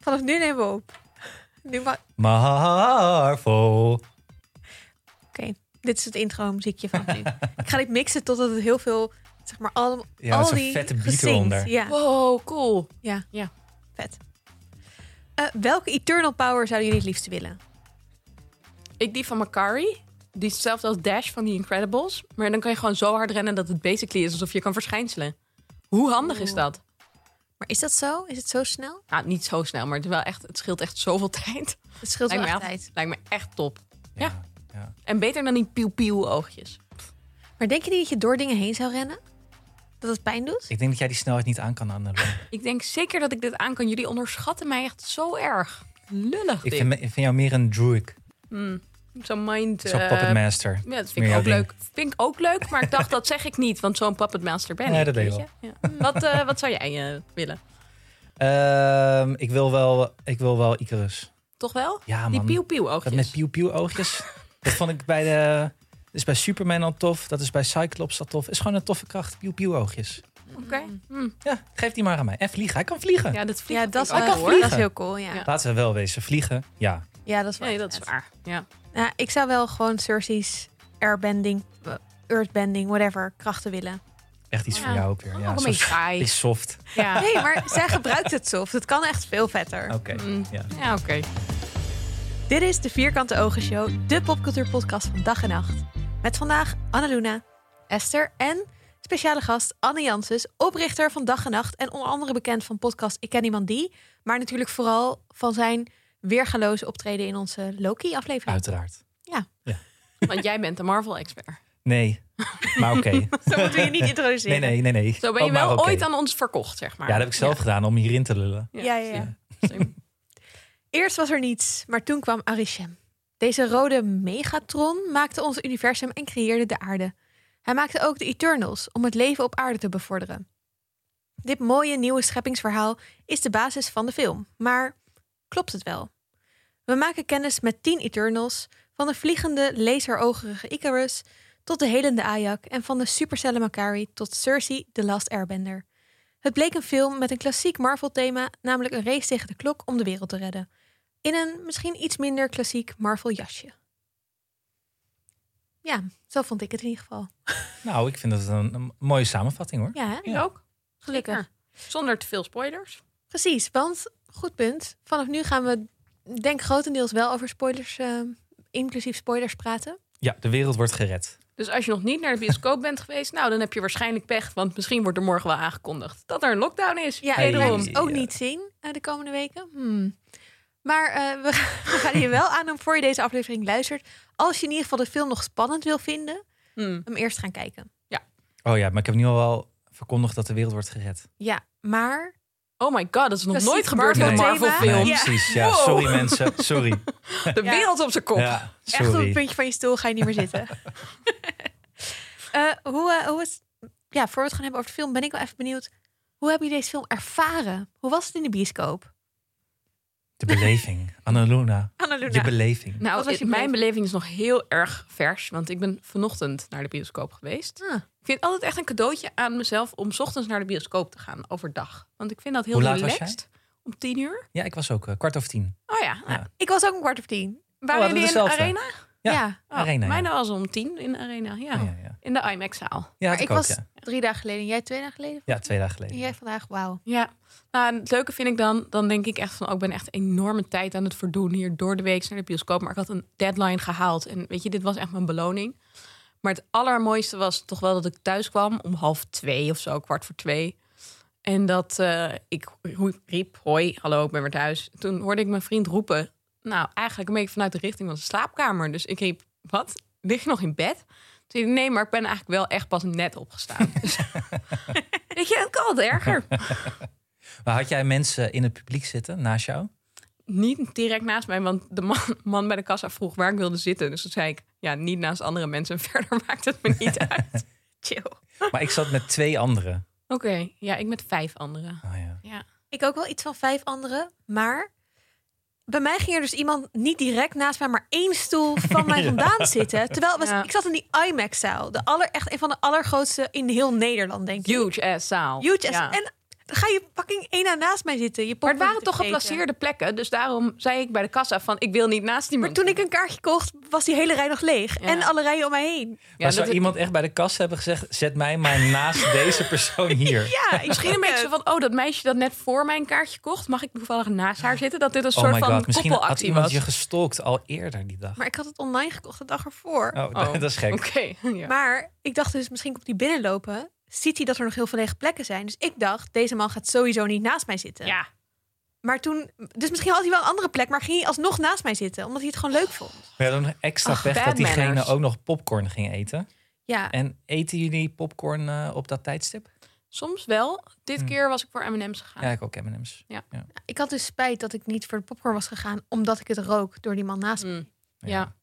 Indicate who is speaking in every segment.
Speaker 1: Vanaf nu nemen we op. Nu ma-
Speaker 2: Marvel.
Speaker 1: dit is het intro muziekje van nu. ik ga dit mixen totdat het heel veel, zeg maar, allemaal
Speaker 2: Ja,
Speaker 1: al
Speaker 2: met zo'n
Speaker 1: die
Speaker 2: vette beat
Speaker 1: gezinkt.
Speaker 2: eronder.
Speaker 1: Ja,
Speaker 3: Wow, cool.
Speaker 1: vet. Eh, welke eternal power zouden jullie het liefst willen?
Speaker 3: Ik die van Macari. Die is hetzelfde als Dash van die Incredibles. Maar dan kan je gewoon zo hard rennen dat het basically is alsof je kan verschijnselen. Hoe handig is
Speaker 1: Oeh.
Speaker 3: dat?
Speaker 1: Maar is dat zo? Is het zo snel?
Speaker 3: Nou, niet zo snel, maar het, is wel echt, het scheelt echt zoveel tijd.
Speaker 1: Het scheelt wel
Speaker 3: Lijkt me
Speaker 1: echt
Speaker 3: wel.
Speaker 1: tijd.
Speaker 3: Lijkt me echt top. Ja.
Speaker 2: ja.
Speaker 3: En beter dan die pieuw-pieuw oogjes.
Speaker 1: Maar denk je niet dat je door dingen heen zou rennen? Dat het pijn doet?
Speaker 2: Ik denk dat jij die snelheid niet aan kan, Annelore.
Speaker 3: Ik denk zeker dat ik dit aan kan. Jullie onderschatten mij echt zo erg. Lullig
Speaker 2: Ik
Speaker 3: dit.
Speaker 2: vind, me- ik vind jou meer een druid.
Speaker 3: Hmm. Zo'n mind...
Speaker 2: Zo'n
Speaker 3: eh,
Speaker 2: puppet master.
Speaker 3: Ja, dat
Speaker 2: Meer
Speaker 3: vind ik
Speaker 2: jouw
Speaker 3: ook
Speaker 2: ding.
Speaker 3: leuk. Vind ik ook leuk, maar ik dacht dat zeg ik niet, want zo'n puppet master ben
Speaker 2: Nee,
Speaker 3: ik.
Speaker 2: dat
Speaker 3: weet
Speaker 2: weet ik
Speaker 3: je? Ja. Wat, eh, wat zou jij eh, willen?
Speaker 2: Ehm, ik, wil wel, ik wil wel Icarus.
Speaker 3: Toch wel?
Speaker 2: Ja,
Speaker 3: Die
Speaker 2: Ah, man.
Speaker 3: pieuw-pieuw
Speaker 2: dat
Speaker 3: oogjes.
Speaker 2: met piu piu oogjes. dat vond ik bij de... Dat is bij Superman al tof. Dat is bij Cyclops al tof. Is gewoon een toffe kracht. Piu piu oogjes.
Speaker 3: Oké. Hm.
Speaker 2: Ja, geef die maar aan mij. En vliegen. Hij kan vliegen.
Speaker 3: Ja, dat vliegt
Speaker 1: Mm. Ja, dat is,
Speaker 3: wel
Speaker 1: wel-
Speaker 3: hoor.
Speaker 1: dat is heel cool. Ja,
Speaker 3: Ja.
Speaker 1: ja.
Speaker 2: Laten we wel wezen. Vliegen. Ja.
Speaker 1: dat is wel
Speaker 3: Nee,
Speaker 1: echt
Speaker 3: dat is
Speaker 1: vet.
Speaker 3: waar. Ja.
Speaker 1: Nou, ik zou wel gewoon Cersei's airbending, eh, earthbending, whatever, krachten willen.
Speaker 2: Echt iets
Speaker 3: Ja.
Speaker 2: voor jou ook weer.
Speaker 3: Oh,
Speaker 2: Ja,
Speaker 3: een
Speaker 2: zo
Speaker 3: beetje saai.
Speaker 2: is soft.
Speaker 3: Ja,
Speaker 1: Nee, maar zij gebruikt het soft. Het kan echt veel vetter.
Speaker 2: Oké.
Speaker 3: Mm.
Speaker 2: Ja.
Speaker 3: ja oké.
Speaker 1: Dit is de Vierkante Ogen Show, de popcultuurpodcast van dag en nacht. Met vandaag Annaluna, Esther en speciale gast Anne Janssens, oprichter van Dag en Nacht en onder andere bekend van podcast Ik Ken Iemand Die, maar natuurlijk vooral van zijn weergaloze optreden in onze Loki-aflevering.
Speaker 2: Uiteraard.
Speaker 3: Want jij bent de Marvel-expert.
Speaker 2: Nee. Maar oké.
Speaker 1: Zo moeten we je niet introduceren.
Speaker 2: Nee, nee, nee, nee.
Speaker 3: Zo ben je
Speaker 2: Oh, maar
Speaker 3: wel
Speaker 2: oké.
Speaker 3: ooit aan ons verkocht, zeg maar.
Speaker 2: Ja, dat heb ik zelf gedaan om hierin te lullen.
Speaker 1: Ja, ja, ja.
Speaker 3: slim.
Speaker 1: Eerst was er niets, maar toen kwam Arishem. Deze rode megatron maakte ons universum en creëerde de aarde. Hij maakte ook de Eternals om het leven op aarde te bevorderen. Dit mooie nieuwe scheppingsverhaal is de basis van de film, maar klopt het wel? We maken kennis met tien Eternals, van de vliegende, laserogerige Icarus tot de helende Ajak en van de supercellen Makari tot Cersei, de Last Airbender. Het bleek een film met een klassiek Marvel-thema, namelijk een race tegen de klok om de wereld te redden. In een misschien iets minder klassiek Marvel-jasje. Ja, zo vond ik het in ieder geval.
Speaker 2: Nou, ik vind dat een, een mooie samenvatting hoor.
Speaker 1: Ja, hè?
Speaker 2: Ja.
Speaker 3: Ik ook.
Speaker 1: Gelukkig.
Speaker 3: Zeker. Zonder te veel spoilers.
Speaker 1: precies. Want, goed punt. Vanaf nu gaan we, denk grotendeels wel over spoilers, eh, inclusief spoilers praten.
Speaker 2: Ja, de wereld wordt gered.
Speaker 3: Dus als je nog niet naar de bioscoop bent geweest, nou dan heb je waarschijnlijk pech. Want misschien wordt er morgen wel aangekondigd dat er een lockdown is.
Speaker 1: Ja,
Speaker 2: Hey.
Speaker 1: ik ga het ook
Speaker 2: Ja.
Speaker 1: niet zien eh, de komende weken. Hmm. Maar eh, we, we gaan je wel aan doen voor je deze aflevering luistert. Als je in ieder geval de film nog spannend wil vinden,
Speaker 3: Hmm.
Speaker 1: hem eerst gaan kijken.
Speaker 2: Oh ja, maar ik heb nu al wel verkondigd dat de wereld wordt gered.
Speaker 1: Ja, maar
Speaker 3: Oh my god, dat is nog
Speaker 1: Klassiek
Speaker 3: nooit gebeurd in een
Speaker 2: Marvel
Speaker 3: Marvel-film.
Speaker 1: thema.
Speaker 2: Nee,
Speaker 1: Ja.
Speaker 2: precies. Ja,
Speaker 3: Ah, Wow.
Speaker 2: sorry mensen. Sorry.
Speaker 3: De
Speaker 1: Ja.
Speaker 3: wereld op zijn kop.
Speaker 2: Ja,
Speaker 1: Echt op het
Speaker 2: sorry.
Speaker 1: puntje van je stoel ga je niet meer zitten. Eh, hoe, eh, hoe is, ja, voor we het gaan hebben over de film, ben ik wel even benieuwd. Hoe heb je deze film ervaren? Hoe was het in de bioscoop?
Speaker 2: De beleving. Annaluna. Je
Speaker 1: Annalena.
Speaker 2: beleving.
Speaker 3: Nou,
Speaker 1: Wat was
Speaker 3: het-
Speaker 1: je
Speaker 3: mijn
Speaker 1: beleving?
Speaker 3: beleving is nog heel erg vers, want ik ben vanochtend naar de bioscoop geweest.
Speaker 1: Ah,
Speaker 3: Ik vind altijd echt een cadeautje aan mezelf om 's ochtends naar de bioscoop te gaan overdag. Want ik vind dat heel
Speaker 2: Hoe laat was
Speaker 3: relaxed. Om tien uur?
Speaker 2: Ja, ik was ook eh, kwart over tien.
Speaker 3: Oh ja. nou,
Speaker 2: Ja.
Speaker 1: ik was ook een kwart of tien.
Speaker 3: Waren
Speaker 2: hadden
Speaker 3: jullie in de
Speaker 2: dezelfde.
Speaker 3: arena?
Speaker 2: Ja,
Speaker 3: Oh,
Speaker 2: Arena, ja. Oh,
Speaker 3: Mijn was om tien in de arena, ja.
Speaker 2: Ja, ja, ja.
Speaker 3: In de IMAX-zaal.
Speaker 2: ja
Speaker 1: maar
Speaker 2: had
Speaker 1: ik
Speaker 2: ik ook.
Speaker 1: was
Speaker 2: Ja.
Speaker 1: drie dagen geleden en jij twee dagen geleden.
Speaker 2: ja, twee dagen geleden.
Speaker 1: En jij vandaag, wauw.
Speaker 3: Ja, nou, en het leuke vind ik dan, dan denk ik echt van, oh, ik ben echt enorme tijd aan het verdoen hier door de week naar de bioscoop. Maar ik had een deadline gehaald en weet je, dit was echt mijn beloning. Maar het allermooiste was toch wel dat ik thuis kwam om half twee of zo, kwart voor twee. En dat eh, ik ho- riep, hoi, hallo, ik ben weer thuis. Toen hoorde ik mijn vriend roepen, nou eigenlijk een beetje vanuit de richting van de slaapkamer. Dus ik riep, wat, lig je nog in bed? Toen zei hij, nee, maar ik ben eigenlijk wel echt pas net opgestaan. Dus- Weet je, het kan wat erger.
Speaker 2: Maar had jij mensen in het publiek zitten naast jou?
Speaker 3: niet direct naast mij, want de man, man bij de kassa vroeg waar ik wilde zitten. Dus toen zei ik, ja, niet naast andere mensen. Verder maakt het me niet uit. Oké,
Speaker 1: Chill.
Speaker 2: Maar ik zat met twee anderen.
Speaker 3: ja, ik met vijf anderen.
Speaker 2: Oh, ja.
Speaker 1: Ik ook wel iets van vijf anderen, maar... Bij mij ging er dus iemand niet direct naast mij, maar één stoel van mij
Speaker 2: Ja.
Speaker 1: vandaan zitten. Terwijl het was-
Speaker 3: Ja.
Speaker 1: ik zat in die IMAX-zaal. De aller, echt een van de allergrootste in heel Nederland, denk ik.
Speaker 3: Huge ass zaal.
Speaker 1: Huge.
Speaker 3: Ja.
Speaker 1: En Dan ga je fucking één na naast mij zitten. Je
Speaker 3: Maar het
Speaker 1: popcorn
Speaker 3: waren
Speaker 1: te
Speaker 3: toch
Speaker 1: eten.
Speaker 3: geplaceerde plekken. Dus daarom zei ik bij de kassa van ik wil niet naast
Speaker 1: Maar
Speaker 3: iemand.
Speaker 1: toen ik een kaartje kocht, was die hele rij nog leeg.
Speaker 3: Ja.
Speaker 1: En alle rijen om mij heen.
Speaker 3: Ja,
Speaker 2: maar zou
Speaker 3: dat-
Speaker 2: iemand echt bij de kassa hebben gezegd... zet mij maar naast deze persoon hier.
Speaker 1: Ja,
Speaker 3: Misschien een beetje zo van, oh, dat meisje dat net voor mijn kaartje kocht, mag ik toevallig naast haar zitten? Dat dit een
Speaker 2: Oh
Speaker 3: soort
Speaker 2: my
Speaker 3: van
Speaker 2: god, misschien had
Speaker 3: koppelactie
Speaker 2: iemand
Speaker 3: was.
Speaker 2: je gestalkt al eerder die dag.
Speaker 1: Maar ik had het online gekocht de dag ervoor.
Speaker 2: Oh,
Speaker 3: Oh,
Speaker 2: dat is gek.
Speaker 3: Oké, ja.
Speaker 1: Maar ik dacht dus, misschien komt hij binnenlopen. Ziet hij dat er nog heel veel lege plekken zijn. Dus ik dacht, deze man gaat sowieso niet naast mij zitten.
Speaker 3: ja.
Speaker 1: Maar toen, dus misschien had hij wel een andere plek, maar ging hij alsnog naast mij zitten. Omdat hij het gewoon leuk vond.
Speaker 2: Maar ja, dan extra
Speaker 3: Ach,
Speaker 2: pech
Speaker 3: bad
Speaker 2: dat diegene
Speaker 3: manners.
Speaker 2: ook nog popcorn ging eten.
Speaker 1: Ja,
Speaker 2: En eten jullie popcorn eh, op dat tijdstip?
Speaker 3: Soms wel. Dit keer was ik voor M&M's gegaan.
Speaker 2: Hmm. Ja, ik ook M&M's.
Speaker 1: ik had dus spijt dat ik niet voor de popcorn was gegaan. Omdat ik het rook door die man naast me.
Speaker 3: Mm, ja.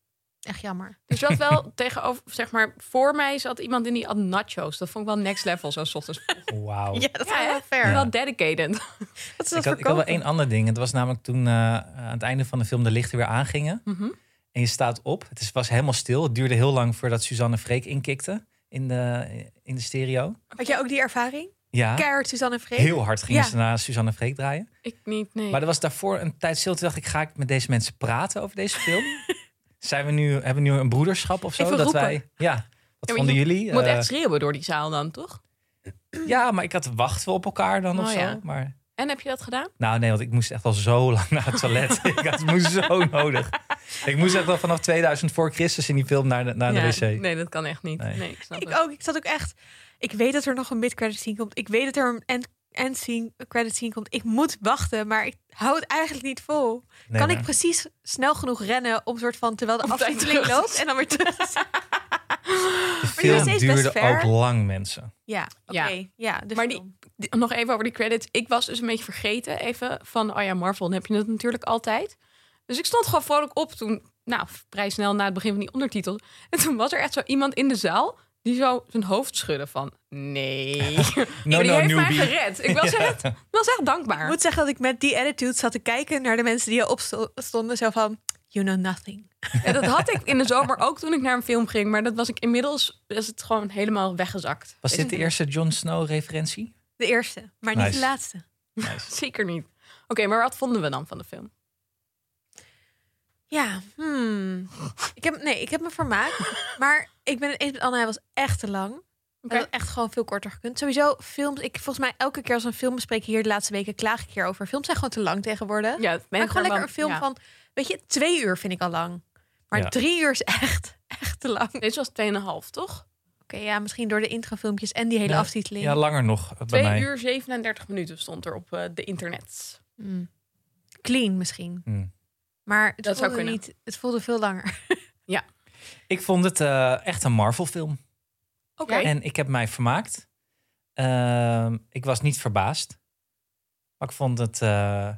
Speaker 1: Echt jammer.
Speaker 3: Er zat wel tegenover, zeg maar, voor mij zat iemand in die had nachos. Dat vond ik wel next level, zo'n 's ochtends.
Speaker 2: Wauw.
Speaker 1: Ja, dat
Speaker 3: Ja,
Speaker 1: is
Speaker 3: hè?
Speaker 1: wel fair.
Speaker 3: Wel dedicated.
Speaker 1: Dat is dat
Speaker 2: ik, had, ik had wel
Speaker 1: verkopen.
Speaker 2: één ander ding. Het was namelijk toen eh, aan het einde van de film de lichten weer aangingen.
Speaker 3: Mhm.
Speaker 2: En je staat op. Het is, was helemaal stil. Het duurde heel lang voordat Suzanne Freek inkikte in de, in de stereo.
Speaker 1: Had jij ook die ervaring?
Speaker 2: Ja,
Speaker 1: Keihard Suzanne en Freek?
Speaker 2: heel hard gingen
Speaker 1: Ja.
Speaker 2: ze naar Suzanne Freek draaien.
Speaker 3: Ik niet, nee.
Speaker 2: Maar er was daarvoor een tijd stil. Toen dacht ik, ga ik met deze mensen praten over deze film? Zijn we nu, hebben we nu een broederschap of zo?
Speaker 1: Even
Speaker 2: dat
Speaker 1: roepen.
Speaker 2: wij, ja, wat
Speaker 3: maar
Speaker 2: vonden
Speaker 3: je
Speaker 2: jullie?
Speaker 3: Je moet
Speaker 2: Eh,
Speaker 3: echt schreeuwen door die zaal dan, toch?
Speaker 2: ja, maar ik had wachten we op elkaar dan of
Speaker 3: Oh,
Speaker 2: zo.
Speaker 3: ja.
Speaker 2: Maar,
Speaker 3: En heb je dat gedaan?
Speaker 2: nou nee, want ik moest echt al zo lang naar het toilet. ik had het moest zo nodig. Ik moest echt al vanaf 2000 voor Christus in die film naar de, naar de
Speaker 3: Ja,
Speaker 2: wc.
Speaker 3: Nee, dat kan echt niet.
Speaker 2: Nee.
Speaker 3: Nee, ik snap
Speaker 1: Ik
Speaker 3: het.
Speaker 1: ook. Ik zat ook echt. Ik weet dat er nog een mid-credit scene komt. Ik weet dat er een end- end scene, credit scene komt. Ik moet wachten, maar ik hou het eigenlijk niet vol.
Speaker 2: Nee,
Speaker 1: kan
Speaker 2: maar-
Speaker 1: ik precies snel genoeg rennen om soort van terwijl de
Speaker 3: Op tijd
Speaker 1: aftiteling
Speaker 3: terug.
Speaker 1: loopt en dan weer terug? te zijn?
Speaker 2: De
Speaker 1: die was
Speaker 2: film
Speaker 1: steeds best
Speaker 2: duurde
Speaker 1: ver.
Speaker 2: ook lang, mensen.
Speaker 1: ja, oké. Ja, dus
Speaker 3: Maar die- Die- Nog even over die credits. Ik was dus een beetje vergeten even van, oh ja, Marvel, dan heb je dat natuurlijk altijd. Dus ik stond gewoon vrolijk op toen, nou, vrij snel na het begin van die ondertitel. En toen was er echt zo iemand in de zaal die zo zijn hoofd schudde van,
Speaker 2: No,
Speaker 3: nee. maar
Speaker 2: no,
Speaker 3: die heeft
Speaker 2: newbie.
Speaker 3: mij gered. Ik was, echt, was echt dankbaar.
Speaker 1: Ik moet zeggen dat ik met die attitude zat te kijken naar de mensen die erop sto- stonden. Zo van, you know nothing.
Speaker 3: Ja, dat had ik in de zomer ook toen ik naar een film ging. Maar dat was ik inmiddels, is het gewoon helemaal weggezakt.
Speaker 2: Was dit de eerste Jon Snow-referentie?
Speaker 1: De eerste, maar niet
Speaker 2: Nice.
Speaker 1: de laatste.
Speaker 3: Zeker niet. Oké, maar wat vonden we dan van de film?
Speaker 1: Ja, hmm. Ik heb, nee, ik heb me vermaakt. Maar ik ben het eens met Anna, hij was echt te lang.
Speaker 3: Oké.
Speaker 1: Dat had echt gewoon veel korter gekund. Sowieso, films. Ik, volgens mij, elke keer als we een film bespreken hier de laatste weken, klaag ik hierover. Films zijn gewoon te lang tegenwoordig.
Speaker 3: Ja, het
Speaker 1: Maak
Speaker 3: mensen
Speaker 1: gewoon lekker
Speaker 3: dan-
Speaker 1: een film
Speaker 3: ja.
Speaker 1: van, weet je, twee uur vind ik al lang. Maar
Speaker 2: Ja.
Speaker 1: drie uur is echt, echt te lang. Oké,
Speaker 3: Deze was 2,5, toch?
Speaker 1: ja, misschien door de intrafilmpjes en die hele
Speaker 2: Ja,
Speaker 1: aftiteling.
Speaker 2: Ja, langer nog eh, bij
Speaker 3: 2
Speaker 2: mij.
Speaker 3: uur 37 minuten stond er op eh, de internet.
Speaker 1: Hmm. Clean misschien.
Speaker 2: Hmm.
Speaker 1: Maar het
Speaker 3: Dat zou
Speaker 1: voelde
Speaker 3: kunnen.
Speaker 1: niet, het voelde veel langer.
Speaker 2: Ik vond het eh, echt een Marvel-film.
Speaker 3: Oké.
Speaker 2: En ik heb mij vermaakt. Ehm, ik was niet verbaasd. Maar ik vond het... eh,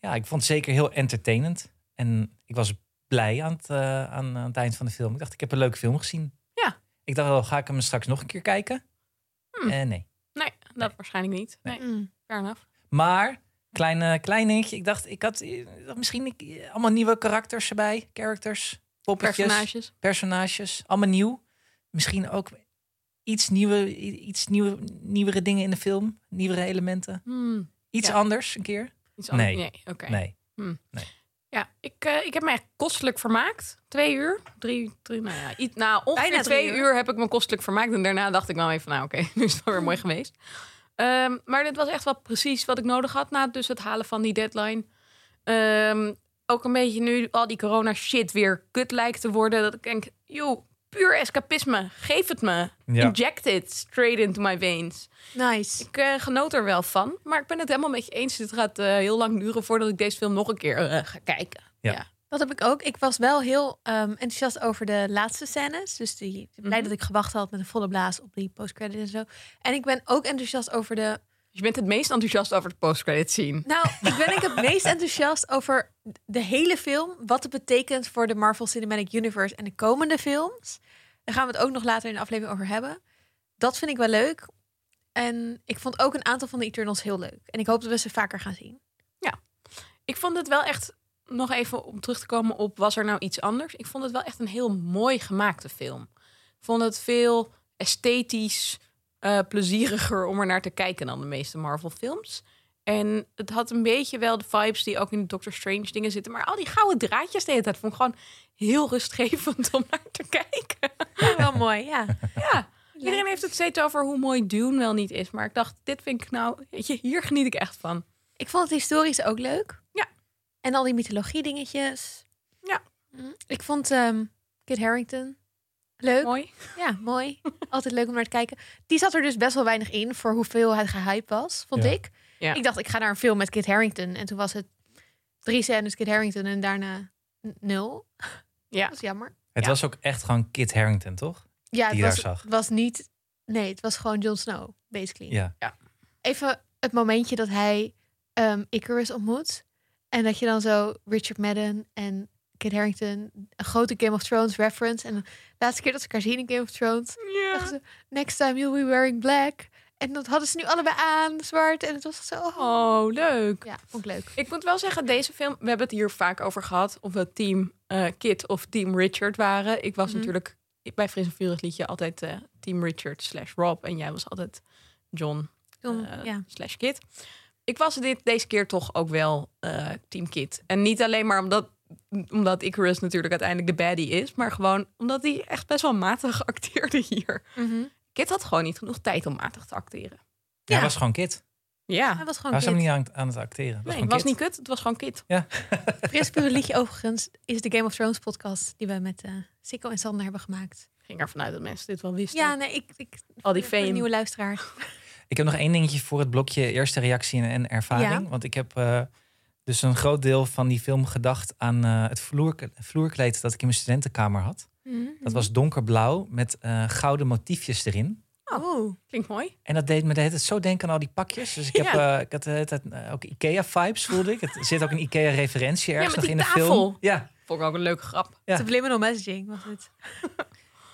Speaker 2: ja, ik vond het zeker heel entertainend. En ik was blij aan het, eh, aan, aan het eind van de film. Ik dacht, ik heb een leuke film gezien.
Speaker 3: Ja.
Speaker 2: Ik dacht, wel, ga ik hem straks nog een keer kijken?
Speaker 3: Hmm.
Speaker 2: Eh, nee.
Speaker 3: Nee, dat waarschijnlijk niet. Nee,
Speaker 1: Hmm.
Speaker 3: fair enough.
Speaker 2: Maar, kleine, klein dingetje. Ik dacht, ik had eh, misschien eh, allemaal nieuwe karakters erbij. Characters, poppetjes, personages.
Speaker 3: Personages.
Speaker 2: Allemaal nieuw. Misschien ook iets, nieuwe, i- iets nieuwe, nieuwere dingen in de film. Nieuwere elementen.
Speaker 3: Hmm,
Speaker 2: Iets
Speaker 3: Ja.
Speaker 2: anders een keer.
Speaker 3: iets anders.
Speaker 2: Nee.
Speaker 3: Nee, oké.
Speaker 2: Nee.
Speaker 3: Ja, ik, eh, ik heb me echt kostelijk vermaakt. Twee uur, drie, drie nou ja, iets, nou, ongeveer
Speaker 1: Bijna drie
Speaker 3: twee uur.
Speaker 1: uur.
Speaker 3: heb ik me kostelijk vermaakt. En daarna dacht ik wel even, nou oké, nu is het wel weer mooi geweest. Ehm, maar dit was echt wel precies wat ik nodig had na dus het halen van die deadline. Ehm, ook een beetje nu al die corona shit weer kut lijkt te worden. Dat ik denk, joh, puur escapisme. Geef het me.
Speaker 2: Ja.
Speaker 3: Inject it straight into my veins.
Speaker 1: Nice.
Speaker 3: Ik eh, genoot er wel van. Maar ik ben het helemaal met je eens. Het gaat eh, heel lang duren voordat ik deze film nog een keer eh, ga kijken.
Speaker 2: Ja.
Speaker 1: Dat heb ik ook. Ik was wel heel ehm, enthousiast over de laatste scènes. Dus die, blij dat ik gewacht had met een volle blaas op die postcredit en zo. En ik ben ook enthousiast over de
Speaker 3: Je bent het meest enthousiast over de postcredit scene.
Speaker 1: Nou, ik ben ik het meest enthousiast over de hele film. Wat het betekent voor de Marvel Cinematic Universe en de komende films. Daar gaan we het ook nog later in de aflevering over hebben. Dat vind ik wel leuk. En ik vond ook een aantal van de Eternals heel leuk. En ik hoop dat we ze vaker gaan zien.
Speaker 3: Ik vond het wel echt, nog even om terug te komen op was er nou iets anders. Ik vond het wel echt een heel mooi gemaakte film. Ik vond het veel esthetisch, eh, eh, plezieriger om er naar te kijken dan de meeste Marvel-films. En het had een beetje wel de vibes die ook in de Doctor Strange dingen zitten. Maar al die gouden draadjes de hele tijd vond ik gewoon heel rustgevend om naar te kijken.
Speaker 1: Ja, wel mooi, ja.
Speaker 3: Ja, iedereen heeft het steeds over hoe mooi Dune wel niet is. Maar ik dacht, dit vind ik nou, weet je, hier geniet ik echt van.
Speaker 1: Ik vond het historisch ook leuk.
Speaker 3: Ja.
Speaker 1: En al die mythologie dingetjes.
Speaker 3: Ja.
Speaker 1: Mm, Ik vond ehm Kit Harrington leuk.
Speaker 3: Mooi.
Speaker 1: Ja, mooi. Altijd leuk om naar te kijken. Die zat er dus best wel weinig in voor hoeveel het gehype was, vond
Speaker 2: Ja.
Speaker 1: ik.
Speaker 3: Ja.
Speaker 1: Ik dacht, ik ga naar een film met Kit Harrington. En toen was het drie scènes Kit Harrington en daarna n- nul.
Speaker 3: Ja.
Speaker 1: Dat is jammer.
Speaker 2: Het
Speaker 3: Ja.
Speaker 2: was ook echt gewoon Kit Harrington, toch?
Speaker 1: Ja, het
Speaker 2: Die
Speaker 1: was,
Speaker 2: daar zag.
Speaker 1: het was niet... Nee, het was gewoon Jon Snow, basically.
Speaker 2: Ja.
Speaker 1: Even het momentje dat hij ehm, Icarus ontmoet. En dat je dan zo Richard Madden en Kit Harrington... een grote Game of Thrones reference. En de laatste keer dat ze elkaar zien in Game of Thrones... dachten ze, next time you'll be wearing black. En dat hadden ze nu allebei aan, zwart. En het was zo... oh.
Speaker 3: Oh, leuk.
Speaker 1: Ja, vond ik leuk.
Speaker 3: Ik moet wel zeggen, deze film, we hebben het hier vaak over gehad. Of we team eh Kit of team Richard waren. Ik was
Speaker 1: Mhm.
Speaker 3: natuurlijk bij Fris en Vurig liet je altijd eh, team Richard slash Rob. En jij was altijd John
Speaker 1: Toen-
Speaker 3: eh,
Speaker 1: ja.
Speaker 3: slash Kit. Ik was dit, deze keer toch ook wel eh, team Kit. En niet alleen maar omdat, omdat Icarus natuurlijk uiteindelijk de baddie is. Maar gewoon omdat hij echt best wel matig acteerde hier.
Speaker 1: Mhm.
Speaker 3: Kit had gewoon niet genoeg tijd om matig te acteren.
Speaker 1: Ja.
Speaker 2: Hij was gewoon Kit.
Speaker 3: Ja,
Speaker 1: Hij was gewoon
Speaker 2: Hij was
Speaker 1: Kit.
Speaker 2: hem niet aan, aan het acteren. Het was
Speaker 3: nee, het
Speaker 2: gewoon
Speaker 3: was
Speaker 2: Kit.
Speaker 3: niet kut, het was gewoon Kit.
Speaker 1: Fris Pure Liedje overigens is de Game of Thrones podcast die we met eh Sikko en Sander hebben gemaakt.
Speaker 3: Ik ging ervan uit dat mensen dit wel wisten.
Speaker 1: Ja, nee, ik, ik
Speaker 3: Al die
Speaker 1: ik ben
Speaker 3: fame.
Speaker 1: een nieuwe luisteraar.
Speaker 2: Ik heb nog één dingetje voor het blokje eerste reactie en, en ervaring. Want ik heb eh, dus een groot deel van die film gedacht aan eh, het vloer, vloerkleed dat ik in mijn studentenkamer had.
Speaker 1: Mhm.
Speaker 2: Dat
Speaker 3: Mhm.
Speaker 2: was donkerblauw met eh, gouden motiefjes erin.
Speaker 1: Oh,
Speaker 3: Klinkt mooi.
Speaker 2: En dat deed me de hele tijd zo denken aan al die pakjes. Dus ik, heb, eh, ik had de hele tijd eh, ook Ikea-vibes, voelde ik. Het zit ook een Ikea-referentie ergens
Speaker 3: met
Speaker 2: nog
Speaker 3: die
Speaker 2: in de film.
Speaker 3: tafel.
Speaker 2: Ja,
Speaker 3: Vond ik ook een leuke grap.
Speaker 2: Ja.
Speaker 1: subliminal messaging was het.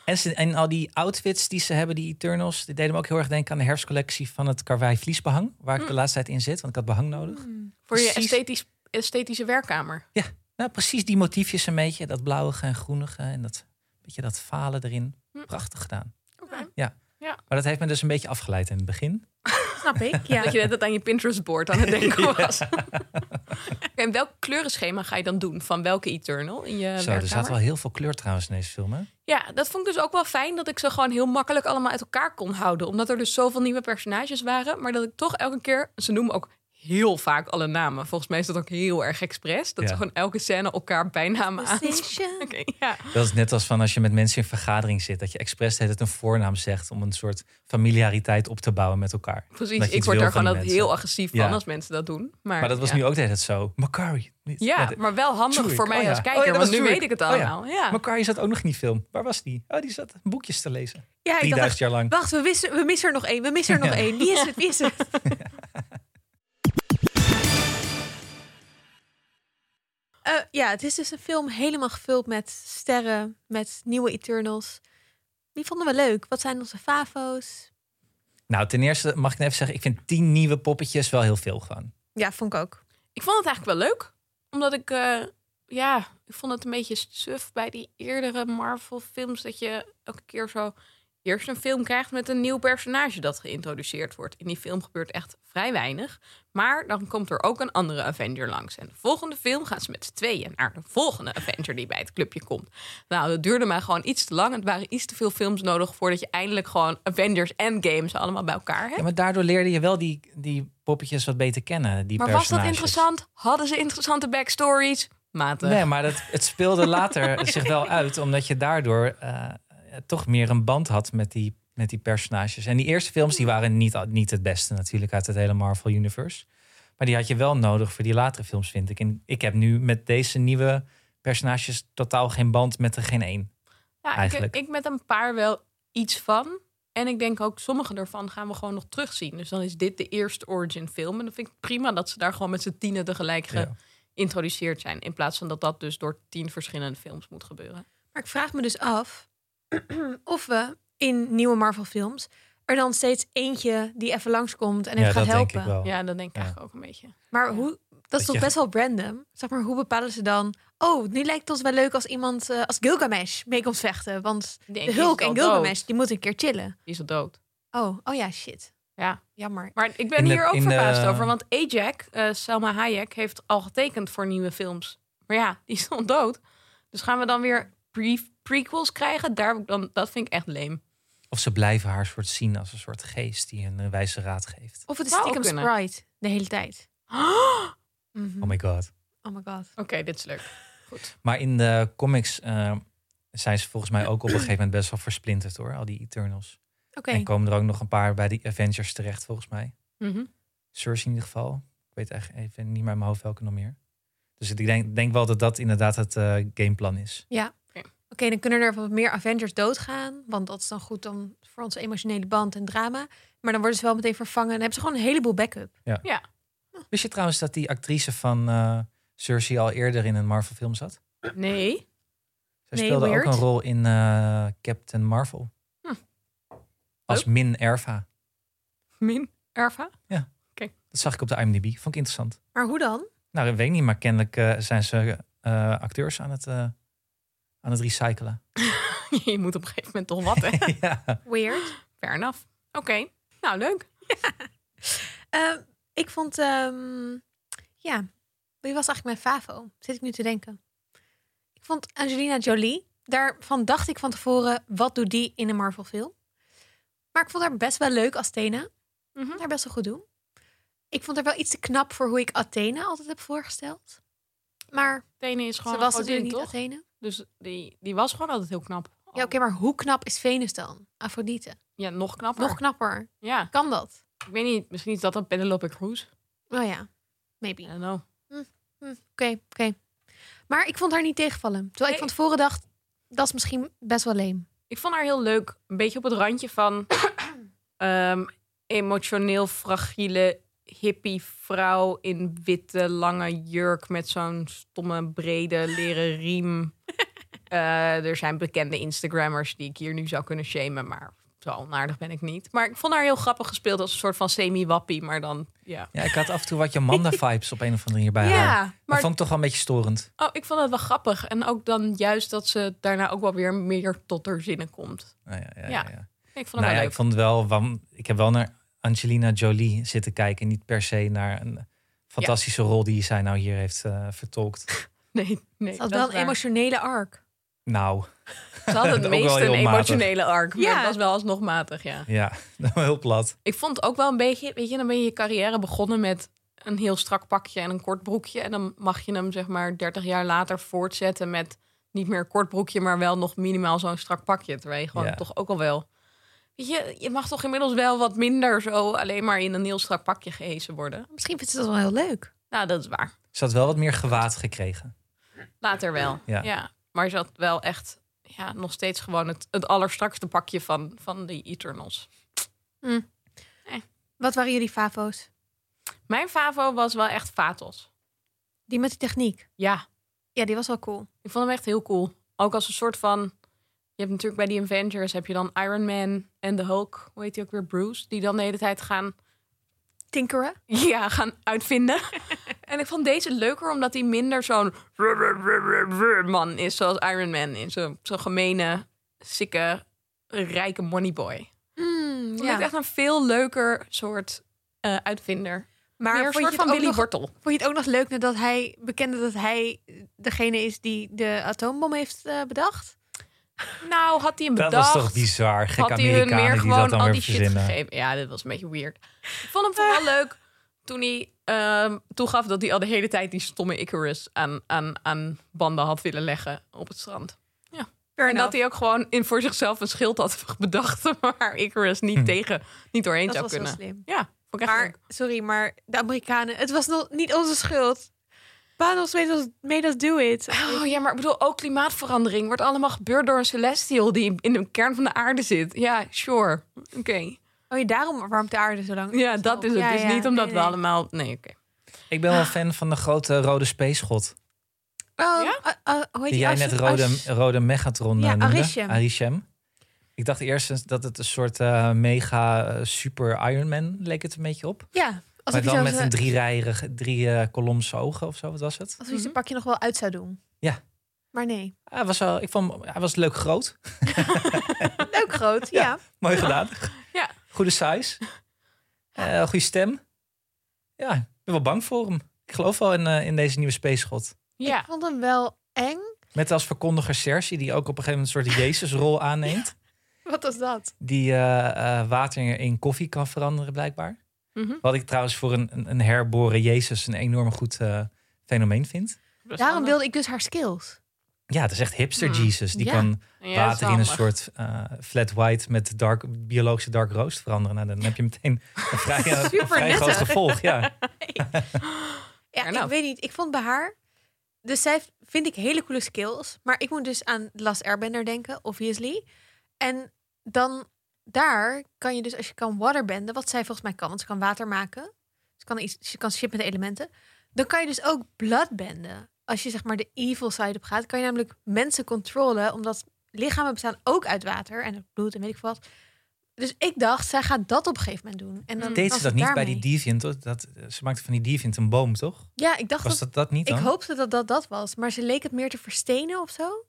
Speaker 2: en, ze- en al die outfits die ze hebben, die Eternals... die deden me ook heel erg denken aan de herfstcollectie van het Karwei Vliesbehang. Waar
Speaker 3: Mm.
Speaker 2: ik de laatste tijd in zit, want ik had behang nodig.
Speaker 3: Voor je
Speaker 2: Precies.
Speaker 3: esthetisch, esthetische werkkamer.
Speaker 2: Nou, precies die motiefjes een beetje. Dat blauwige en groenige en dat beetje dat falen erin.
Speaker 3: Hm.
Speaker 2: Prachtig gedaan.
Speaker 3: Oké. Eh,
Speaker 2: Maar dat heeft me dus een beetje afgeleid in het begin.
Speaker 1: Snap ik, ja.
Speaker 3: Dat je net dat aan je Pinterest-board aan het denken was. Oké, en welk kleurenschema ga je dan doen? Van welke Eternal in je
Speaker 2: Zo, er
Speaker 3: werkkamer?
Speaker 2: zaten wel heel veel kleur trouwens in deze film, hè?
Speaker 3: Ja, dat vond ik dus ook wel fijn dat ik ze gewoon heel makkelijk allemaal uit elkaar kon houden. Omdat er dus zoveel nieuwe personages waren. Maar dat ik toch elke keer, ze noemen ook heel vaak alle namen. Volgens mij is dat ook heel erg expres. Dat
Speaker 2: Ja.
Speaker 3: ze gewoon elke scène elkaar bijnamen aanspreken.
Speaker 1: Precision.
Speaker 3: ja.
Speaker 2: Dat is net als van als je met mensen in vergadering zit. Dat je expres het een voornaam zegt om een soort familiariteit op te bouwen met elkaar. Dat
Speaker 3: Precies,
Speaker 2: je
Speaker 3: ik
Speaker 2: iets
Speaker 3: word
Speaker 2: wil
Speaker 3: daar
Speaker 2: van
Speaker 3: gewoon
Speaker 2: die
Speaker 3: altijd
Speaker 2: mensen.
Speaker 3: heel agressief
Speaker 2: Ja.
Speaker 3: van als mensen dat doen. Maar,
Speaker 2: Maar dat was
Speaker 3: ja.
Speaker 2: nu ook de hele tijd zo. Macari. Niet-
Speaker 3: Ja,
Speaker 2: de-
Speaker 3: maar wel handig
Speaker 2: Zurich.
Speaker 3: voor mij
Speaker 2: Oh ja.
Speaker 3: als kijker,
Speaker 2: Oh ja, dat
Speaker 3: want
Speaker 2: was
Speaker 3: nu
Speaker 2: Zurich.
Speaker 3: weet ik
Speaker 2: Oh
Speaker 3: het
Speaker 2: ja.
Speaker 3: allemaal. ja.
Speaker 2: Macari zat ook nog in die film. Waar was die? Oh, die zat boekjes te lezen.
Speaker 1: Ja, ik dacht,
Speaker 2: 3000 jaar lang.
Speaker 1: wacht, we, missen, we missen er nog één, we missen er nog één. Wie is het, wie is het? Eh, ja, het is dus een film helemaal gevuld met sterren, met nieuwe Eternals. Die vonden we leuk. Wat zijn onze favo's?
Speaker 2: Nou, ten eerste mag ik even zeggen, ik vind tien nieuwe poppetjes wel heel veel gewoon.
Speaker 1: Ja, vond ik ook.
Speaker 3: Ik vond het eigenlijk wel leuk, omdat ik, eh, ja, ik vond het een beetje suf bij die eerdere Marvel-films. Dat je elke keer zo eerst een film krijgt met een nieuw personage dat geïntroduceerd wordt. In die film gebeurt echt vrij weinig. Maar dan komt er ook een andere Avenger langs. En de volgende film gaan ze met z'n tweeën naar de volgende Avenger die bij het clubje komt. Nou, dat duurde maar gewoon iets te lang. Het waren iets te veel films nodig voordat je eindelijk gewoon Avengers en Games allemaal bij elkaar hebt.
Speaker 2: Ja, maar daardoor leerde je wel die, die poppetjes wat beter kennen. Die
Speaker 3: Maar was dat
Speaker 2: personages.
Speaker 3: interessant? Hadden ze interessante backstories? Matig.
Speaker 1: eh,
Speaker 2: Nee, maar dat, het speelde later zich wel uit, omdat je daardoor eh, toch meer een band had met die, met die personages. En die eerste films
Speaker 1: Hmm.
Speaker 2: die waren niet, al- niet het beste natuurlijk uit het hele Marvel Universe. Maar die had je wel nodig voor die latere films, vind ik. En ik heb nu met deze nieuwe personages totaal geen band met er geen één.
Speaker 3: ja, ik,
Speaker 2: eigenlijk.
Speaker 3: ik met een paar wel iets van. En ik denk ook, sommige daarvan gaan we gewoon nog terugzien. Dus dan is dit de eerste origin film. En dan vind ik prima dat ze daar gewoon met z'n tienen tegelijk
Speaker 2: Ja.
Speaker 3: geïntroduceerd zijn. In plaats van dat dat dus door tien verschillende films moet gebeuren.
Speaker 1: Maar ik vraag me dus af of we in nieuwe Marvel-films er dan steeds eentje die even langskomt en hem
Speaker 2: ja,
Speaker 1: gaat
Speaker 2: dat
Speaker 1: helpen.
Speaker 2: denk ik wel.
Speaker 3: Ja, dat denk ik
Speaker 2: Ja.
Speaker 3: eigenlijk ook een beetje.
Speaker 1: Maar hoe, dat is
Speaker 2: Dat
Speaker 1: toch
Speaker 2: je-
Speaker 1: best wel random? Zeg maar, hoe bepalen ze dan? Oh, nu lijkt het ons wel leuk als iemand eh, als Gilgamesh mee komt vechten. Want
Speaker 3: Nee,
Speaker 1: de
Speaker 3: die is
Speaker 1: Hulk
Speaker 3: al
Speaker 1: en
Speaker 3: dood.
Speaker 1: Gilgamesh, die moeten een keer chillen.
Speaker 3: Die is al dood.
Speaker 1: Oh, oh ja, shit.
Speaker 3: Ja.
Speaker 1: Jammer.
Speaker 3: Maar ik ben
Speaker 2: In de-
Speaker 3: hier ook
Speaker 2: in de-
Speaker 3: verbaasd over. Want Ajak, eh Selma Hayek, heeft al getekend voor nieuwe films. Maar ja, die is dan dood. Dus gaan we dan weer pre- prequels krijgen? Daar, heb ik dan, dat vind ik echt leem.
Speaker 2: Of ze blijven haar soort zien als een soort geest die een eh, wijze raad geeft.
Speaker 1: Of het is
Speaker 3: Zou ook
Speaker 1: stiekem
Speaker 3: kunnen.
Speaker 1: Sprite de hele tijd.
Speaker 3: Oké,
Speaker 1: Mhm.
Speaker 2: Oh my god.
Speaker 1: Oh my god.
Speaker 3: dit is leuk.
Speaker 2: Maar in de comics eh, zijn ze volgens mij ook op een gegeven moment best wel versplinterd hoor, al die Eternals.
Speaker 1: Oké.
Speaker 2: En komen er ook nog een paar bij de Avengers terecht volgens mij.
Speaker 3: Mhm.
Speaker 2: Cersei in ieder geval. Ik weet echt even niet meer in mijn hoofd welke nog meer. Dus ik denk, denk wel dat dat inderdaad het eh, gameplan is.
Speaker 1: Oké, dan kunnen er wat meer Avengers doodgaan. Want dat is dan goed dan voor onze emotionele band en drama. Maar dan worden ze wel meteen vervangen. Dan hebben ze gewoon een heleboel backup.
Speaker 2: Wist je trouwens dat die actrice van eh, Cersei al eerder in een Marvel film zat?
Speaker 3: Nee.
Speaker 2: Zij
Speaker 1: Nee,
Speaker 2: speelde
Speaker 1: weird.
Speaker 2: ook een rol in eh, Captain Marvel.
Speaker 3: Hm.
Speaker 1: Oh.
Speaker 2: Als Min Erva.
Speaker 3: Min Erva?
Speaker 2: Dat zag ik op de IMDb. Vond ik interessant.
Speaker 1: Maar hoe dan?
Speaker 2: Nou, dat weet ik niet, maar kennelijk eh, zijn ze eh, acteurs aan het, eh, aan het recyclen.
Speaker 3: Je moet op een gegeven moment toch wat, hè?
Speaker 2: ja.
Speaker 1: Weird.
Speaker 3: Fair enough. Oké. Nou, leuk.
Speaker 1: Ehm, ik vond... ehm, ja, wie was eigenlijk mijn favo? Zit ik nu te denken. Ik vond Angelina Jolie. Daarvan dacht ik van tevoren... wat doet die in een Marvel film? Maar ik vond haar best wel leuk als Thena.
Speaker 3: Mhm.
Speaker 1: haar best wel goed doen. Ik vond haar wel iets te knap voor hoe ik Athena altijd heb voorgesteld. Maar
Speaker 3: Athene is gewoon
Speaker 1: ze was
Speaker 3: een
Speaker 1: natuurlijk
Speaker 3: godin,
Speaker 1: niet
Speaker 3: toch?
Speaker 1: Athena.
Speaker 3: Dus die, die was gewoon altijd heel knap.
Speaker 1: Ja, oké, maar hoe knap is Venus dan? Afrodite.
Speaker 3: Ja, nog knapper.
Speaker 1: Nog knapper.
Speaker 3: Ja,
Speaker 1: Kan dat?
Speaker 3: ik weet niet. Misschien is dat dan Penelope Cruz.
Speaker 1: Oh ja,
Speaker 3: I
Speaker 1: maybe. Oké,
Speaker 3: don't know.
Speaker 1: oké. Maar ik vond haar niet tegenvallen. Terwijl ik
Speaker 3: Nee.
Speaker 1: van tevoren dacht, dat is misschien best wel leem.
Speaker 3: Ik vond haar heel leuk. Een beetje op het randje van ehm, emotioneel fragiele hippie vrouw in witte lange jurk met zo'n stomme brede leren riem. Eh, er zijn bekende Instagrammers die ik hier nu zou kunnen shamen, maar zo onaardig ben ik niet. Maar ik vond haar heel grappig gespeeld als een soort van semi-wappie, maar dan ja.
Speaker 2: ja, ik had af en toe wat Jamanda-vibes op een of andere manier bij haar. Dat
Speaker 3: maar
Speaker 2: vond ik toch wel een beetje storend.
Speaker 3: oh, ik vond het wel grappig. En ook dan juist dat ze daarna ook wel weer meer tot haar zinnen komt.
Speaker 2: Nou ja, ja,
Speaker 3: Ja.
Speaker 2: ja, ja.
Speaker 3: Ik vond het
Speaker 2: Nou
Speaker 3: wel
Speaker 2: ja,
Speaker 3: leuk.
Speaker 2: ik vond het wel, want ik heb wel naar Angelina Jolie zitten kijken. Niet per se naar een fantastische rol die zij nou hier heeft eh, vertolkt.
Speaker 3: Nee, nee.
Speaker 1: Het had
Speaker 3: dat
Speaker 1: wel
Speaker 3: is
Speaker 1: een
Speaker 3: waar.
Speaker 1: emotionele arc.
Speaker 2: Nou,
Speaker 3: Ze had het
Speaker 2: Ook wel
Speaker 3: meest een
Speaker 2: heel matig.
Speaker 3: emotionele arc. Maar
Speaker 1: Ja.
Speaker 3: het was wel alsnog matig, ja.
Speaker 2: ja, heel plat.
Speaker 3: Ik vond ook wel een beetje... Weet je, dan ben je je carrière begonnen met een heel strak pakje en een kort broekje. En dan mag je hem zeg maar 30 jaar later voortzetten met niet meer een kort broekje... maar wel nog minimaal zo'n strak pakje. Terwijl je gewoon
Speaker 2: Ja.
Speaker 3: toch ook al wel... Weet je, je mag toch inmiddels wel wat minder zo alleen maar in een heel strak pakje gehezen worden.
Speaker 1: Misschien vindt ze dat wel heel leuk.
Speaker 3: Nou, dat is waar.
Speaker 2: Ze had wel wat meer gewaad gekregen.
Speaker 3: Later wel. Ja.
Speaker 2: Ja.
Speaker 3: Maar ze had wel echt ja, nog steeds gewoon het, het allerstrakste pakje van, van de Eternals.
Speaker 1: Wat waren jullie favo's?
Speaker 3: Mijn favo was wel echt Vatos.
Speaker 1: Die met die techniek.
Speaker 3: Ja,
Speaker 1: Ja, die was wel cool.
Speaker 3: ik vond hem echt heel cool. Ook als een soort van... Je hebt natuurlijk bij die Avengers heb je dan Iron Man en de Hulk. Hoe heet die ook weer? Bruce. Die dan de hele tijd gaan,
Speaker 1: Tinkeren.
Speaker 3: ja, gaan uitvinden. en ik vond deze leuker omdat hij minder zo'n... man is zoals Iron Man is. Zo'n zo'n gemene, sikke, rijke moneyboy.
Speaker 1: Mm,
Speaker 3: Ik vond het echt een veel leuker soort eh, uitvinder.
Speaker 1: Maar
Speaker 3: Meer een
Speaker 1: vond,
Speaker 3: soort
Speaker 1: je het
Speaker 3: van
Speaker 1: ook
Speaker 3: Willy
Speaker 1: nog,
Speaker 3: Wortel.
Speaker 1: vond je het ook nog leuk nadat hij bekende dat hij degene is die de atoombom heeft eh, bedacht?
Speaker 3: Nou, had hij hem bedacht.
Speaker 2: Dat was toch bizar. Gek
Speaker 3: had hij hun meer
Speaker 2: Amerikanen die dat
Speaker 3: gewoon
Speaker 2: dan
Speaker 3: al
Speaker 2: weer
Speaker 3: die shit
Speaker 2: verzinnen.
Speaker 3: gegeven. Ja, dit was een beetje weird. Ik vond hem vooral leuk toen hij ehm, toegaf dat hij al de hele tijd die stomme Icarus aan, aan, aan banden had willen leggen op het strand. En dat hij ook gewoon in voor zichzelf een schild had bedacht waar Icarus niet
Speaker 2: Hm.
Speaker 3: tegen, niet doorheen
Speaker 1: dat
Speaker 3: zou
Speaker 1: was wel
Speaker 3: kunnen.
Speaker 1: slim.
Speaker 3: Ja, vond ik echt
Speaker 1: Maar
Speaker 3: leuk.
Speaker 1: sorry, maar de Amerikanen, het was nog niet onze schuld. Panos made us, made us do it.
Speaker 3: Oh ja, maar ik bedoel, ook klimaatverandering wordt allemaal gebeurd door een celestial die in de kern van de aarde zit. Ja, sure. Oké.
Speaker 1: Oh, ja, daarom warmt de aarde zo lang.
Speaker 3: Ja, dat is het.
Speaker 1: Ja,
Speaker 3: dus
Speaker 1: ja,
Speaker 3: niet omdat
Speaker 1: nee,
Speaker 3: we
Speaker 1: nee.
Speaker 3: allemaal. Nee, oké.
Speaker 2: Ik
Speaker 3: Ah.
Speaker 2: ben wel fan van de grote rode space-god.
Speaker 1: Oh,
Speaker 3: Ja?
Speaker 1: eh, eh, hoe heet
Speaker 2: Die jij
Speaker 1: As-
Speaker 2: net rode,
Speaker 1: As-
Speaker 2: rode Megatron
Speaker 1: Ja,
Speaker 2: eh, noemde.
Speaker 1: Arishem.
Speaker 2: Arishem. Ik dacht eerst eens dat het een soort eh, mega eh, super Iron Man leek het een beetje op.
Speaker 1: Ja, alsof
Speaker 2: maar
Speaker 1: hij
Speaker 2: dan
Speaker 1: zo
Speaker 2: met
Speaker 1: zijn-
Speaker 2: een drie, rijerige, drie eh, kolomse ogen of zo, wat was het?
Speaker 1: alsof hij zijn
Speaker 3: Mhm.
Speaker 1: pakje nog wel uit zou doen.
Speaker 2: Ja.
Speaker 1: Maar nee.
Speaker 2: Hij was, wel, ik vond, hem- hij was leuk groot.
Speaker 1: Leuk groot, ja.
Speaker 2: Mooi gedaan.
Speaker 3: Ja.
Speaker 2: Goed Goede size. Eh, goede stem. Ja, ik ben wel bang voor hem. Ik geloof wel in, eh, in deze nieuwe Space God.
Speaker 1: Ik vond hem wel eng.
Speaker 2: Met als verkondiger Cersei, die ook op een gegeven moment een soort Jezusrol aanneemt.
Speaker 1: Wat was dat?
Speaker 2: Die eh, eh, water in koffie kan veranderen, blijkbaar.
Speaker 3: Mhm.
Speaker 2: Wat ik trouwens voor een, een, een herboren Jezus een enorm goed eh, fenomeen vind.
Speaker 1: Daarom wilde ik dus haar skills. Ja.
Speaker 2: Ja, het is echt hipster
Speaker 3: Hmm.
Speaker 2: Jesus. Die
Speaker 1: Ja.
Speaker 2: kan
Speaker 3: Ja, dat is
Speaker 2: water in een
Speaker 3: handig.
Speaker 2: soort eh, flat white met dark, biologische dark roast veranderen. Nou, dan heb je meteen een vrij, een
Speaker 1: Super
Speaker 2: vrij groot
Speaker 1: nuttig.
Speaker 2: gevolg. Ja.
Speaker 1: Ja,
Speaker 3: Fair enough.
Speaker 1: ik weet niet. Ik vond bij haar... Dus zij heeft- vind ik hele coole skills. Maar ik moet dus aan The Last Airbender denken, obviously. En dan daar kan je dus, als je kan waterbenden... wat zij volgens mij kan, want ze kan water maken. Ze kan, iets, ze kan shit met elementen. Dan kan je dus ook bloodbenden. Als je zeg maar de evil side op gaat... kan je namelijk mensen controleren... omdat lichamen bestaan ook uit water... en uit bloed en weet ik veel wat... Dus ik dacht, zij gaat dat op een gegeven moment doen.
Speaker 3: Hmm.
Speaker 1: En dan
Speaker 2: Deed
Speaker 1: was
Speaker 2: ze
Speaker 1: het
Speaker 2: dat niet bij
Speaker 1: daarmee.
Speaker 2: die Deviant? hoor? Dat, eh, ze maakte van die Deviant een boom, toch?
Speaker 1: Ja, ik dacht dat
Speaker 2: Was dat dat niet
Speaker 1: Ik
Speaker 2: dan?
Speaker 1: hoopte dat dat dat was, maar ze leek het meer te verstenen of zo.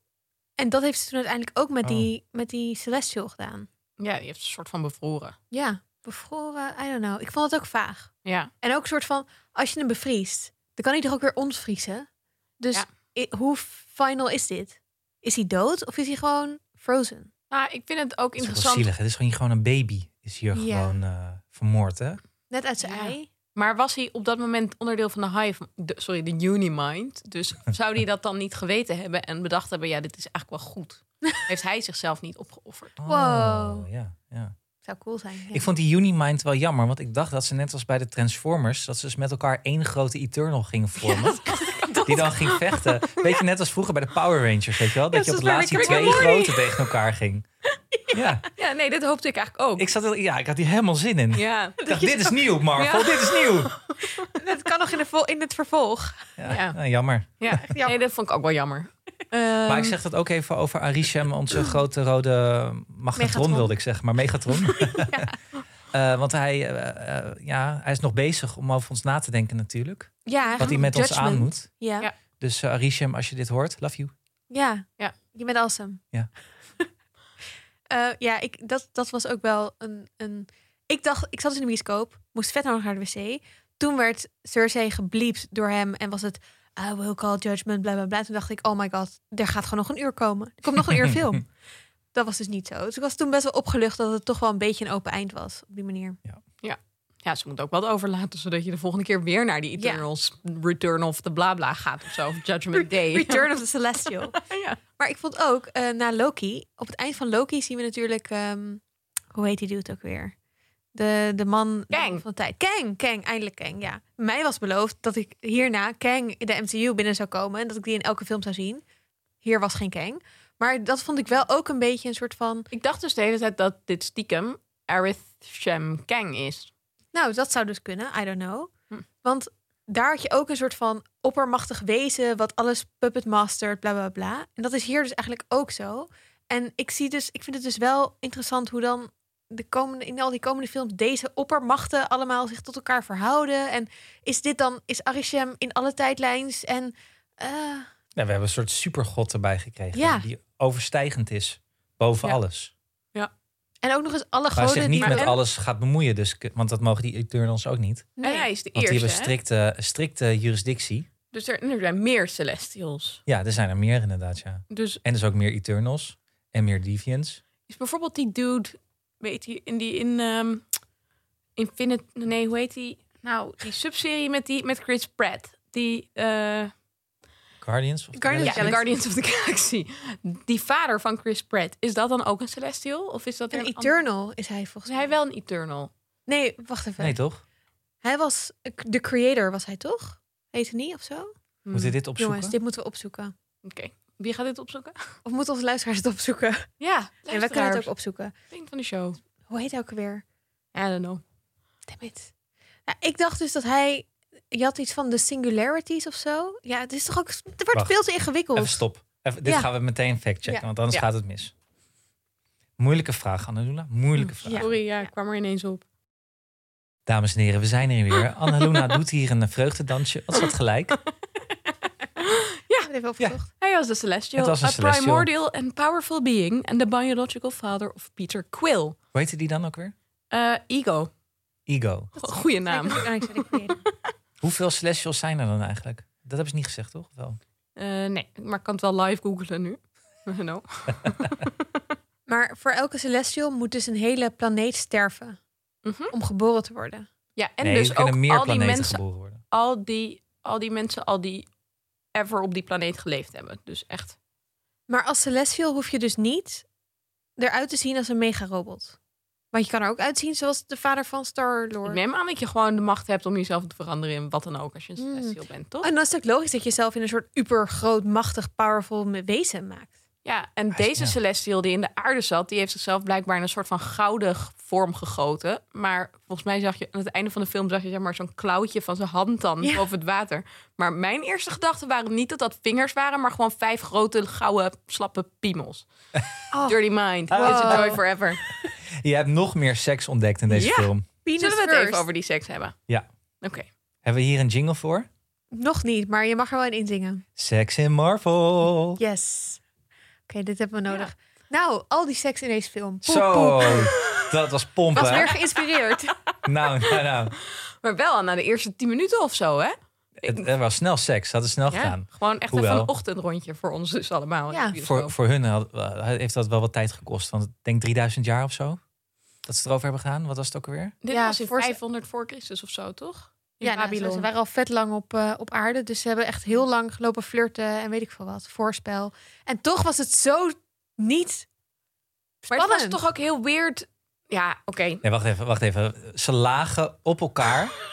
Speaker 1: En dat heeft ze toen uiteindelijk ook met,
Speaker 2: Oh.
Speaker 1: die, met die Celestial gedaan.
Speaker 3: Ja, die heeft een soort van bevroren.
Speaker 1: Ja, bevroren, I don't know. Ik vond het ook vaag.
Speaker 3: Ja.
Speaker 1: En ook een soort van, als je hem bevriest, dan kan hij toch ook weer ontvriezen? Dus
Speaker 3: Ja.
Speaker 1: i- hoe final is dit? Is hij dood of is hij gewoon frozen?
Speaker 3: Nou, ik vind het ook
Speaker 2: Het is ook wel
Speaker 3: interessant.
Speaker 2: zielig. Het is gewoon, hier gewoon een baby. Is hier
Speaker 1: Ja.
Speaker 2: gewoon eh, vermoord, hè?
Speaker 1: Net uit zijn
Speaker 3: Ja.
Speaker 1: ei?
Speaker 3: Maar was hij op dat moment onderdeel van de hive, de, sorry, de Unimind? Dus zou hij dat dan niet geweten hebben en bedacht hebben, ja, dit is eigenlijk wel goed. Heeft hij zichzelf niet opgeofferd?
Speaker 2: Oh,
Speaker 1: Wow.
Speaker 2: Ja, ja.
Speaker 1: Zou cool zijn. ja.
Speaker 2: Ik vond die Unimind wel jammer, want ik dacht dat ze net als bij de Transformers, dat ze dus met elkaar één grote Eternal gingen vormen. die dan ging vechten. Weet je, net als vroeger bij de Power Rangers, weet je wel? Dat
Speaker 1: Ja,
Speaker 2: je
Speaker 1: zoals
Speaker 2: op het
Speaker 1: bij
Speaker 2: laatst die
Speaker 1: Rick and
Speaker 2: twee
Speaker 1: Morty.
Speaker 2: grote tegen elkaar ging. Ja,
Speaker 3: Ja, nee, dit hoopte ik eigenlijk ook.
Speaker 2: ik, zat, er- ja, ik had hier helemaal zin in.
Speaker 3: Ja.
Speaker 2: Ik dacht, dit is nieuw, Marvel, dit is nieuw.
Speaker 1: Dat kan nog in, de vol- in het vervolg.
Speaker 2: Ja,
Speaker 3: Ja.
Speaker 2: nou, jammer.
Speaker 3: ja. Nee, dat vond ik ook wel jammer.
Speaker 1: Ehm,
Speaker 2: Maar ik zeg dat ook even over Arishem, onze grote rode magnetron,
Speaker 1: Megatron.
Speaker 2: wilde ik zeggen, maar Megatron. Eh, want hij, eh, eh, ja, hij is nog bezig om over ons na te denken natuurlijk.
Speaker 1: Ja,
Speaker 2: Wat hij met ons aan
Speaker 1: Oh, judgment.
Speaker 2: moet.
Speaker 1: Ja.
Speaker 3: Ja.
Speaker 1: Ja.
Speaker 2: Dus eh, Arishem, als je dit hoort, love you.
Speaker 1: Ja.
Speaker 3: Ja.
Speaker 1: Je bent awesome.
Speaker 2: Ja.
Speaker 1: Eh, ja, ik, dat, dat was ook wel een, een... Ik dacht, ik zat dus in de bioscoop, moest vet nog naar de wc. Toen werd Cersei gebliept door hem en was het... I will call judgment, bla bla bla. Toen dacht ik, oh my god, er gaat gewoon nog een uur komen. Er komt nog een uur film. Dat was dus niet zo. Dus ik was toen best wel opgelucht dat het toch wel een beetje een open eind was. Op die manier.
Speaker 3: Ja, ze moet ook wat overlaten, zodat je de volgende keer weer naar die
Speaker 1: Ja.
Speaker 3: Eternals Return of the Blabla gaat of zo. Of Judgment Day.
Speaker 1: Return of the Celestial.
Speaker 3: ja.
Speaker 1: Maar ik vond ook, eh, na Loki, op het eind van Loki zien we natuurlijk, ehm, hoe heet die dude ook weer? De, de man de
Speaker 3: Kang.
Speaker 1: man van de tijd. Kang, Kang, eindelijk Kang, ja. Mij was beloofd dat ik hierna Kang in de MCU binnen zou komen en dat ik die in elke film zou zien. Hier was geen Kang. Maar dat vond ik wel ook een beetje een soort van,
Speaker 3: Ik dacht dus de hele tijd dat dit stiekem Arishem Kang is.
Speaker 1: nou, dat zou dus kunnen, I don't know.
Speaker 3: Hm.
Speaker 1: Want daar had je ook een soort van oppermachtig wezen wat alles puppet mastert, bla bla bla. En dat is hier dus eigenlijk ook zo. En ik zie dus, ik vind het dus wel interessant hoe dan de komende, in al die komende films deze oppermachten allemaal zich tot elkaar verhouden. En is dit dan, is Arishem in alle tijdlijns en eh,
Speaker 2: Ja, we hebben een soort supergod erbij gekregen.
Speaker 1: Ja.
Speaker 2: Die overstijgend is. Boven
Speaker 3: Ja.
Speaker 2: alles.
Speaker 1: en ook nog eens alle
Speaker 2: Maar hij
Speaker 1: goden
Speaker 2: zich niet
Speaker 1: die
Speaker 2: met
Speaker 1: en-
Speaker 2: alles gaat bemoeien. Dus, k- want dat mogen die Eternals ook niet.
Speaker 1: Nee.
Speaker 3: En hij is de
Speaker 2: Want die
Speaker 3: eerste.
Speaker 2: hebben
Speaker 3: hè?
Speaker 2: strikte, strikte jurisdictie.
Speaker 3: Dus er, er zijn meer Celestials.
Speaker 2: Ja, er zijn er meer inderdaad, ja.
Speaker 3: Dus
Speaker 2: En dus ook meer Eternals. En meer Deviants.
Speaker 3: is bijvoorbeeld die dude, weet je, in die in ehm Infinite, nee, hoe heet die? Nou, die subserie met die met Chris Pratt, die eh,
Speaker 2: Guardians. Of the
Speaker 1: Guardians
Speaker 2: Galaxy.
Speaker 3: ja,
Speaker 1: Galaxy.
Speaker 3: Guardians of the Galaxy, die vader van Chris Pratt, is dat dan ook een Celestial of is dat
Speaker 1: Een
Speaker 3: ander-
Speaker 1: Eternal is hij volgens
Speaker 3: Is
Speaker 1: mij.
Speaker 3: hij wel een Eternal?
Speaker 1: Nee, wacht even.
Speaker 2: Nee, toch?
Speaker 1: Hij was de creator, was hij toch? Heet hij niet of zo?
Speaker 3: Hmm.
Speaker 2: Moeten we dit opzoeken?
Speaker 1: Jongens, dit moeten we opzoeken.
Speaker 3: Oké, wie gaat dit opzoeken?
Speaker 1: Of moeten onze luisteraars het opzoeken?
Speaker 3: Ja,
Speaker 1: En we kunnen het ook opzoeken.
Speaker 3: Vriend van de show.
Speaker 1: Hoe heet hij ook weer?
Speaker 3: I don't know.
Speaker 1: Damn it. Nou, ik dacht dus dat hij... Je had iets van de singularities of zo. Ja, het is toch ook... Het wordt
Speaker 2: Wacht.
Speaker 1: veel te ingewikkeld.
Speaker 2: Even stop. Even, dit
Speaker 1: Ja.
Speaker 2: gaan we meteen factchecken,
Speaker 1: Ja.
Speaker 2: want anders
Speaker 3: Ja.
Speaker 2: gaat het mis. Moeilijke vraag, Annaluna.
Speaker 1: Mm.
Speaker 2: Moeilijke vraag.
Speaker 3: Sorry, ja, ik kwam er ineens op.
Speaker 2: Dames en heren, we zijn er weer. Annaluna doet hier een vreugdedansje. Wat is dat gelijk?
Speaker 1: Ik heb het even opgezocht.
Speaker 3: Hij was de Celestial,
Speaker 2: Het was een
Speaker 3: a
Speaker 2: celestial.
Speaker 3: primordial and powerful being and the biological father of Peter Quill.
Speaker 2: Hoe heette die dan ook weer?
Speaker 3: Eh, Ego.
Speaker 2: Ego.
Speaker 3: Goeie naam.
Speaker 1: Kijk, oh, dat is ook Unexpected Creator.
Speaker 2: Hoeveel celestials zijn er dan eigenlijk? Dat hebben ze niet gezegd, toch? Of Wel.
Speaker 3: Eh, nee, maar ik kan het wel live googlen nu. no.
Speaker 1: maar voor elke celestial moet dus een hele planeet sterven
Speaker 3: Mhm.
Speaker 1: om geboren te worden.
Speaker 3: Ja, en
Speaker 2: nee,
Speaker 3: dus
Speaker 2: er
Speaker 3: ook
Speaker 2: kunnen meer
Speaker 3: al die
Speaker 2: planeten
Speaker 3: mensen
Speaker 2: geboren worden.
Speaker 3: al die, al die mensen al die ever op die planeet geleefd hebben. Dus echt.
Speaker 1: Maar als celestial hoef je dus niet eruit te zien als een megarobot. Want je kan er ook uitzien zoals de vader van
Speaker 3: Ik
Speaker 1: Star-Lord.
Speaker 3: neem aan dat je gewoon de macht hebt om jezelf te veranderen in wat dan ook als je een
Speaker 1: Hmm.
Speaker 3: celestial bent, toch?
Speaker 1: En dan is het ook logisch dat je jezelf in een soort ubergroot, machtig, powerful me- wezen maakt.
Speaker 3: Ja, en
Speaker 2: Ah,
Speaker 3: deze
Speaker 2: ja.
Speaker 3: celestial die in de aarde zat, die heeft zichzelf blijkbaar in een soort van gouden vorm gegoten. Maar volgens mij zag je aan het einde van de film zag je zeg maar zo'n klauwtje van zijn hand dan
Speaker 1: Ja.
Speaker 3: boven het water. Maar mijn eerste gedachten waren niet dat dat vingers waren, maar gewoon vijf grote gouden slappe piemels.
Speaker 1: Oh,
Speaker 3: Dirty mind,
Speaker 2: Wow.
Speaker 3: it's a joy forever.
Speaker 2: Je hebt nog meer seks ontdekt in deze
Speaker 3: Ja.
Speaker 2: film.
Speaker 1: penis
Speaker 3: Zullen we het
Speaker 1: first.
Speaker 3: even over die seks hebben?
Speaker 2: Ja.
Speaker 3: Oké.
Speaker 2: Hebben we hier een jingle voor?
Speaker 1: Nog niet, maar je mag er wel in inzingen.
Speaker 2: Sex in Marvel.
Speaker 1: Yes. Oké, dit hebben we nodig. Nou, al die seks in deze film. Poep,
Speaker 2: Zo,
Speaker 1: poep.
Speaker 2: dat was pompen.
Speaker 1: Was
Speaker 2: hè?
Speaker 1: weer geïnspireerd.
Speaker 2: Nou, nou, nou.
Speaker 3: Maar wel al na de eerste tien minuten of zo, hè?
Speaker 2: Het, er was snel seks. Ze hadden snel gedaan.
Speaker 3: gewoon echt
Speaker 2: Hoewel.
Speaker 3: even een ochtendrondje voor ons dus allemaal.
Speaker 1: Ja.
Speaker 3: Ja,
Speaker 2: Voor, voor hun had- heeft dat wel wat tijd gekost. Want ik denk 3000 jaar of zo. Dat ze het erover hebben gedaan. Wat was het ook alweer?
Speaker 3: Dit
Speaker 1: Ja,
Speaker 3: was in
Speaker 1: voor-
Speaker 3: 500 voor Christus of zo, toch? In
Speaker 1: ja, nou,
Speaker 3: Babylon.
Speaker 1: ze waren al vet lang op, eh, op aarde. Dus ze hebben echt heel lang gelopen flirten en weet ik veel wat. Voorspel. En toch was het zo niet
Speaker 3: maar
Speaker 1: spannend.
Speaker 3: het was toch ook heel weird. Ja, oké.
Speaker 2: Nee, wacht even, wacht even. Ze lagen op elkaar.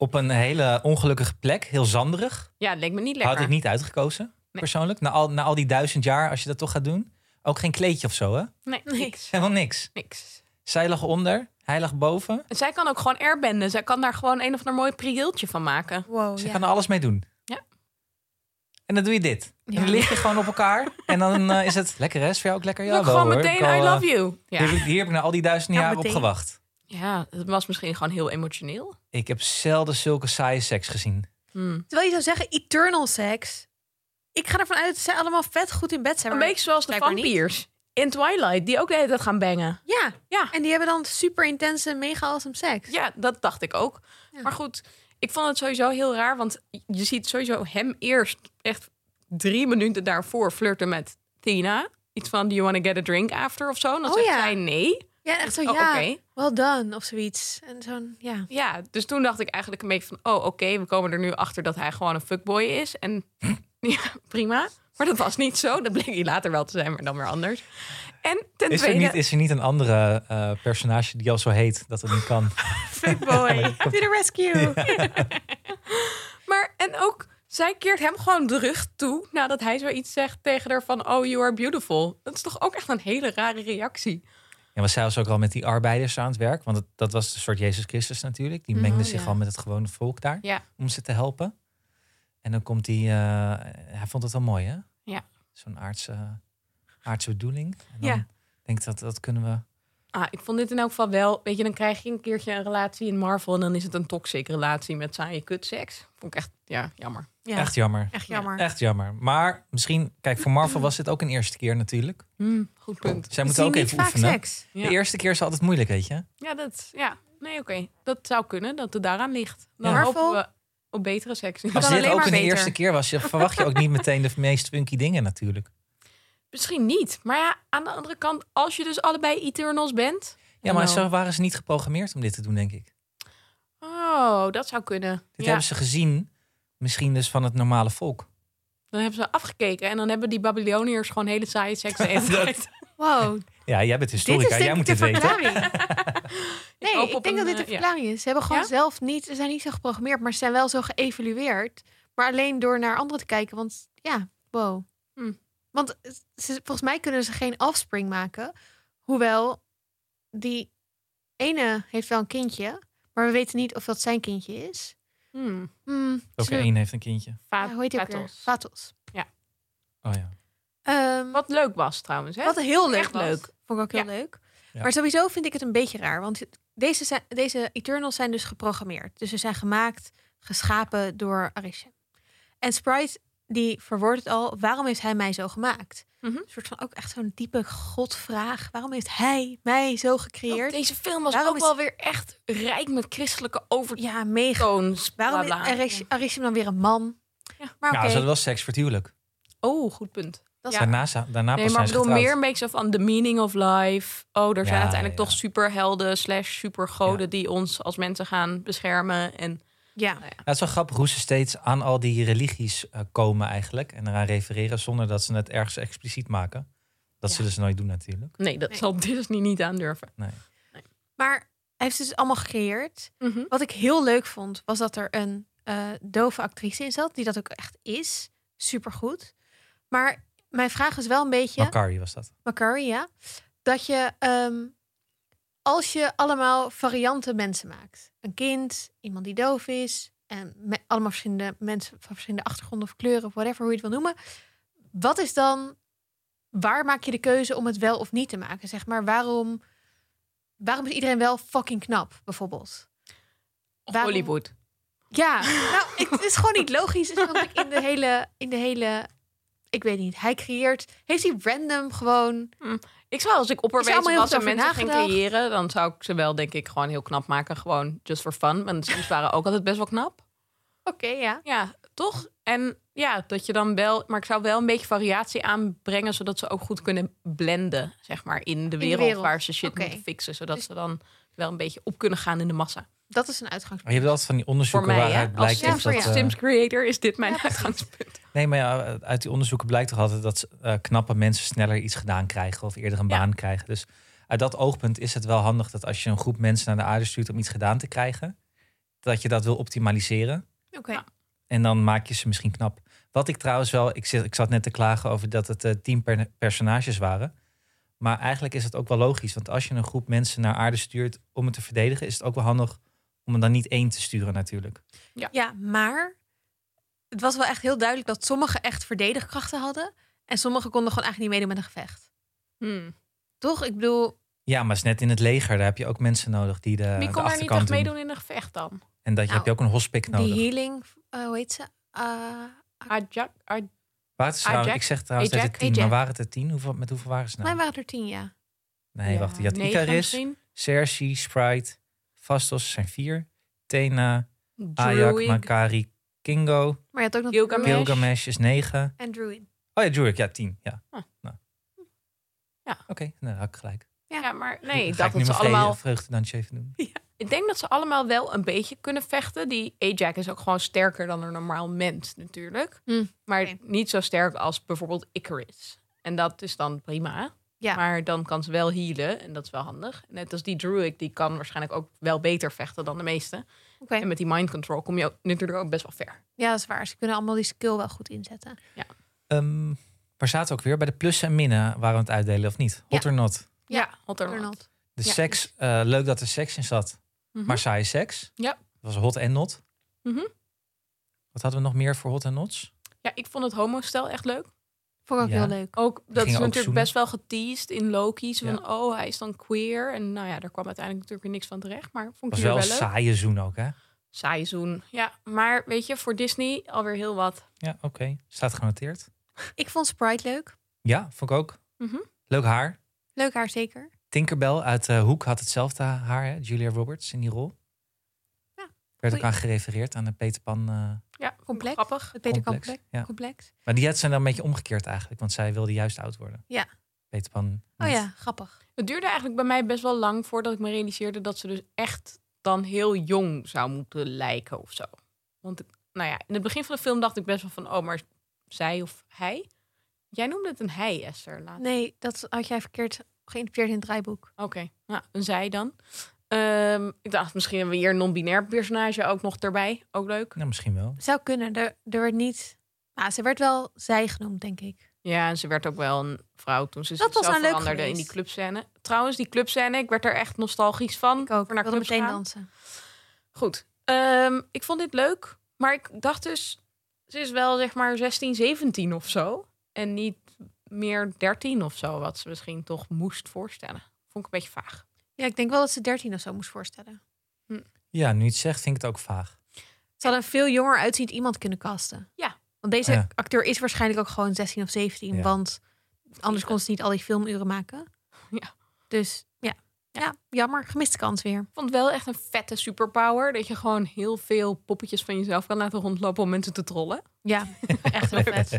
Speaker 2: op een hele ongelukkige plek. Heel zanderig.
Speaker 3: Ja, het leek me niet lekker.
Speaker 2: Had ik niet uitgekozen,
Speaker 3: Nee.
Speaker 2: persoonlijk. Na al, na al die duizend jaar, als je dat toch gaat doen. Ook geen kleedje of zo, hè?
Speaker 3: Nee,
Speaker 1: Nee.
Speaker 3: niks.
Speaker 2: Helemaal niks.
Speaker 3: niks.
Speaker 2: Zij lag onder, hij lag boven.
Speaker 3: En zij kan ook gewoon airbenden. Zij kan daar gewoon een of ander mooi prieeltje van maken.
Speaker 1: Wow,
Speaker 2: Ze
Speaker 1: ja.
Speaker 2: gaan er alles mee doen.
Speaker 3: Oh, Ja.
Speaker 2: En dan doe je dit. En
Speaker 1: Ja.
Speaker 2: dan lig je gewoon op elkaar. En dan eh, is het lekker, hè? Is voor jou ook lekker?
Speaker 3: ook
Speaker 2: wel,
Speaker 3: gewoon
Speaker 2: hoor.
Speaker 3: meteen,
Speaker 2: Ik al,
Speaker 3: I
Speaker 2: eh,
Speaker 3: love you.
Speaker 2: Hier,
Speaker 3: Ja.
Speaker 2: heb ik- hier heb ik na al die duizenden
Speaker 1: Ja,
Speaker 2: jaar op
Speaker 1: meteen.
Speaker 2: gewacht.
Speaker 3: ja, het was misschien gewoon heel emotioneel.
Speaker 2: Ik heb zelden zulke saaie seks gezien.
Speaker 3: Hmm.
Speaker 1: Terwijl je zou zeggen, eternal seks. Ik ga ervan uit dat zij allemaal vet goed in bed zijn.
Speaker 3: Een
Speaker 1: maar-
Speaker 3: beetje zoals de
Speaker 1: blijkbaar niet.
Speaker 3: vampiers in Twilight, die ook de hele tijd gaan bangen.
Speaker 1: Ja,
Speaker 3: Ja.
Speaker 1: en die hebben dan super intense, mega awesome seks.
Speaker 3: Ja, dat dacht ik ook.
Speaker 1: Ja.
Speaker 3: Maar goed, ik vond het sowieso heel raar, want je ziet sowieso hem eerst echt drie minuten daarvoor flirten met Tina. Iets van, do you want to get a drink after of zo? En dan
Speaker 1: Oh,
Speaker 3: zegt
Speaker 1: ja.
Speaker 3: zij nee.
Speaker 1: Ja, echt zo,
Speaker 3: Oh,
Speaker 1: ja,
Speaker 3: oké.
Speaker 1: well done of zoiets. En zo'n, ja.
Speaker 3: Ja, dus toen dacht ik eigenlijk een beetje van, oh oké, we komen er nu achter dat hij gewoon een fuckboy is. En ja, prima. Maar dat was niet zo. Dat bleek hij later wel te zijn, maar dan weer anders. En ten
Speaker 2: Is er,
Speaker 3: tweede...
Speaker 2: niet, is er niet een andere eh, personage die al zo heet dat het niet kan?
Speaker 1: Fuckboy, to the rescue.
Speaker 3: Maar en ook, zij keert hem gewoon de rug toe nadat hij zoiets zegt tegen haar van, oh, you are beautiful. Dat is toch ook echt een hele rare reactie.
Speaker 2: Ja, maar zij was ook al met die arbeiders aan het werk. Want het- dat was een soort Jezus Christus natuurlijk. Die mengde
Speaker 3: Oh,
Speaker 2: zich
Speaker 3: ja.
Speaker 2: al met het gewone volk daar.
Speaker 3: Ja.
Speaker 2: Om ze te helpen. En dan komt die... eh, hij vond het wel mooi, hè?
Speaker 3: Ja.
Speaker 2: Zo'n aardse, aardse bedoeling. En dan
Speaker 1: Ja.
Speaker 2: denk ik dat dat kunnen we...
Speaker 3: Ah, ik vond dit in elk geval wel, weet je, dan krijg je een keertje een relatie in Marvel en dan is het een toxic relatie met saaie kutseks. Vond ik echt, ja, jammer.
Speaker 1: Ja,
Speaker 2: Echt jammer.
Speaker 1: echt jammer.
Speaker 2: Echt jammer. Maar misschien... Kijk, voor Marvel was dit ook een eerste keer natuurlijk.
Speaker 3: Hmm, goed punt.
Speaker 2: Zij
Speaker 1: We
Speaker 2: moeten
Speaker 1: zien
Speaker 2: ook
Speaker 1: niet
Speaker 2: even
Speaker 1: vaak
Speaker 2: oefenen.
Speaker 1: seks.
Speaker 3: Ja.
Speaker 2: De eerste keer is altijd moeilijk, weet je.
Speaker 3: Ja, dat, ja. Nee, oké. Dat zou kunnen, dat het daaraan ligt. Dan
Speaker 1: Ja.
Speaker 3: hopen
Speaker 1: Marvel?
Speaker 3: we op betere seks.
Speaker 2: Als
Speaker 1: kan
Speaker 2: dit
Speaker 1: alleen
Speaker 2: ook
Speaker 1: maar
Speaker 2: een
Speaker 1: beter.
Speaker 2: eerste keer was, je- verwacht je ook niet meteen de meest funky dingen natuurlijk.
Speaker 3: Misschien niet. Maar ja, aan de andere kant, als je dus allebei Eternals bent...
Speaker 2: Ja, maar
Speaker 3: Nou.
Speaker 2: zo waren ze niet geprogrammeerd om dit te doen, denk ik.
Speaker 3: Oh, dat zou kunnen.
Speaker 2: Dit
Speaker 3: ja.
Speaker 2: hebben ze gezien, misschien dus van het normale volk.
Speaker 3: Dan hebben ze afgekeken en dan hebben die Babyloniërs gewoon hele saaie seks de hele
Speaker 2: Dat-
Speaker 3: tijd.
Speaker 1: Wow,
Speaker 2: Ja, jij bent
Speaker 1: dit is
Speaker 2: historica,
Speaker 1: denk
Speaker 2: jij
Speaker 1: ik
Speaker 2: moet
Speaker 1: de
Speaker 2: dit weten.
Speaker 1: verklaring. Nee,
Speaker 3: hoop
Speaker 1: ik,
Speaker 3: op
Speaker 1: denk
Speaker 3: een,
Speaker 1: dat dit de
Speaker 3: eh, ja.
Speaker 1: verklaring is. Ze hebben gewoon
Speaker 3: Ja?
Speaker 1: zelf niet, ze zijn niet zo geprogrammeerd, maar ze zijn wel zo geëvalueerd. Maar alleen door naar anderen te kijken, want ja, wow.
Speaker 3: Hm.
Speaker 1: Want ze, volgens mij kunnen ze geen offspring maken. Hoewel, die ene heeft wel een kindje, maar we weten niet of dat zijn kindje is.
Speaker 3: Hmm.
Speaker 1: Hmm,
Speaker 2: Ook
Speaker 1: zullen-
Speaker 2: één heeft een kindje.
Speaker 3: Va-
Speaker 1: ja, hoe heet die ook weer?
Speaker 3: vatos.
Speaker 1: Vatos.
Speaker 2: Oh ja.
Speaker 1: Ehm,
Speaker 3: Wat leuk was trouwens, hè?
Speaker 1: Wat heel leuk
Speaker 3: Echt
Speaker 1: was.
Speaker 3: leuk.
Speaker 1: Vond ik ook heel
Speaker 3: Ja.
Speaker 1: leuk.
Speaker 2: Ja.
Speaker 1: Maar sowieso vind ik het een beetje raar. Want deze, zijn, deze Eternals zijn dus geprogrammeerd. Dus ze zijn gemaakt, geschapen door Arishem. En Sprite die verwoordt het al, waarom heeft hij mij zo gemaakt?
Speaker 3: Mhm.
Speaker 1: Een soort van ook echt zo'n diepe godvraag. Waarom heeft hij mij zo gecreëerd?
Speaker 3: Oh, Deze film was
Speaker 1: Waarom
Speaker 3: ook
Speaker 1: is-
Speaker 3: wel weer echt rijk met christelijke overtoons.
Speaker 1: Ja, mega.
Speaker 3: bla,
Speaker 1: Waarom is
Speaker 3: bla.
Speaker 1: Arish- Arishim dan weer een man?
Speaker 3: Ja.
Speaker 1: Maar oké,
Speaker 2: Nou, ze hadden wel seks voor het huwelijk.
Speaker 3: Oh, goed punt.
Speaker 1: dat is
Speaker 3: Ja.
Speaker 2: Daarna, za- daarna pas
Speaker 3: Nee, maar
Speaker 2: zijn
Speaker 3: ik
Speaker 2: ze
Speaker 3: bedoel
Speaker 2: getrouwd.
Speaker 3: meer een beetje zo van the meaning of life. Oh, er zijn
Speaker 2: Ja,
Speaker 3: uiteindelijk
Speaker 2: ja,
Speaker 3: toch
Speaker 2: ja.
Speaker 3: superhelden slash supergoden die ons als mensen gaan beschermen. En
Speaker 1: ja.
Speaker 2: Ja, het is wel grappig hoe ze steeds aan al die religies eh, komen eigenlijk. En eraan refereren zonder dat ze het ergens expliciet maken. Dat
Speaker 3: Ja.
Speaker 2: zullen ze nooit doen natuurlijk.
Speaker 3: nee, dat
Speaker 1: Nee.
Speaker 3: zal Disney niet aandurven.
Speaker 2: Nee.
Speaker 1: Maar hij heeft het dus allemaal gecreëerd. Wat ik heel leuk vond, was dat er een eh, dove actrice in zat, die dat ook echt is. Supergoed. Maar mijn vraag is wel een beetje.
Speaker 2: Macari was dat.
Speaker 1: Macari, ja. Dat je, ehm, als je allemaal variante mensen maakt. Een kind, iemand die doof is. En me- allemaal verschillende mensen van verschillende achtergronden of kleuren. Of whatever, hoe je het wil noemen. Wat is dan, waar maak je de keuze om het wel of niet te maken? Zeg maar, waarom, waarom is iedereen wel fucking knap, bijvoorbeeld?
Speaker 3: Of
Speaker 1: Waarom-
Speaker 3: Hollywood.
Speaker 1: Ja, nou, ik- het is gewoon niet logisch. Het is gewoon in de hele, in de hele, ik weet niet. Hij creëert, heeft hij random gewoon
Speaker 3: Ik zou als ik
Speaker 1: Is er
Speaker 3: opperwezen
Speaker 1: allemaal
Speaker 3: was
Speaker 1: heel
Speaker 3: en
Speaker 1: veel
Speaker 3: mensen
Speaker 1: over
Speaker 3: ging
Speaker 1: nagedacht?
Speaker 3: creëren, dan zou ik ze wel denk ik gewoon heel knap maken. Gewoon just for fun. Want de Sims waren ook altijd best wel knap.
Speaker 1: Oké, ja.
Speaker 3: Ja, toch? En ja, dat je dan wel... Maar ik zou wel een beetje variatie aanbrengen... zodat ze ook goed kunnen blenden, zeg maar, in de wereld,
Speaker 1: wereld.
Speaker 3: waar ze shit
Speaker 1: Oké.
Speaker 3: moeten fixen. Zodat
Speaker 1: Dus-
Speaker 3: ze dan wel een beetje op kunnen gaan in de massa.
Speaker 1: Dat is een
Speaker 2: Maar
Speaker 1: uitgangspunt.
Speaker 2: je hebt altijd van die
Speaker 3: Voor
Speaker 2: onderzoeken
Speaker 3: mij,
Speaker 2: waaruit
Speaker 3: hè? Als
Speaker 2: blijkt
Speaker 1: ja,
Speaker 2: toch
Speaker 1: voor
Speaker 2: dat...
Speaker 1: jou.
Speaker 2: eh,
Speaker 3: Sims creator is dit mijn
Speaker 1: Ja, precies.
Speaker 3: uitgangspunt.
Speaker 2: nee, maar ja, uit die onderzoeken blijkt toch altijd dat eh, knappe mensen sneller iets gedaan krijgen of eerder een
Speaker 3: Ja.
Speaker 2: baan krijgen. Dus uit dat oogpunt is het wel handig dat als je een groep mensen naar de aarde stuurt om iets gedaan te krijgen, dat je dat wil optimaliseren.
Speaker 1: Oké.
Speaker 3: Ja.
Speaker 2: En dan maak je ze misschien knap. Wat ik trouwens wel, ik, zit, ik zat net te klagen over dat het eh, tien per- personages waren. Maar eigenlijk is het ook wel logisch. Want als je een groep mensen naar aarde stuurt om het te verdedigen, is het ook wel handig om er dan niet één te sturen natuurlijk.
Speaker 1: Ja, maar het was wel echt heel duidelijk dat sommigen echt verdedigkrachten hadden. En sommigen konden gewoon eigenlijk niet meedoen met een gevecht.
Speaker 3: Hmm.
Speaker 1: Toch? Ik bedoel,
Speaker 2: Ja, maar het is net in het leger, daar heb je ook mensen nodig die de,
Speaker 3: Wie
Speaker 2: de
Speaker 3: kon daar niet echt
Speaker 2: achterkant doen.
Speaker 3: meedoen in een gevecht dan?
Speaker 2: En dat je,
Speaker 3: Nou,
Speaker 2: heb je ook een hospic nodig.
Speaker 1: die healing, eh, hoe heet ze? Eh,
Speaker 3: Ajak, aj-
Speaker 2: Waren het trouwens-
Speaker 3: Ajax?
Speaker 2: ik zeg trouwens net
Speaker 3: Ajax?
Speaker 2: het tien,
Speaker 1: Ajax.
Speaker 2: maar waren het er tien? Hoeveel, met hoeveel waren ze
Speaker 1: Mij
Speaker 2: nou?
Speaker 1: waren er tien, ja.
Speaker 2: Nee, wacht. Je had
Speaker 3: negen
Speaker 2: Icaris,
Speaker 3: misschien?
Speaker 2: Cersei, Sprite, Fastos zijn vier. Tena, Ajak,
Speaker 3: Druid.
Speaker 2: Makari, Kingo.
Speaker 1: Maar je had ook nog
Speaker 3: Gilgamesh.
Speaker 1: Druid
Speaker 2: Gilgamesh is 9.
Speaker 1: en Druid.
Speaker 2: Oh ja, Druid, ja, 10. Ja.
Speaker 3: Ah.
Speaker 2: Nou.
Speaker 3: Ja.
Speaker 2: Oké, nou, had ik gelijk.
Speaker 3: Ja, maar nee,
Speaker 2: Dan ga
Speaker 3: dat
Speaker 2: ik
Speaker 3: het
Speaker 2: nu
Speaker 3: ze
Speaker 2: mijn
Speaker 3: allemaal
Speaker 2: vreugde- vreugdedansje even doen.
Speaker 3: Ik denk dat ze allemaal wel een beetje kunnen vechten. Die Ajax is ook gewoon sterker dan een normaal mens natuurlijk.
Speaker 1: Hmm,
Speaker 3: Maar
Speaker 1: oké.
Speaker 3: niet zo sterk als bijvoorbeeld Icarus. En dat is dan prima.
Speaker 1: Ja.
Speaker 3: Maar dan kan ze wel healen en dat is wel handig. Net als die Druid, die kan waarschijnlijk ook wel beter vechten dan de meeste.
Speaker 1: Oké,
Speaker 3: En met die mind control kom je ook, natuurlijk ook best wel ver.
Speaker 1: ja, dat is waar. Ze kunnen allemaal die skill wel goed inzetten.
Speaker 2: Ehm, waar zaten we ook weer? Bij de plussen en minnen waren we het uitdelen of niet? Hot or not?
Speaker 1: Ja,
Speaker 3: hot or not.
Speaker 1: Arnold.
Speaker 2: De
Speaker 3: Ja.
Speaker 2: seks, eh, leuk dat er seks in zat.
Speaker 3: Mhm.
Speaker 2: Maar saaie seks.
Speaker 3: Ja.
Speaker 2: Dat was hot en not.
Speaker 3: Mhm.
Speaker 2: Wat hadden we nog meer voor hot en nots?
Speaker 3: Ja, ik vond het homostel echt leuk.
Speaker 1: Vond ik ook
Speaker 2: Ja.
Speaker 1: heel leuk.
Speaker 3: Ook, dat is
Speaker 2: ook
Speaker 3: natuurlijk
Speaker 2: zoenen.
Speaker 3: best wel geteased in Loki. Zo
Speaker 2: Ja.
Speaker 3: van, oh, hij is dan queer. En nou ja, daar kwam uiteindelijk natuurlijk weer niks van terecht. Maar vond
Speaker 2: Was
Speaker 3: ik wel,
Speaker 2: wel een
Speaker 3: wel leuk.
Speaker 2: saaie zoen ook, hè?
Speaker 3: saai zoen. Ja, maar weet je, voor Disney alweer heel wat.
Speaker 2: Ja, oké. Staat genoteerd.
Speaker 1: Ik vond Sprite leuk.
Speaker 2: Ja, vond ik ook.
Speaker 3: Mhm.
Speaker 2: Leuk haar.
Speaker 1: Leuk haar zeker.
Speaker 2: Tinkerbell uit eh, Hoek had hetzelfde haar, hè? Julia Roberts in die rol.
Speaker 1: Ja,
Speaker 2: Werd ook
Speaker 1: goeie.
Speaker 2: aan gerefereerd aan de Peter Pan eh,
Speaker 3: Ja, vond ik
Speaker 1: Complex.
Speaker 3: Grappig.
Speaker 1: Het Peter
Speaker 2: complex.
Speaker 1: complex.
Speaker 2: Ja.
Speaker 1: complex.
Speaker 2: Maar die had zijn dan een beetje omgekeerd eigenlijk, want zij wilde juist oud worden.
Speaker 1: Ja.
Speaker 2: Peter Pan.
Speaker 1: Oh
Speaker 2: niet.
Speaker 1: ja, grappig.
Speaker 3: Het duurde eigenlijk bij mij best wel lang voordat ik me realiseerde dat ze dus echt dan heel jong zou moeten lijken of zo. Want ik- nou ja, in het begin van de film dacht ik best wel van, oh, maar zij of hij? Jij noemde het een hij, Esther. Laat.
Speaker 1: Nee, dat had jij verkeerd geïnterpreteerd in het draaiboek.
Speaker 3: Oké, nou, een zij dan. Ehm, ik dacht, misschien hebben we hier een non-binair personage ook nog erbij. Ook leuk.
Speaker 2: Nou, misschien wel.
Speaker 1: Zou kunnen. Er, er werd niet. Ah, ze werd wel zij genoemd, denk ik.
Speaker 3: Ja, en ze werd ook wel een vrouw toen ze
Speaker 1: Dat was
Speaker 3: zichzelf
Speaker 1: nou leuk
Speaker 3: veranderde in
Speaker 1: geweest.
Speaker 3: die clubscène. Trouwens, die clubscène, ik werd er echt nostalgisch van.
Speaker 1: Ik ook.
Speaker 3: Voor
Speaker 1: Ik wilde
Speaker 3: clubs
Speaker 1: meteen
Speaker 3: gaan.
Speaker 1: dansen.
Speaker 3: Goed. Ehm, ik vond dit leuk, maar ik dacht dus... Ze is wel zeg maar 16, 17 of zo. En niet meer 13 of zo, wat ze misschien toch moest voorstellen. Vond ik een beetje vaag.
Speaker 1: Ja, ik denk wel dat ze 13 of zo moest voorstellen.
Speaker 2: Ja, nu je het zegt, vind ik het ook vaag.
Speaker 1: Ze hadden een veel jonger uitziend iemand kunnen casten. Want deze
Speaker 2: Oh Ja.
Speaker 1: acteur is waarschijnlijk ook gewoon 16 of 17.
Speaker 2: Ja.
Speaker 1: Want anders kon ze niet al die filmuren maken.
Speaker 3: Ja.
Speaker 1: Dus ja. ja, jammer. Gemiste kans weer.
Speaker 3: Ik vond het wel echt een vette superpower. Dat je gewoon heel veel poppetjes van jezelf kan laten rondlopen om mensen te trollen.
Speaker 1: Ja, echt heel vet.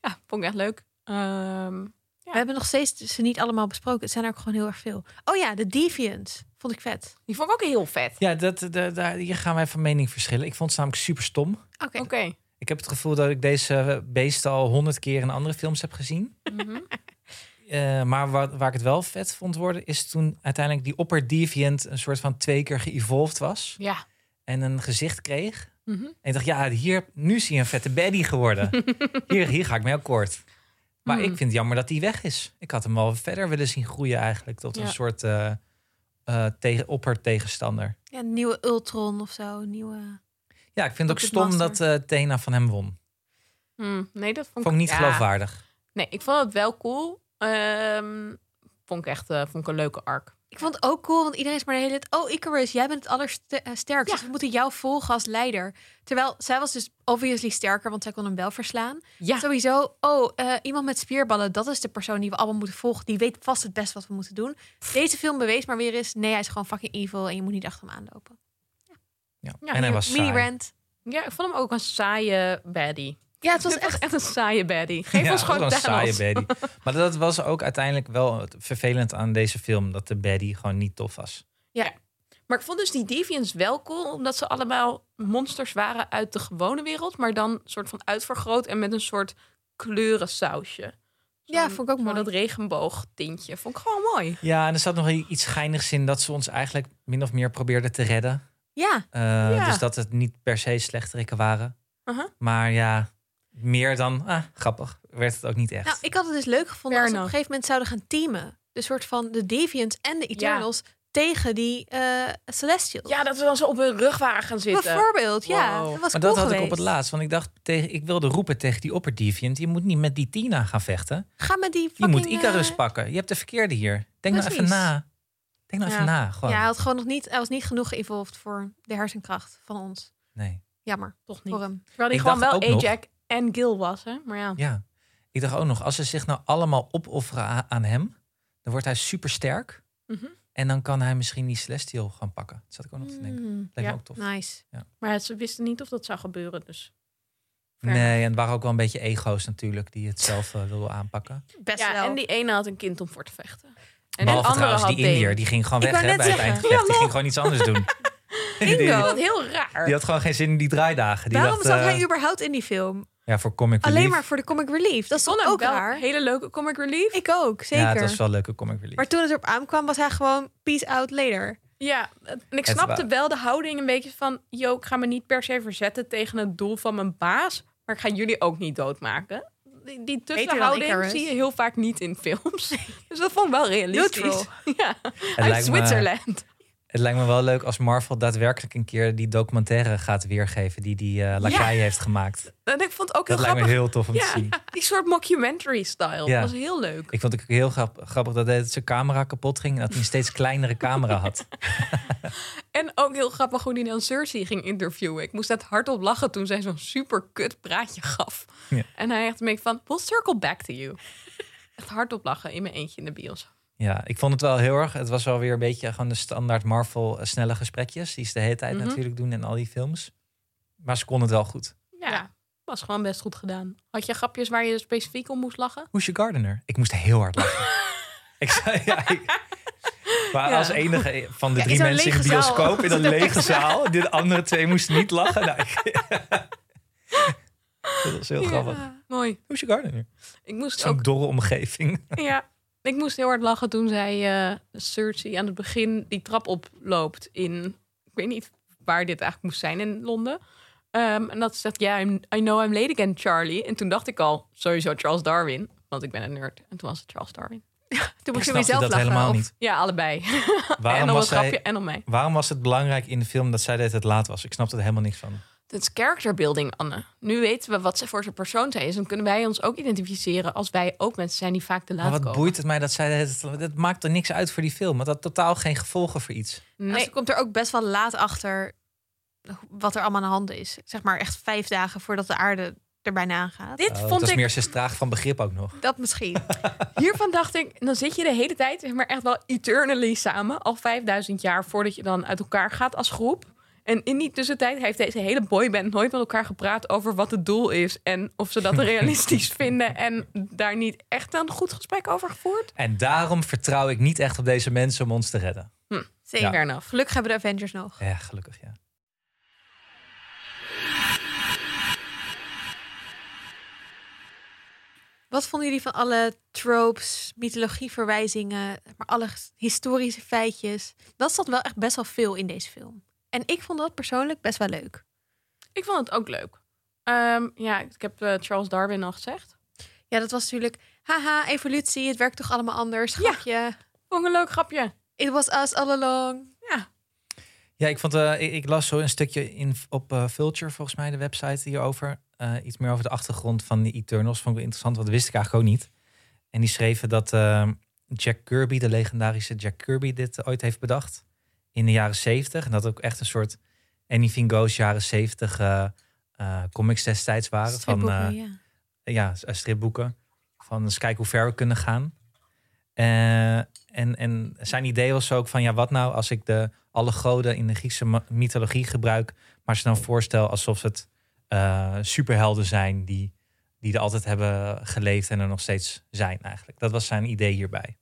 Speaker 3: Ja, vond ik echt leuk. Ehm, Ja.
Speaker 1: We hebben nog steeds ze niet allemaal besproken. Het zijn er ook gewoon heel erg veel. Oh ja, de Deviants. Vond ik vet.
Speaker 3: die vond ik ook heel vet.
Speaker 2: Ja, dat, da- daar, hier gaan wij van mening verschillen. Ik vond ze namelijk super stom.
Speaker 1: Oké.
Speaker 3: Oké.
Speaker 2: Ik heb het gevoel dat ik deze beesten al honderd keer in andere films heb gezien.
Speaker 3: Mhm.
Speaker 2: Eh, maar waar, waar ik het wel vet vond worden, is toen uiteindelijk die opper deviant een soort van twee keer geëvolved was.
Speaker 3: Ja.
Speaker 2: En een gezicht kreeg.
Speaker 3: Mhm.
Speaker 2: En ik dacht, ja, hier, nu is hij een vette baddie geworden. hier, hier ga ik mee akkoord. Maar
Speaker 3: Hmm.
Speaker 2: ik vind het jammer dat hij weg is. Ik had hem al verder willen zien groeien eigenlijk. Tot
Speaker 3: Ja.
Speaker 2: een soort eh eh tegen, oppertegenstander.
Speaker 1: Ja, een nieuwe Ultron of zo. een Nieuwe...
Speaker 2: Ja, ik vind het ook
Speaker 1: Puppet
Speaker 2: stom
Speaker 1: Master.
Speaker 2: dat eh Tena van hem won.
Speaker 3: Hm, Nee, dat vond,
Speaker 2: Vond ik niet
Speaker 3: ja.
Speaker 2: geloofwaardig.
Speaker 3: Nee, ik vond het wel cool. Ehm, vond ik echt eh, vond ik een leuke arc.
Speaker 1: Ik vond het ook cool, want iedereen is maar de hele tijd... Oh, Icarus, jij bent het allersterkst.
Speaker 3: Ja.
Speaker 1: Dus we moeten jou volgen als leider. Terwijl zij was dus obviously sterker, want zij kon hem wel verslaan.
Speaker 3: Ja.
Speaker 1: Sowieso, oh, eh, iemand met spierballen, dat is de persoon die we allemaal moeten volgen. Die weet vast het best wat we moeten doen. Deze film bewees maar weer eens... Nee, hij is gewoon fucking evil en je moet niet achter hem aanlopen.
Speaker 2: Ja.
Speaker 3: Ja,
Speaker 2: en hij
Speaker 3: hier-
Speaker 2: was saai.
Speaker 1: Mini-rant.
Speaker 3: ja, ik vond hem ook een saaie baddie.
Speaker 1: Ja, het was
Speaker 3: Dit was
Speaker 1: echt...
Speaker 3: echt een saaie baddie. Geef
Speaker 2: Ja, dat
Speaker 3: ons
Speaker 2: was
Speaker 3: gewoon
Speaker 2: wel
Speaker 3: Thanos.
Speaker 2: een saaie baddie. maar dat was ook uiteindelijk wel het vervelend aan deze film. Dat de baddie gewoon niet tof was.
Speaker 3: Maar ik vond dus die Deviants wel cool, omdat ze allemaal monsters waren uit de gewone wereld, maar dan soort van uitvergroot en met een soort kleurensausje.
Speaker 1: Ja,
Speaker 3: Zo'n-
Speaker 1: vond ik ook
Speaker 3: zo
Speaker 1: mooi.
Speaker 3: Dat regenboogtintje vond ik gewoon mooi.
Speaker 2: Ja, en er zat nog iets geinigs in dat ze ons eigenlijk min of meer probeerden te redden.
Speaker 1: Ja,
Speaker 2: Eh,
Speaker 3: Ja.
Speaker 2: Dus dat het niet per se slechterikken waren.
Speaker 3: Aha.
Speaker 2: Maar ja, meer dan ah, grappig werd het ook niet echt.
Speaker 1: nou, ik had het dus leuk gevonden
Speaker 3: Fair
Speaker 1: als ze op een
Speaker 3: enough.
Speaker 1: gegeven moment zouden gaan teamen. De soort van de Deviants en de Eternals tegen die eh Celestials.
Speaker 3: Ja, dat we dan zo op hun rug waren gaan zitten.
Speaker 1: Bijvoorbeeld, ja.
Speaker 3: Wow.
Speaker 1: Dat was
Speaker 2: maar
Speaker 1: cool
Speaker 2: dat had ik op
Speaker 1: geweest.
Speaker 2: het laatst. Want ik dacht, tegen, ik wilde roepen tegen die opperdeviant. Je moet niet met die Tina gaan vechten.
Speaker 1: Ga met die
Speaker 2: Je
Speaker 1: fucking...
Speaker 2: moet Icarus
Speaker 1: eh,
Speaker 2: pakken. Je hebt de verkeerde hier. Denk nou even
Speaker 1: Precies.
Speaker 2: na. Denk nou
Speaker 3: Ja.
Speaker 2: even na. Gewoon.
Speaker 1: Ja, hij, had gewoon nog niet, hij was niet genoeg geëvolved voor de hersenkracht van ons.
Speaker 2: Nee.
Speaker 1: Jammer,
Speaker 3: Toch niet.
Speaker 1: voor hem.
Speaker 3: Terwijl die
Speaker 2: Ik
Speaker 3: gewoon
Speaker 2: dacht
Speaker 3: wel
Speaker 2: ook nog-
Speaker 3: Ajax en Gil was, hè? Maar ja.
Speaker 2: Ja. Ik dacht ook nog, als ze zich nou allemaal opofferen a- aan hem, dan wordt hij supersterk.
Speaker 3: Mhm.
Speaker 2: En dan kan hij misschien die Celestial gaan pakken. Dat zat ik ook nog te denken.
Speaker 1: Mm,
Speaker 2: Lijkt
Speaker 3: ja.
Speaker 2: me ook tof.
Speaker 1: nice.
Speaker 3: Maar ze wisten niet of dat zou gebeuren, dus... Fair
Speaker 2: Nee, en het waren ook wel een beetje ego's natuurlijk die het zelf eh, wilden aanpakken.
Speaker 1: Best
Speaker 3: Ja,
Speaker 1: wel.
Speaker 3: en die ene had een kind om voor te vechten. En de
Speaker 2: Behalve
Speaker 3: andere
Speaker 2: trouwens
Speaker 3: had
Speaker 2: die Indiër,
Speaker 3: Deen.
Speaker 2: die ging gewoon
Speaker 1: Ik
Speaker 2: weg
Speaker 1: wou
Speaker 2: hè,
Speaker 1: net
Speaker 2: bij het
Speaker 1: zeggen.
Speaker 2: eindgevecht.
Speaker 3: Ja,
Speaker 2: Die ging gewoon iets anders doen. Die, die,
Speaker 3: Ik vond dat heel raar.
Speaker 2: die had gewoon geen zin in die draaidagen. Die
Speaker 1: Waarom
Speaker 2: dacht,
Speaker 1: zat
Speaker 2: eh,
Speaker 1: hij überhaupt in die film?
Speaker 2: Ja, voor comic relief.
Speaker 1: Alleen maar voor de comic relief. Dat is
Speaker 3: vond
Speaker 1: toch
Speaker 3: hem
Speaker 1: ook
Speaker 3: wel
Speaker 1: raar?
Speaker 3: hele leuke comic relief.
Speaker 1: Ik ook, zeker.
Speaker 2: Ja, het was wel een leuke comic relief.
Speaker 1: Maar toen het erop aankwam, was hij gewoon peace out later.
Speaker 3: Ja, en ik
Speaker 2: Het
Speaker 3: snapte
Speaker 2: wa-
Speaker 3: wel de houding een beetje van... yo, ik ga me niet per se verzetten tegen het doel van mijn baas... maar ik ga jullie ook niet doodmaken. Die, die tussenhouding
Speaker 1: Icarus.
Speaker 3: zie je heel vaak niet in films. Dus dat vond ik wel realistisch.
Speaker 1: Neutral.
Speaker 3: Ja,
Speaker 2: het,
Speaker 3: uit
Speaker 2: lijkt me,
Speaker 3: Zwitserland.
Speaker 2: het lijkt me wel leuk als Marvel daadwerkelijk een keer die documentaire gaat weergeven die die eh Lakai heeft gemaakt. Dat
Speaker 3: En ik vond het ook heel
Speaker 2: lijkt me
Speaker 3: grappig.
Speaker 2: heel tof om te
Speaker 3: Ja,
Speaker 2: zien.
Speaker 3: die soort mockumentary-style.
Speaker 2: Ja.
Speaker 3: Dat was heel leuk.
Speaker 2: Ik vond het ook heel grap- grappig dat hij- dat zijn camera kapot ging en dat hij een steeds kleinere camera had.
Speaker 3: En ook heel grappig hoe die dan Cersei ging interviewen. Ik moest net hardop lachen toen zij zo'n super kut praatje gaf.
Speaker 2: Ja.
Speaker 3: En hij echt een beetje van, we'll circle back to you. Echt hardop lachen in mijn eentje in de bios.
Speaker 2: Ja, ik vond het wel heel erg. Het was wel weer een beetje gewoon de standaard Marvel eh, snelle gesprekjes. Die ze de hele tijd
Speaker 3: Mhm.
Speaker 2: natuurlijk doen in al die films. Maar ze kon het wel goed.
Speaker 3: Ja, was gewoon best goed gedaan. Had je grapjes waar je specifiek om moest lachen?
Speaker 2: Hoe is je gardener? Ik moest heel hard lachen. ik zei, ja, ik- Maar
Speaker 3: Ja.
Speaker 2: als enige van de
Speaker 1: Ja, in
Speaker 2: drie
Speaker 1: zo'n
Speaker 2: mensen in de
Speaker 1: lege zaal.
Speaker 2: bioscoop in een lege zaal. De andere twee moesten niet lachen. Nou, ik- dat was heel grappig. Hoe
Speaker 3: Ja, Mooi.
Speaker 2: is je gardener?
Speaker 3: Ik moest
Speaker 2: Zo'n
Speaker 3: ook,
Speaker 2: dorre omgeving.
Speaker 3: ja, ik moest heel hard lachen toen zij eh Cersei aan het begin die trap oploopt in... Ik weet niet waar dit eigenlijk moest zijn in Londen. Ehm, en dat ze zegt, ja, I'm- I know I'm late again, Charlie. En toen dacht ik al, sowieso Charles Darwin. Want ik ben een nerd. En toen was het Charles Darwin.
Speaker 1: Toen
Speaker 2: Ik
Speaker 1: moest je
Speaker 2: snapte
Speaker 1: mezelf
Speaker 2: dat
Speaker 1: lachen.
Speaker 2: helemaal
Speaker 1: of-
Speaker 2: niet.
Speaker 3: Ja, allebei. en
Speaker 2: Waarom
Speaker 3: om
Speaker 2: was,
Speaker 3: het grapje
Speaker 2: zij,
Speaker 3: en om mij.
Speaker 2: waarom was het belangrijk in de film dat zij dat het laat was? Ik snapte er helemaal niks van.
Speaker 3: Dat is character building, Anne. Nu weten we wat ze voor zijn persoon zijn. Dus dan kunnen wij ons ook identificeren als wij ook mensen zijn die vaak te laat
Speaker 2: Maar wat
Speaker 3: komen.
Speaker 2: boeit het mij dat zij het, dat maakt er niks uit voor die film. Want dat had totaal geen gevolgen voor iets.
Speaker 1: Nee.
Speaker 3: Nee,
Speaker 1: ze komt er ook best wel laat achter wat er allemaal aan de hand is. Zeg maar echt vijf dagen voordat de aarde er bijna aangaat.
Speaker 3: Dit
Speaker 2: Oh, dat
Speaker 3: vond
Speaker 2: is
Speaker 3: ik.
Speaker 2: meer ze is traag van begrip ook nog.
Speaker 1: Dat misschien.
Speaker 3: Hiervan dacht ik, dan zit je de hele tijd, zeg maar echt wel eternally samen. Al 5000 jaar voordat je dan uit elkaar gaat als groep. En in die tussentijd heeft deze hele boyband nooit met elkaar gepraat over wat het doel is. En of ze dat realistisch vinden. En daar niet echt een goed gesprek over gevoerd.
Speaker 2: En daarom vertrouw ik niet echt op deze mensen om ons te redden.
Speaker 1: Zeker.
Speaker 3: Fair enough.
Speaker 1: Gelukkig hebben de Avengers nog.
Speaker 2: Ja, gelukkig ja.
Speaker 1: Wat vonden jullie van alle tropes, mythologieverwijzingen, maar alle ges- historische feitjes? Dat zat wel echt best wel veel in deze film. En ik vond dat persoonlijk best wel leuk.
Speaker 3: Ik vond het ook leuk. Ehm, ja, ik heb eh, Charles Darwin al gezegd.
Speaker 1: Ja, dat was natuurlijk, haha, evolutie, het werkt toch allemaal anders,
Speaker 3: Ja.
Speaker 1: grapje.
Speaker 3: Vond ik een leuk grapje.
Speaker 1: It was us all along.
Speaker 2: Ja, ik, vond, eh, ik, ik las zo een stukje in, op eh, Vulture, volgens mij, de website hierover. Eh, iets meer over de achtergrond van de Eternals. Vond ik wel interessant, want dat wist ik eigenlijk ook niet. En die schreven dat eh, Jack Kirby, de legendarische Jack Kirby, dit eh, ooit heeft bedacht. In de jaren zeventig. En dat ook echt een soort Anything Goes jaren zeventig eh, comics destijds waren. Van,
Speaker 1: Stripboeken,
Speaker 2: eh,
Speaker 1: ja.
Speaker 2: ja, s- eh, stripboeken. Van eens kijken hoe ver we kunnen gaan. Eh, en, en zijn idee was ook van, ja, wat nou als ik de, alle goden in de Griekse ma- mythologie gebruik, maar ze dan voorstel alsof het eh, superhelden zijn die, die er altijd hebben geleefd en er nog steeds zijn eigenlijk. Dat was zijn idee hierbij.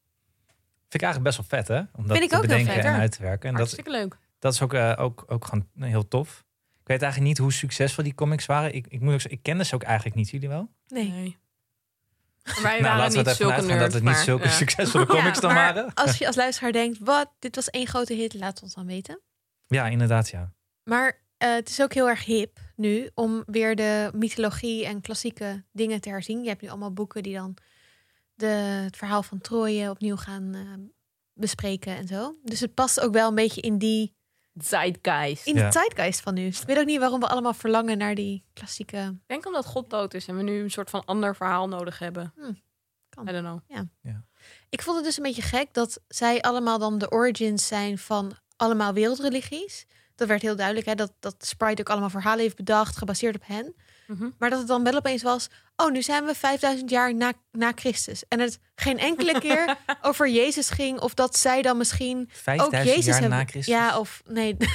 Speaker 2: Vind ik eigenlijk best wel vet, hè? Om dat
Speaker 1: Vind ik
Speaker 2: te
Speaker 1: ook heel
Speaker 2: bedenken
Speaker 1: vet,
Speaker 2: en
Speaker 1: ja.
Speaker 2: uit te werken. En dat,
Speaker 3: Hartstikke leuk.
Speaker 2: dat is ook, eh, ook, ook gewoon heel tof. Ik weet eigenlijk niet hoe succesvol die comics waren. Ik, ik, moet ook, zeggen, ik kende ze ook eigenlijk niet, jullie wel?
Speaker 1: Nee.
Speaker 3: Wij
Speaker 2: nou,
Speaker 3: waren
Speaker 2: laten we het
Speaker 3: niet
Speaker 2: even
Speaker 3: zulke
Speaker 2: uitgaan
Speaker 3: nerds,
Speaker 2: dat het niet
Speaker 3: maar,
Speaker 2: zulke
Speaker 3: ja.
Speaker 2: succesvolle
Speaker 1: Ja,
Speaker 2: comics dan
Speaker 1: maar
Speaker 2: waren.
Speaker 1: Als je als luisteraar denkt, wat, dit was één grote hit, laat ons dan weten.
Speaker 2: Ja, inderdaad, ja.
Speaker 1: Maar eh, het is ook heel erg hip nu om weer de mythologie en klassieke dingen te herzien. Je hebt nu allemaal boeken die dan de, het verhaal van Troje opnieuw gaan eh, bespreken en zo. Dus het past ook wel een beetje in die
Speaker 3: Zeitgeist.
Speaker 1: in de
Speaker 2: Ja.
Speaker 1: tijdgeest van nu. Ik weet ook niet waarom we allemaal verlangen naar die klassieke.
Speaker 3: Ik denk omdat God dood is en we nu een soort van ander verhaal nodig hebben.
Speaker 1: Hm, kan.
Speaker 3: I don't know.
Speaker 1: Ik vond het dus een beetje gek dat zij allemaal dan de origins zijn van allemaal wereldreligies. Dat werd heel duidelijk, hè? Dat, dat Sprite ook allemaal verhalen heeft bedacht, gebaseerd op hen.
Speaker 3: Mhm.
Speaker 1: Maar dat het dan wel opeens was. Oh, nu zijn we 5000 jaar na, na Christus. En het geen enkele keer over Jezus ging. Of dat zij dan misschien ook
Speaker 2: 5000
Speaker 1: Jezus
Speaker 2: jaar
Speaker 1: hebben.
Speaker 2: na Christus.
Speaker 1: Ja, of nee.
Speaker 2: dat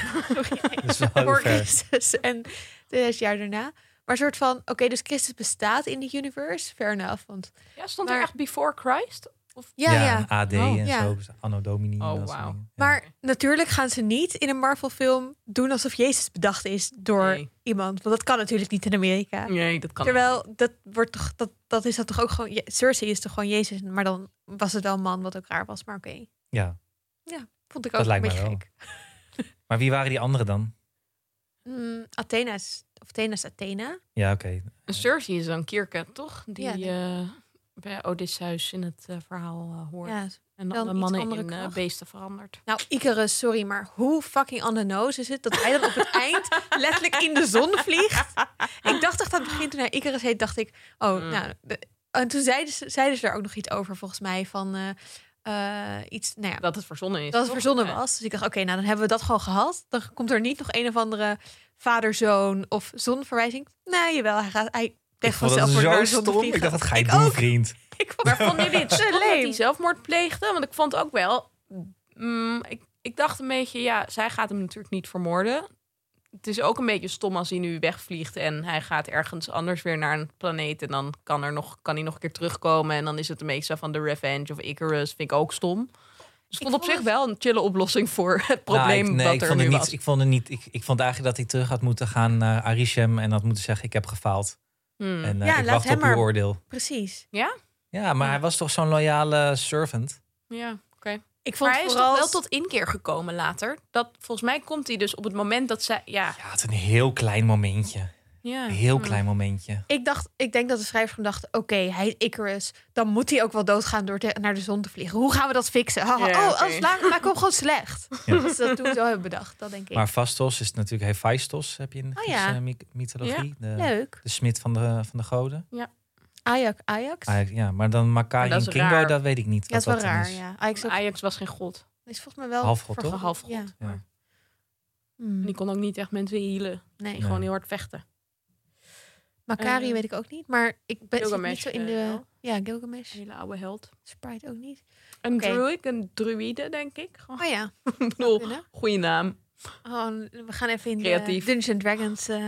Speaker 2: is wel heel
Speaker 1: voor
Speaker 2: ver.
Speaker 1: Christus en 2000 jaar daarna. Maar een soort van, oké, dus Christus bestaat in die universe. Fair enough. Want
Speaker 3: Ja, stond
Speaker 1: Maar-
Speaker 3: er echt before Christ?
Speaker 1: ja, ja.
Speaker 2: een AD
Speaker 3: Oh,
Speaker 2: en
Speaker 1: ja.
Speaker 2: zo. dus Anno Domini. en
Speaker 3: Oh,
Speaker 2: dat soort
Speaker 3: wauw.
Speaker 2: dingen. Ja.
Speaker 1: Maar natuurlijk gaan ze niet in een Marvel-film doen alsof Jezus bedacht is door
Speaker 3: Nee.
Speaker 1: iemand. Want dat kan natuurlijk niet in Amerika.
Speaker 2: Mm,
Speaker 3: Nee, dat kan
Speaker 1: Terwijl dat wordt toch dat, dat is dat toch ook gewoon Je- Cersei is toch gewoon Jezus, maar dan was het wel een man wat ook raar was, maar oké.
Speaker 2: ja.
Speaker 1: Vond ik ook
Speaker 2: Dat
Speaker 1: een
Speaker 2: lijkt
Speaker 1: beetje
Speaker 2: mij wel.
Speaker 1: gek.
Speaker 2: Maar wie waren die anderen dan?
Speaker 1: Mm, Athena is of Athena is Athena.
Speaker 2: Ja, oké.
Speaker 3: Een Cersei is dan Kirke, toch? Die
Speaker 1: Ja, denk ik.
Speaker 3: eh, bij Odysseus in het eh, verhaal eh, hoort.
Speaker 1: Ja.
Speaker 3: en
Speaker 1: wel
Speaker 3: alle
Speaker 1: een iets
Speaker 3: mannen
Speaker 1: andere
Speaker 3: in eh,
Speaker 1: kracht.
Speaker 3: beesten veranderd.
Speaker 1: Nou, Icarus, sorry, maar hoe fucking on the nose is het dat hij dan op het eind letterlijk in de zon vliegt? Ik dacht echt aan het begin toen hij Icarus heet, dacht ik, oh,
Speaker 3: Mm.
Speaker 1: nou. de- en toen zeiden ze, zeiden ze er ook nog iets over, volgens mij, van eh, eh, iets, nou ja,
Speaker 3: Dat het verzonnen is.
Speaker 1: dat het
Speaker 3: toch?
Speaker 1: verzonnen
Speaker 3: Ja.
Speaker 1: was. Dus ik dacht, oké, nou dan hebben we dat gewoon gehad. Dan komt er niet nog een of andere vader-zoon of zonverwijzing. Nee, jawel, hij gaat... Hij,
Speaker 2: Ik
Speaker 1: Tegen
Speaker 2: vond
Speaker 1: vanzelf
Speaker 2: dat
Speaker 1: wordt
Speaker 2: zo
Speaker 1: er zonder
Speaker 2: stom.
Speaker 1: vliegen.
Speaker 2: Ik dacht, wat ga je
Speaker 1: Ik
Speaker 2: doen,
Speaker 1: ook.
Speaker 2: vriend?
Speaker 1: Ik vond-
Speaker 3: Maar vond je dit
Speaker 1: Te
Speaker 3: stom dat
Speaker 1: leem.
Speaker 3: hij zelfmoord pleegde? Want ik vond ook wel... mm, ik, ik dacht een beetje, ja, zij gaat hem natuurlijk niet vermoorden. Het is ook een beetje stom als hij nu wegvliegt en hij gaat ergens anders weer naar een planeet. En dan kan, er nog, kan hij nog een keer terugkomen. En dan is het een beetje zo van de Revenge of Icarus. Vind ik ook stom. Dus ik vond op
Speaker 1: vond
Speaker 3: zich
Speaker 1: het-
Speaker 3: wel een chille oplossing voor het probleem
Speaker 2: Nou, ik, nee,
Speaker 3: wat
Speaker 2: ik
Speaker 3: er
Speaker 2: vond
Speaker 3: nu
Speaker 2: het niet,
Speaker 3: was.
Speaker 2: Ik vond, het niet, ik, ik vond eigenlijk dat hij terug had moeten gaan naar Arishem en had moeten zeggen, ik heb gefaald.
Speaker 3: Hmm.
Speaker 2: En eh,
Speaker 1: Ja,
Speaker 2: ik
Speaker 1: laat
Speaker 2: wacht
Speaker 1: hem
Speaker 2: op
Speaker 1: maar.
Speaker 2: uw oordeel.
Speaker 1: Precies.
Speaker 2: Ja, maar hij was toch zo'n loyale servant?
Speaker 3: Ja, oké.
Speaker 1: Ik vond
Speaker 3: Maar hij is
Speaker 1: vooral...
Speaker 3: toch wel tot inkeer gekomen later. Dat, volgens mij komt hij dus op het moment dat zij... Ja, Hmm.
Speaker 2: Ja, het een heel klein momentje.
Speaker 3: ja. Mm.
Speaker 2: Een heel klein momentje.
Speaker 1: Ik, dacht, ik denk dat de schrijver gewoon dacht... oké, hij is Icarus. Dan moet hij ook wel doodgaan door te- naar de zon te vliegen. Hoe gaan we dat fixen? Haha,
Speaker 3: Ja,
Speaker 1: oh,
Speaker 3: oké.
Speaker 1: als laag, maak hem gewoon slecht.
Speaker 2: Ja.
Speaker 1: Dus dat toen zo hebben bedacht, dat denk ik.
Speaker 2: Maar Vastos is natuurlijk Hephaistos, heb je in de
Speaker 1: Oh ja.
Speaker 2: Griekse my- mythologie. De,
Speaker 1: Leuk.
Speaker 2: de smid van de, van de goden.
Speaker 1: Ajax, Ajax?
Speaker 2: Ah, ja, maar dan Makari
Speaker 3: Maar
Speaker 2: en
Speaker 3: dat is
Speaker 2: Kingo,
Speaker 3: raar.
Speaker 2: dat weet ik niet.
Speaker 1: ja, dat is wel
Speaker 2: dan
Speaker 1: raar. Ja. Ajax is ook-
Speaker 3: Ajax was geen god.
Speaker 1: is volgens mij wel...
Speaker 2: Halfgod,
Speaker 1: vergod.
Speaker 3: Half god.
Speaker 1: Ja.
Speaker 2: Ja.
Speaker 1: Hmm,
Speaker 3: En die kon ook niet echt mensen healen.
Speaker 1: nee.
Speaker 2: Nee.
Speaker 3: Gewoon heel hard vechten.
Speaker 1: Makari
Speaker 3: Eh,
Speaker 1: weet ik ook niet, maar ik ben zit niet
Speaker 3: Gilgamesh,
Speaker 1: zo in
Speaker 3: eh,
Speaker 1: de...
Speaker 3: wel.
Speaker 1: Ja, Gilgamesh.
Speaker 3: Een hele oude held.
Speaker 1: Sprite ook niet.
Speaker 3: Een
Speaker 1: Oké.
Speaker 3: druid, een druïde, denk ik. Gewoon,
Speaker 1: Oh ja,
Speaker 3: ik bedoel,
Speaker 1: kunnen.
Speaker 3: goede naam.
Speaker 1: Oh, we gaan even in
Speaker 3: Creatief.
Speaker 1: de Dungeons and Dragons. eh.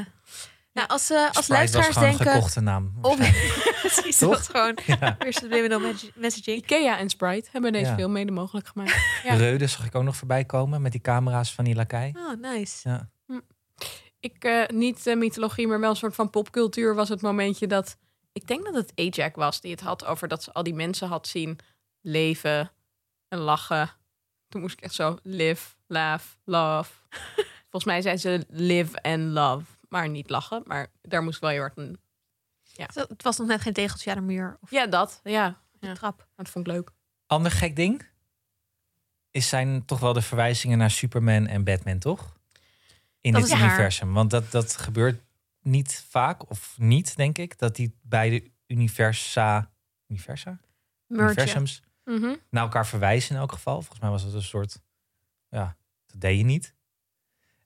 Speaker 1: Nou, als, eh, als
Speaker 2: Sprite was
Speaker 1: luisteraars
Speaker 2: gewoon een
Speaker 1: denken...
Speaker 2: gekochte naam.
Speaker 1: Of,
Speaker 2: waarschijnlijk.
Speaker 1: precies,
Speaker 2: Toch?
Speaker 1: dat is gewoon
Speaker 2: Ja.
Speaker 1: weer subliminal message- messaging.
Speaker 3: Ikea en Sprite hebben deze
Speaker 2: Ja.
Speaker 3: film mede mogelijk gemaakt. Ja.
Speaker 2: Reude zag ik ook nog voorbij komen met die camera's van die lakai.
Speaker 1: Oh, nice.
Speaker 2: Ja.
Speaker 3: ik, eh, niet eh, mythologie, maar wel een soort van popcultuur was het momentje dat... Ik denk dat het Ajax was die het had over dat ze al die mensen had zien leven en lachen. Toen moest ik echt zo live, laugh, love. Volgens mij zei ze live and love, maar niet lachen. Maar daar moest ik wel heel hard een...
Speaker 1: Zo, Het was nog net geen tegeltje aan de muur of
Speaker 3: Ja, dat. Ja,
Speaker 1: de
Speaker 3: Ja.
Speaker 1: trap.
Speaker 3: dat vond ik leuk.
Speaker 2: Ander gek ding is zijn toch wel de verwijzingen naar Superman en Batman, toch? In
Speaker 1: Dat
Speaker 2: dit
Speaker 1: is waar.
Speaker 2: universum. Want dat, dat gebeurt niet vaak, of niet, denk ik, dat die beide universa, universa?
Speaker 1: Merge.
Speaker 2: universums
Speaker 3: Mhm,
Speaker 2: naar elkaar verwijzen in elk geval. Volgens mij was dat een soort, ja, dat deed je niet.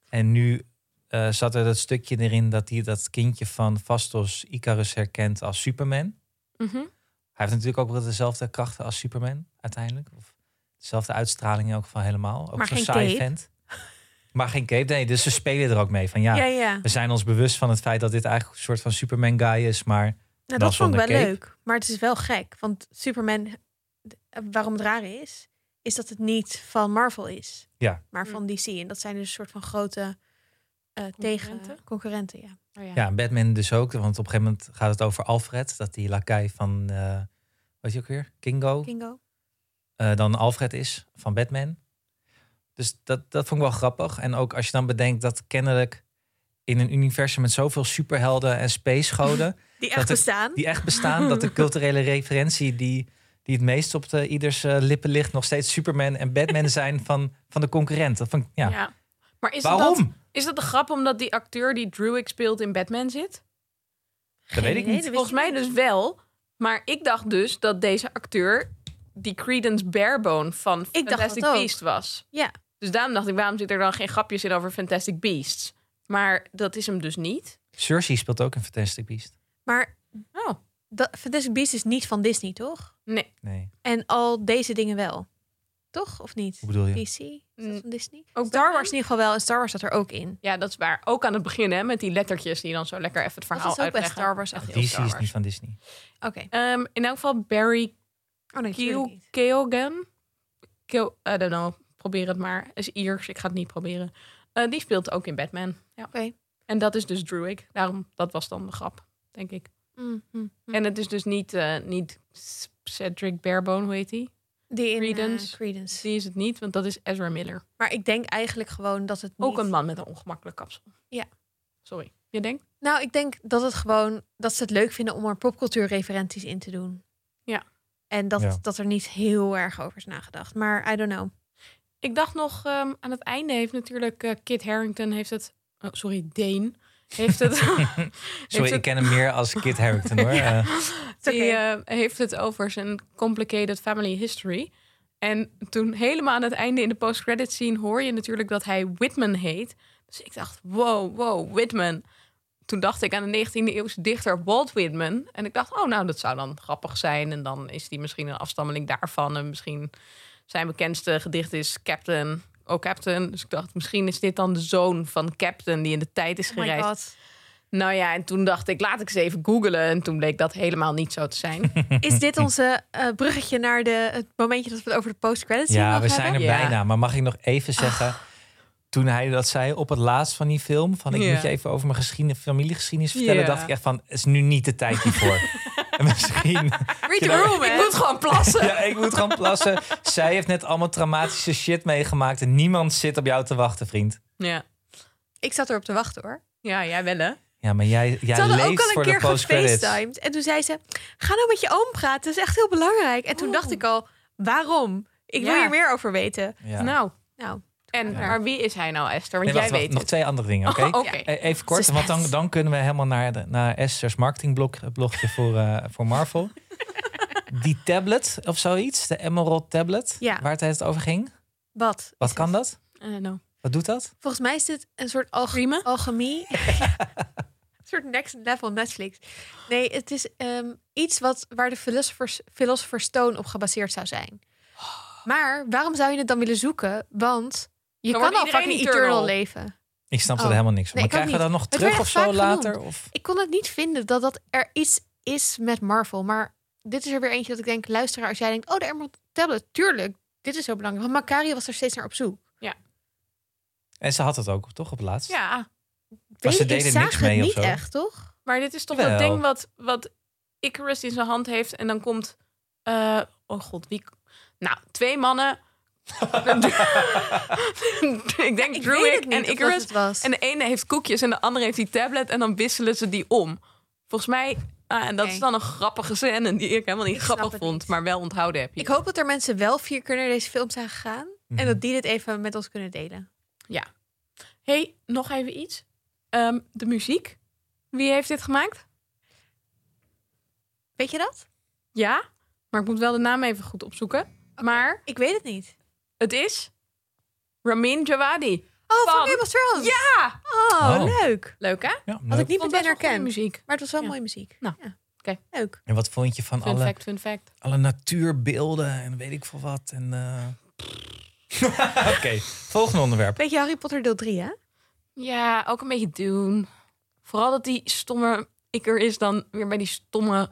Speaker 2: En nu eh, zat er dat stukje erin dat hij dat kindje van Vastos Icarus herkent als Superman.
Speaker 3: Mhm.
Speaker 2: Hij heeft natuurlijk ook wel dezelfde krachten als Superman uiteindelijk. Of dezelfde uitstraling in elk geval helemaal. Ook
Speaker 1: Maar
Speaker 2: zo'n
Speaker 1: geen
Speaker 2: saai
Speaker 1: cape.
Speaker 2: vent. Maar geen cape, nee. Dus ze spelen er ook mee van ja,
Speaker 1: Ja, ja. Nou,
Speaker 2: we zijn ons bewust van het feit dat dit eigenlijk een soort van Superman guy is. Maar
Speaker 1: Nou,
Speaker 2: Dan
Speaker 1: dat vond ik wel
Speaker 2: zonder cape.
Speaker 1: leuk. Maar het is wel gek. Want Superman, d- eh, waarom het raar is, is dat het niet van Marvel is.
Speaker 2: Ja.
Speaker 1: Maar van
Speaker 3: Mm.
Speaker 1: DC. En dat zijn dus een soort van grote eh, tegen
Speaker 3: Concurrenten?
Speaker 1: concurrenten. Ja.
Speaker 3: Oh ja.
Speaker 2: ja, Batman dus ook. Want op een gegeven moment gaat het over Alfred. Dat die lakai van, eh weet je ook weer? Kingo.
Speaker 1: Kingo.
Speaker 2: eh, dan Alfred is van Batman. Dus dat, dat vond ik wel grappig. En ook als je dan bedenkt dat kennelijk in een universum met zoveel superhelden en space goden...
Speaker 1: Die
Speaker 2: Dat
Speaker 1: echt
Speaker 2: het-
Speaker 1: bestaan.
Speaker 2: die echt bestaan. dat de culturele referentie die, die het meest op de, ieders eh, lippen ligt, nog steeds Superman en Batman zijn van, van de concurrenten. Van, ja.
Speaker 3: Ja. Maar is
Speaker 2: Waarom?
Speaker 3: dat is dat de grap omdat die acteur die Druig speelt in Batman zit?
Speaker 2: Dat weet ik niet.
Speaker 3: Volgens mij dus wel. Maar ik dacht dus dat deze acteur die Credence Barebone van
Speaker 1: dacht
Speaker 3: Fantastic
Speaker 1: dat ook.
Speaker 3: Beast was.
Speaker 1: Ja.
Speaker 3: Dus daarom dacht ik, waarom zit er dan geen grapjes in over Fantastic Beasts? Maar dat is hem dus niet.
Speaker 2: Cersei speelt ook in Fantastic Beast.
Speaker 1: Maar
Speaker 3: Oh,
Speaker 1: dat, Fantastic Beasts is niet van Disney, toch?
Speaker 3: nee.
Speaker 2: Nee,
Speaker 1: En al deze dingen wel. Toch? Of niet?
Speaker 2: hoe bedoel je?
Speaker 1: DC? Is dat van Disney?
Speaker 3: Ook
Speaker 1: Mm. Star
Speaker 3: Batman?
Speaker 1: Wars in ieder geval wel. En Star Wars zat er ook in.
Speaker 3: Ja, dat is waar. Ook aan het begin, hè, met die lettertjes die dan zo lekker even het
Speaker 1: Dat is
Speaker 3: verhaal
Speaker 1: ook bij
Speaker 3: uitleggen.
Speaker 1: Star Wars.
Speaker 3: Echt
Speaker 1: echt.
Speaker 3: heel
Speaker 2: DC is
Speaker 3: Star
Speaker 2: dus
Speaker 3: Wars.
Speaker 2: niet van Disney.
Speaker 1: Oké.
Speaker 3: Ehm, in elk geval Barry
Speaker 1: Oh nee, natuurlijk
Speaker 3: Keo-
Speaker 1: niet.
Speaker 3: Keoghan? Keo, I don't know. Probeer het maar. Is Iers, ik ga het niet proberen. Eh, die speelt ook in Batman. Ja.
Speaker 1: Oké.
Speaker 3: En dat is dus Druig. Daarom, dat was dan de grap, denk ik.
Speaker 1: Mm, mm, mm.
Speaker 3: En het is dus niet, eh, niet C- Cedric Barebone, hoe heet die?
Speaker 1: Die in eh,
Speaker 3: Credence.
Speaker 1: Credence.
Speaker 3: Die is het niet, want dat is Ezra Miller.
Speaker 1: Maar ik denk eigenlijk gewoon dat het niet...
Speaker 3: Ook een man met een ongemakkelijk kapsel.
Speaker 1: Ja.
Speaker 3: Sorry. Je denkt?
Speaker 1: Nou, ik denk dat het gewoon dat ze het leuk vinden om er popcultuurreferenties in te doen.
Speaker 3: Ja.
Speaker 1: En dat,
Speaker 2: Ja.
Speaker 1: dat er niet heel erg over is nagedacht. Maar I don't know.
Speaker 3: Ik dacht nog, ehm, aan het einde heeft natuurlijk eh, Kit Harrington heeft het... Oh, sorry, Dane. Heeft het...
Speaker 2: Sorry,
Speaker 3: het-
Speaker 2: ik ken hem meer als Kid Harington hoor. Eh,
Speaker 1: It's
Speaker 3: Die
Speaker 1: okay.
Speaker 3: eh, heeft het over zijn complicated family history. En toen helemaal aan het einde in de post-credit scene hoor je natuurlijk dat hij Whitman heet. Dus ik dacht, wow, wow, Whitman. Toen dacht ik aan de 19e eeuwse dichter Walt Whitman. En ik dacht, oh nou, dat zou dan grappig zijn. En dan is die misschien een afstammeling daarvan. En misschien zijn bekendste gedicht is Captain. Oh, Captain. Dus ik dacht, misschien is dit dan de zoon van Captain die in de tijd is
Speaker 1: oh my
Speaker 3: gereisd.
Speaker 1: god.
Speaker 3: Nou ja, en toen dacht ik, laat ik eens even googlen. En toen bleek dat helemaal niet zo te zijn.
Speaker 1: Is dit onze eh, bruggetje naar de, het momentje dat we het over de post-credits
Speaker 2: ja,
Speaker 1: nog
Speaker 2: we zijn er
Speaker 1: hebben?
Speaker 3: Ja.
Speaker 2: bijna. Maar mag ik nog even zeggen, toen hij dat zei op het laatst van die film, van ik
Speaker 3: Ja.
Speaker 2: moet je even over mijn geschiedenis, familiegeschiedenis vertellen,
Speaker 3: Ja.
Speaker 2: dacht ik echt van, is nu niet de tijd hiervoor. en misschien
Speaker 1: Read the
Speaker 2: Ja.
Speaker 1: room,
Speaker 3: ik
Speaker 1: hè?
Speaker 3: moet gewoon plassen.
Speaker 2: Ja, ik moet gewoon plassen. Zij heeft net allemaal traumatische shit meegemaakt. En niemand zit op jou te wachten, vriend.
Speaker 3: Ja,
Speaker 1: Ik zat erop te wachten hoor.
Speaker 3: ja jij wel hè?
Speaker 2: Ja, maar jij,
Speaker 1: Ze
Speaker 2: jij
Speaker 1: hadden
Speaker 2: leeft
Speaker 1: ook al
Speaker 2: voor
Speaker 1: een
Speaker 2: de
Speaker 1: keer
Speaker 2: post-credits.
Speaker 1: gefacetimed. En toen zei ze, ga nou met je oom praten. Dat is echt heel belangrijk. En toen
Speaker 3: Oh.
Speaker 1: dacht ik al, waarom? Ik wil
Speaker 3: Ja.
Speaker 1: hier meer over weten.
Speaker 2: Ja.
Speaker 3: Nou,
Speaker 1: Nou,
Speaker 3: en
Speaker 2: Ja.
Speaker 3: maar wie is hij nou, Esther? Want
Speaker 2: Nee, wacht,
Speaker 3: jij
Speaker 2: wacht,
Speaker 3: weet
Speaker 2: nog
Speaker 3: het.
Speaker 2: twee andere dingen, oké?
Speaker 3: Oh, Oké.
Speaker 2: E- Even kort,
Speaker 1: Suspense.
Speaker 2: want dan, dan kunnen we helemaal naar, de, naar Esther's marketingblogje voor, eh, voor Marvel. Die tablet of zoiets, de Emerald Tablet,
Speaker 1: Ja.
Speaker 2: waar het het over ging.
Speaker 1: wat?
Speaker 2: Wat
Speaker 1: is
Speaker 2: kan
Speaker 1: het?
Speaker 2: dat?
Speaker 3: I don't know.
Speaker 2: Wat doet dat?
Speaker 1: Volgens mij is dit een soort alg
Speaker 3: Riemen?
Speaker 1: alchemie. een soort next level Netflix. Nee, het is ehm, iets wat, waar de Philosopher's, Philosopher's Stone op gebaseerd zou zijn. Maar waarom zou je het dan willen zoeken? Want je
Speaker 3: Dan
Speaker 1: kan
Speaker 3: wordt
Speaker 1: al
Speaker 3: iedereen
Speaker 1: fucking
Speaker 3: eternal.
Speaker 1: eternal. leven.
Speaker 2: Ik snap
Speaker 1: Oh.
Speaker 2: er helemaal niks van.
Speaker 1: Nee,
Speaker 2: maar
Speaker 1: ik ook
Speaker 2: krijgen we dat nog
Speaker 1: Het
Speaker 2: terug
Speaker 1: werd
Speaker 2: of
Speaker 1: vaak
Speaker 2: zo later? Of?
Speaker 1: Ik kon het niet vinden dat dat er iets is met Marvel. Maar dit is er weer eentje dat ik denk, luisteraar, als jij denkt... Oh, de Emerald Tablet, tuurlijk. Dit is zo belangrijk. Want Makari was er steeds naar op zoek.
Speaker 2: En ze had het ook, toch? Op het laatst.
Speaker 3: Ja,
Speaker 2: Maar
Speaker 1: Weet
Speaker 2: ze
Speaker 1: ik,
Speaker 2: deden
Speaker 1: ik zag
Speaker 2: niks
Speaker 1: het
Speaker 2: mee of
Speaker 1: niet
Speaker 2: zo.
Speaker 1: echt, toch?
Speaker 3: maar dit is toch
Speaker 2: Wel.
Speaker 3: dat ding wat, wat Icarus in zijn hand heeft. En dan komt... eh, oh god, wie... Nou, twee mannen. ik denk
Speaker 1: Ik weet
Speaker 3: Druid
Speaker 1: het niet
Speaker 3: en
Speaker 1: of dat
Speaker 3: Icarus.
Speaker 1: het was.
Speaker 3: En de ene heeft koekjes en de andere heeft die tablet. En dan wisselen ze die om. Volgens mij... ah, en dat
Speaker 1: Oké.
Speaker 3: is dan een grappige scène die ik helemaal niet
Speaker 1: Ik snap
Speaker 3: grappig
Speaker 1: het
Speaker 3: vond.
Speaker 1: niet.
Speaker 3: Maar wel onthouden heb je.
Speaker 1: Ik hoop dat er mensen wel vier keer naar deze film zijn gegaan.
Speaker 2: Mhm.
Speaker 1: En dat die dit even met ons kunnen delen.
Speaker 3: hey, nog even iets. Ehm, de muziek. Wie heeft dit gemaakt?
Speaker 1: Weet je dat?
Speaker 3: Ja, maar ik moet wel de naam even goed opzoeken. Maar
Speaker 1: Ik weet het niet.
Speaker 3: het is Ramin Djawadi.
Speaker 1: Oh, van,
Speaker 3: Van-
Speaker 1: Game of Thrones.
Speaker 3: Ja!
Speaker 1: Oh,
Speaker 2: Oh.
Speaker 1: leuk.
Speaker 3: Leuk hè?
Speaker 2: Ja,
Speaker 1: Had
Speaker 2: leuk.
Speaker 1: ik niet
Speaker 3: Vond
Speaker 1: meteen
Speaker 3: best wel goede
Speaker 1: herkend.
Speaker 3: muziek.
Speaker 1: Maar het was wel
Speaker 3: Ja.
Speaker 1: mooie muziek.
Speaker 3: Nou,
Speaker 1: Ja.
Speaker 3: oké.
Speaker 1: Leuk.
Speaker 2: En wat vond je van
Speaker 3: Fun
Speaker 2: alle,
Speaker 3: fact, fun fact.
Speaker 2: alle natuurbeelden en weet ik veel wat? En, eh, Oké, volgende onderwerp.
Speaker 1: Beetje Harry Potter deel 3, hè?
Speaker 3: Ja, ook een beetje doen. Vooral dat die stomme ik er is dan weer bij die stomme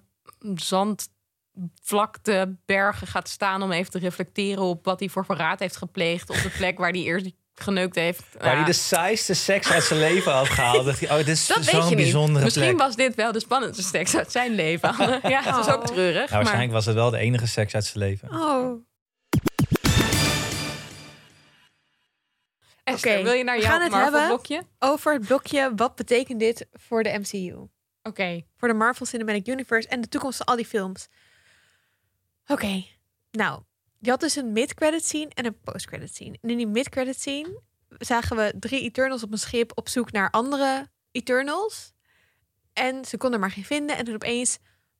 Speaker 3: zandvlakte bergen gaat staan om even te reflecteren op wat hij voor verraad heeft gepleegd op de plek waar hij eerst geneukt heeft.
Speaker 2: Waar
Speaker 3: Ja.
Speaker 2: hij de saaiste seks uit zijn leven had gehaald. Dacht hij, oh, dit is
Speaker 3: Dat weet je
Speaker 2: zo'n
Speaker 3: niet.
Speaker 2: bijzondere
Speaker 3: Misschien
Speaker 2: plek.
Speaker 3: was dit wel de spannendste seks uit zijn leven. ja, het is ook treurig.
Speaker 2: Nou,
Speaker 3: maar...
Speaker 2: waarschijnlijk was het wel de enige seks uit zijn leven.
Speaker 1: Oh.
Speaker 3: Esther,
Speaker 1: Oké,
Speaker 3: wil je naar
Speaker 1: we
Speaker 3: jouw
Speaker 1: gaan het
Speaker 3: Marvel
Speaker 1: hebben.
Speaker 3: blokje? Oké.
Speaker 1: Over het blokje, wat betekent dit voor de MCU? Voor de Marvel Cinematic Universe en de toekomst van al die films. Oké. Nou, je had dus een mid-credit scene en een post-credit scene. En in die mid-credit scene zagen we drie Eternals op een schip op zoek naar andere Eternals. En ze konden er maar geen vinden. En toen opeens,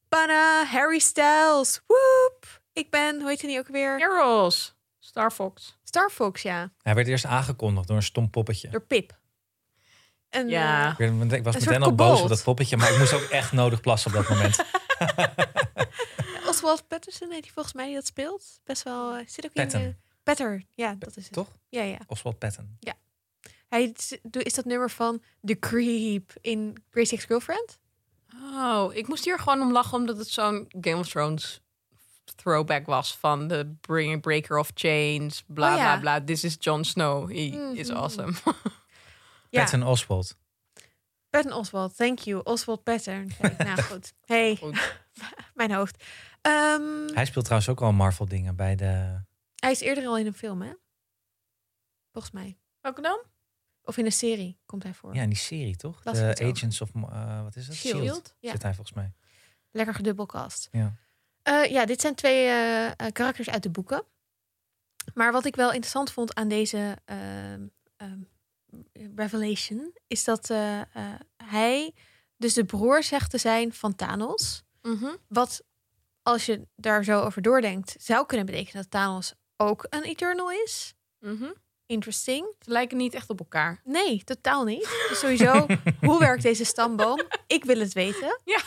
Speaker 1: Banna, Harry Styles, woep. Ik ben, hoe heet hij die ook weer?
Speaker 3: Arrows. Star Fox.
Speaker 1: Star Fox, ja.
Speaker 2: Hij werd eerst aangekondigd door een stom poppetje.
Speaker 1: Door Pip. En,
Speaker 3: Ja.
Speaker 1: eh,
Speaker 2: Ik, werd- ik was
Speaker 1: Een
Speaker 2: meteen
Speaker 1: soort
Speaker 2: al boos op
Speaker 1: kobold.
Speaker 2: dat poppetje, maar ik moest ook echt nodig plassen op dat moment.
Speaker 1: Oswald Patterson heet hij volgens mij die dat speelt. Best wel, eh, zit ook in de...
Speaker 2: Patton,
Speaker 1: Petter, ja, dat is het.
Speaker 2: toch?
Speaker 1: Ja, ja.
Speaker 2: Oswald Patton.
Speaker 1: Hij is- doe- is dat nummer van The Creep in Crazy Ex-Girlfriend.
Speaker 3: Oh, ik moest hier gewoon om lachen omdat het zo'n Game of Thrones throwback was van de bring- Breaker of Chains, bla
Speaker 1: Oh ja.
Speaker 3: bla bla. This is Jon Snow. He is
Speaker 1: Mhm.
Speaker 3: awesome.
Speaker 1: Ja, Patton,
Speaker 2: Patton Oswald.
Speaker 1: Oswald. Thank you. Oswald Patton. Kijk, nou goed. Hey,
Speaker 3: Goed.
Speaker 1: mijn hoofd. Ehm,
Speaker 2: Hij speelt trouwens ook al Marvel dingen bij de...
Speaker 1: hij is eerder al in een film, hè? Volgens mij.
Speaker 3: Welke dan?
Speaker 1: Of in een serie komt hij voor.
Speaker 2: Ja, in die serie, toch?
Speaker 1: Las ik
Speaker 2: de
Speaker 1: het over.
Speaker 2: Agents of... eh, wat is het?
Speaker 1: Shield. Ja.
Speaker 2: Zit hij volgens mij.
Speaker 1: Lekker gedubbelcast.
Speaker 2: Ja.
Speaker 1: Eh, ja, dit zijn twee eh, eh, karakters uit de boeken. Maar wat ik wel interessant vond aan deze ehm, ehm, revelation... is dat eh, eh, hij dus de broer zegt te zijn van Thanos...
Speaker 3: Mhm,
Speaker 1: Wat, als je daar zo over doordenkt, zou kunnen betekenen dat Thanos ook een Eternal is.
Speaker 3: Mhm.
Speaker 1: Interesting.
Speaker 3: Ze lijken niet echt op elkaar.
Speaker 1: Nee, totaal niet. Dus sowieso, hoe werkt deze stamboom? Ik wil het weten.
Speaker 3: Ja.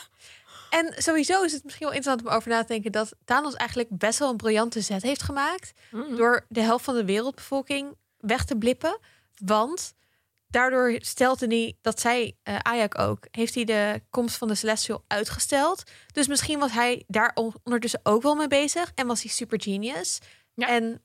Speaker 1: En sowieso is het misschien wel interessant om over na te denken dat Thanos eigenlijk best wel een briljante zet heeft gemaakt.
Speaker 3: Door...
Speaker 1: Door de helft van de wereldbevolking weg te blippen. Want daardoor stelde hij, dat zij eh Ajax ook, heeft hij de komst van de Celestial uitgesteld. Dus misschien was hij daar on- ondertussen ook wel mee bezig. En was hij super genius.
Speaker 3: Ja.
Speaker 1: En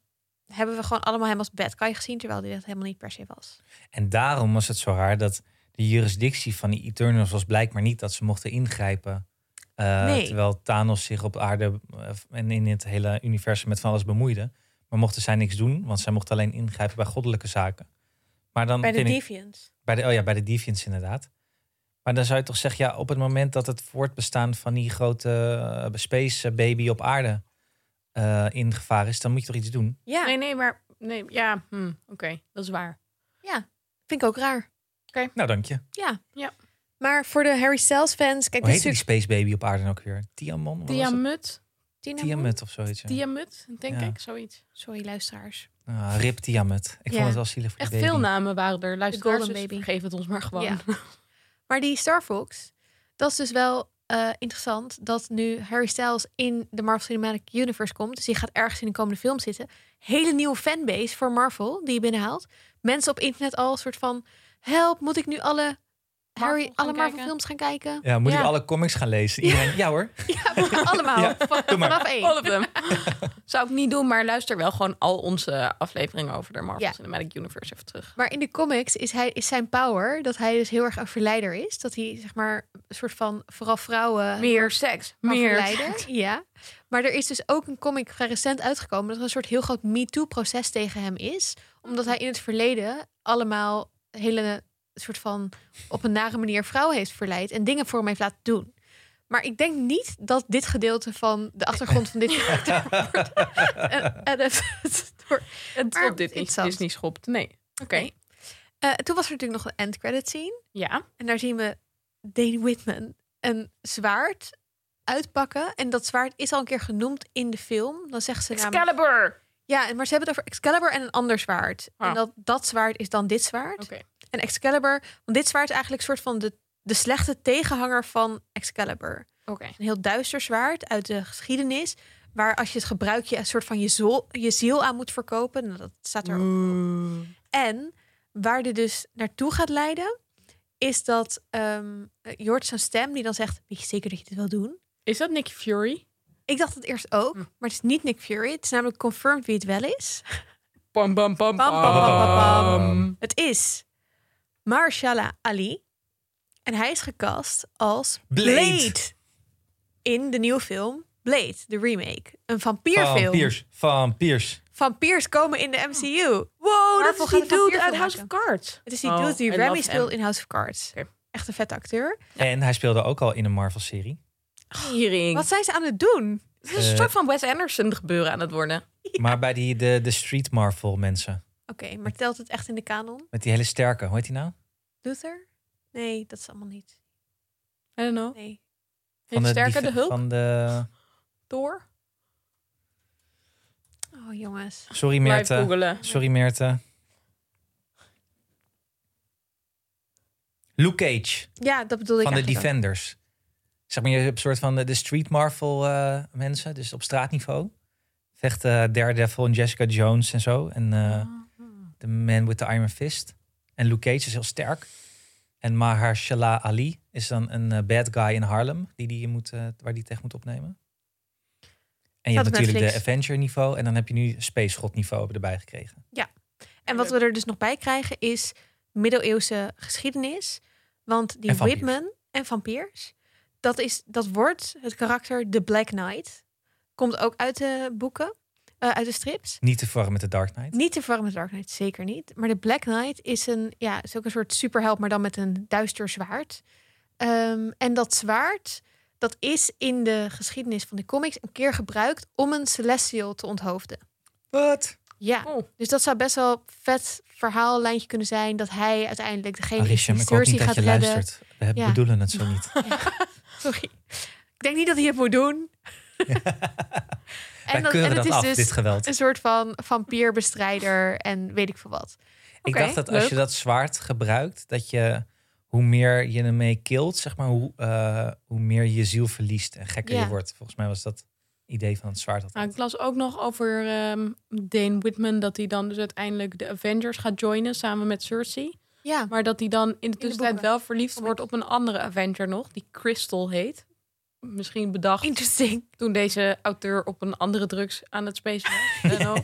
Speaker 1: hebben we gewoon allemaal hem als bad guy gezien, terwijl hij dat helemaal niet per se was.
Speaker 2: En daarom was het zo raar dat de jurisdictie van die Eternals was blijkbaar niet dat ze mochten ingrijpen. Eh,
Speaker 1: Nee.
Speaker 2: Terwijl Thanos zich op aarde eh, en in het hele universum met van alles bemoeide. Maar mochten zij niks doen, want zij mochten alleen ingrijpen bij goddelijke zaken. Maar dan
Speaker 1: Bij de
Speaker 2: Hm, vind ik-
Speaker 1: Deviants.
Speaker 2: bij de, oh ja, bij de Deviants inderdaad. Maar dan zou je toch zeggen, ja, op het moment dat het voortbestaan van die grote eh, space baby op aarde eh, in gevaar is, dan moet je toch iets doen.
Speaker 1: Ja,
Speaker 3: Nee, nee, maar nee, ja, hm, oké, dat is waar.
Speaker 1: vind ik ook raar.
Speaker 2: Nou, dank je.
Speaker 1: Ja.
Speaker 3: Ja.
Speaker 1: Maar voor de Harry Styles fans, kijk,
Speaker 2: Hoe
Speaker 1: dit
Speaker 2: heette
Speaker 1: is
Speaker 2: die
Speaker 1: natuurlijk
Speaker 2: space baby op aarde ook weer? Tiamon? Wat was het?
Speaker 3: Diamut,
Speaker 1: Dynamo.
Speaker 2: Tiamat of zoiets. ja.
Speaker 3: diamut, denk
Speaker 2: Ja.
Speaker 3: ik, zoiets.
Speaker 1: Sorry, luisteraars.
Speaker 2: Ah, Rip Tiamat. Ik
Speaker 1: Ja.
Speaker 2: vond het wel zielig voor
Speaker 3: Echt
Speaker 2: die baby.
Speaker 3: veel namen waren er. Luisteraars,
Speaker 1: Golden
Speaker 3: dus
Speaker 1: Baby.
Speaker 3: vergeef het ons maar gewoon.
Speaker 1: Ja. Maar die Star Fox, dat is dus wel eh, interessant dat nu Harry Styles in de Marvel Cinematic Universe komt. Dus die gaat ergens in de komende film zitten. Hele nieuwe fanbase voor Marvel die je binnenhaalt. Mensen op internet al een soort van help, moet ik nu alle Harry,
Speaker 3: gaan
Speaker 1: alle Marvel
Speaker 3: kijken?
Speaker 1: films gaan kijken?
Speaker 2: Ja, moet
Speaker 3: Ja.
Speaker 2: ik alle comics gaan lezen? Iedereen, ja hoor.
Speaker 1: Ja, allemaal.
Speaker 2: Ja,
Speaker 1: Van-
Speaker 2: doe maar.
Speaker 1: vanaf één.
Speaker 3: All of them. Zou ik niet doen, maar luister wel gewoon al onze afleveringen over de Marvel
Speaker 1: Ja.
Speaker 3: Cinematic Universe even terug.
Speaker 1: Maar in de comics is, hij, is zijn power dat hij dus heel erg een verleider is. Dat hij zeg maar een soort van vooral vrouwen
Speaker 3: Meer seks.
Speaker 1: Maar
Speaker 3: Meer
Speaker 1: verleider, ja. Maar er is dus ook een comic vrij recent uitgekomen... dat er een soort heel groot MeToo-proces tegen hem is. Omdat hij in het verleden allemaal hele soort van... op een nare manier vrouwen heeft verleid... en dingen voor hem heeft laten doen. Maar ik denk niet dat dit gedeelte van de achtergrond van dit karakter wordt een adapted door-
Speaker 3: Het
Speaker 1: Maar
Speaker 3: op dit niet,
Speaker 1: interessant.
Speaker 3: Disney schopt. Nee. Oké.
Speaker 1: Nee. Eh, toen was er natuurlijk nog een end credit scene.
Speaker 3: Ja.
Speaker 1: En daar zien we Dane Whitman een zwaard uitpakken. En dat zwaard is al een keer genoemd in de film. Dan zegt ze namelijk...
Speaker 3: Excalibur.
Speaker 1: Ja, en- maar ze hebben het over Excalibur en een ander zwaard.
Speaker 3: Ah.
Speaker 1: En dat, dat zwaard is dan dit zwaard.
Speaker 3: Oké.
Speaker 1: En Excalibur, want dit zwaard is eigenlijk een soort van de, de slechte tegenhanger van Excalibur.
Speaker 3: Oké.
Speaker 1: Een heel duister zwaard uit de geschiedenis. Waar als je het gebruikt, je een soort van je, zool, je ziel aan moet verkopen. Nou, dat staat er en waar dit dus naartoe gaat leiden, is dat ehm je hoort zo'n stem die dan zegt: Weet je zeker dat je dit wil doen?
Speaker 3: Is dat Nick Fury?
Speaker 1: Ik dacht het eerst ook,
Speaker 3: Hm.
Speaker 1: maar het is niet Nick Fury. Het is namelijk confirmed wie het wel is.
Speaker 3: Pam, pam,
Speaker 1: Pam,
Speaker 3: pam,
Speaker 1: pam, pam, pam,
Speaker 2: pam.
Speaker 1: Het is Marshala Ali. En hij is gecast als Blade.
Speaker 2: Blade.
Speaker 1: In de nieuwe film Blade, de remake. Een vampierfilm.
Speaker 2: Vampiers. Vampiers.
Speaker 1: Vampiers komen in de MCU. Wow,
Speaker 3: Oh, dat is die dude uit House of Cards.
Speaker 1: Het is die
Speaker 3: Oh,
Speaker 1: dude die
Speaker 3: I
Speaker 1: Remy
Speaker 3: love
Speaker 1: speelt in House of Cards.
Speaker 3: Oké.
Speaker 1: Echt een vette acteur.
Speaker 2: En hij speelde ook al in een Marvel-serie.
Speaker 3: him. Tering.
Speaker 1: Wat zijn ze aan het doen?
Speaker 3: Het is een
Speaker 2: Eh.
Speaker 3: soort van Wes Anderson gebeuren aan het worden.
Speaker 2: Maar bij die, de, de Street Marvel-mensen.
Speaker 1: Oké, maar telt het echt in de kanon?
Speaker 2: Met die hele sterke, hoe heet die nou?
Speaker 1: Luther? Nee, dat is allemaal niet.
Speaker 3: I don't know.
Speaker 1: Nee.
Speaker 3: Heeft
Speaker 2: de,
Speaker 3: sterker de
Speaker 2: die-
Speaker 3: hulp
Speaker 2: Van de,
Speaker 3: door?
Speaker 1: Oh, jongens.
Speaker 2: sorry
Speaker 3: Blijf
Speaker 2: Meerte.
Speaker 3: googelen.
Speaker 2: Sorry Meerte. Luke Cage
Speaker 1: Ja, dat bedoelde
Speaker 2: van
Speaker 1: ik
Speaker 2: de
Speaker 1: eigenlijk
Speaker 2: Defenders. Zeg maar, je hebt een soort van de, de Street Marvel eh, mensen, dus op straatniveau. Vechten Daredevil en Jessica Jones en zo. En eh, The Man with the Iron Fist. En Luke Cage is heel sterk. En Mahershala Ali is dan een eh, bad guy in Harlem, die die moet, eh, waar die tegen moet opnemen. En je
Speaker 1: Staat
Speaker 2: hebt
Speaker 1: op
Speaker 2: natuurlijk de
Speaker 1: Netflix.
Speaker 2: Avenger niveau en dan heb je nu Space God niveau erbij gekregen.
Speaker 1: ook. En wat we er dus nog bij krijgen is middeleeuwse geschiedenis. Want die
Speaker 2: En vampiers.
Speaker 1: Whitman en vampiers, dat, is, dat wordt het karakter The Black Knight. Komt ook uit de boeken, eh, uit de strips.
Speaker 2: Niet te verwarren met de Dark Knight.
Speaker 1: Niet te verwarren met Dark Knight, zeker niet. Maar de Black Knight is, een, ja, is ook een soort superheld, maar dan met een duister zwaard. Ehm, en dat zwaard, dat is in de geschiedenis van de comics een keer gebruikt om een Celestial te onthoofden.
Speaker 2: Wat?
Speaker 1: Ja,
Speaker 3: Oh.
Speaker 1: dus dat zou best wel een vet verhaallijntje kunnen zijn. Dat hij uiteindelijk degene is
Speaker 2: Arishem,
Speaker 1: die
Speaker 2: ik hoop
Speaker 1: Cersei
Speaker 2: niet dat
Speaker 1: gaat
Speaker 2: je
Speaker 1: redden.
Speaker 2: luistert. We hebben-
Speaker 1: Ja.
Speaker 2: bedoelen het zo niet.
Speaker 1: Sorry. Ik denk niet dat hij het moet doen.
Speaker 2: Wij keuren dat af,
Speaker 1: dus
Speaker 2: dit geweld.
Speaker 1: een soort van vampierbestrijder en weet ik veel wat.
Speaker 2: ik
Speaker 3: oké,
Speaker 2: dacht dat als
Speaker 3: leuk.
Speaker 2: je dat zwaard gebruikt, dat je hoe meer je ermee kilt, zeg maar, hoe, eh, hoe meer je ziel verliest en gekker
Speaker 1: Ja.
Speaker 2: je wordt. Volgens mij was dat idee van het zwaard. Dat
Speaker 3: Nou, ik las ook nog over ehm, Dane Whitman dat hij dan dus uiteindelijk de Avengers gaat joinen samen met Cersei.
Speaker 1: Ja,
Speaker 3: Maar dat hij dan in de tussentijd
Speaker 1: boeken.
Speaker 3: wel verliefd wordt op een andere Avenger nog, die Crystal heet. Misschien bedacht
Speaker 1: interesting.
Speaker 3: toen deze auteur op een andere drugs aan het spacen was. I don't know.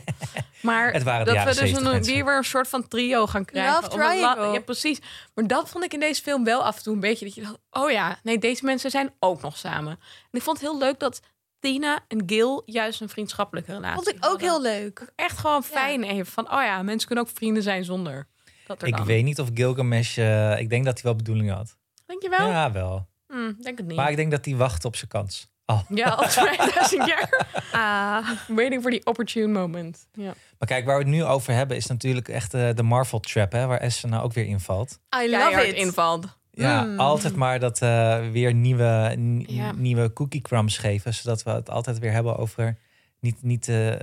Speaker 3: Maar
Speaker 2: Het waren de
Speaker 3: dat
Speaker 2: jaren
Speaker 3: we dus
Speaker 2: 70
Speaker 3: een,
Speaker 2: mensen.
Speaker 3: weer weer een soort van trio gaan krijgen.
Speaker 1: Love
Speaker 3: Of een la-
Speaker 1: triangle.
Speaker 3: Ja, precies. Maar dat vond ik in deze film wel af en toe een beetje dat je dacht... oh ja, nee, deze mensen zijn ook nog samen. En ik vond het heel leuk dat Tina en Gil juist een vriendschappelijke relatie
Speaker 1: Vond ik ook
Speaker 3: hadden.
Speaker 1: heel leuk.
Speaker 3: Echt gewoon fijn even van, oh ja, mensen kunnen ook vrienden zijn zonder dat er
Speaker 2: ik
Speaker 3: dan.
Speaker 2: weet niet of Gilgamesh, eh, ik denk dat hij wel bedoelingen had.
Speaker 3: Denk je wel?
Speaker 2: Ja, wel.
Speaker 3: Hm, denk het niet.
Speaker 2: Maar ik denk dat hij wacht op zijn kans. Oh.
Speaker 3: Ja, al 2000 jaar.
Speaker 1: Ah,
Speaker 3: Waiting for the opportune moment. Ja.
Speaker 2: Maar kijk, waar we het nu over hebben is natuurlijk echt eh, de Marvel trap, hè, waar Essen nou ook weer invalt.
Speaker 1: Ah, I love
Speaker 3: Keihard
Speaker 1: it.
Speaker 3: invalt.
Speaker 2: Ja,
Speaker 1: Mm.
Speaker 2: altijd maar dat eh, weer nieuwe, n-
Speaker 3: Hmm. Ja.
Speaker 2: nieuwe cookie crumbs geven. Zodat we het altijd weer hebben over niet, niet eh,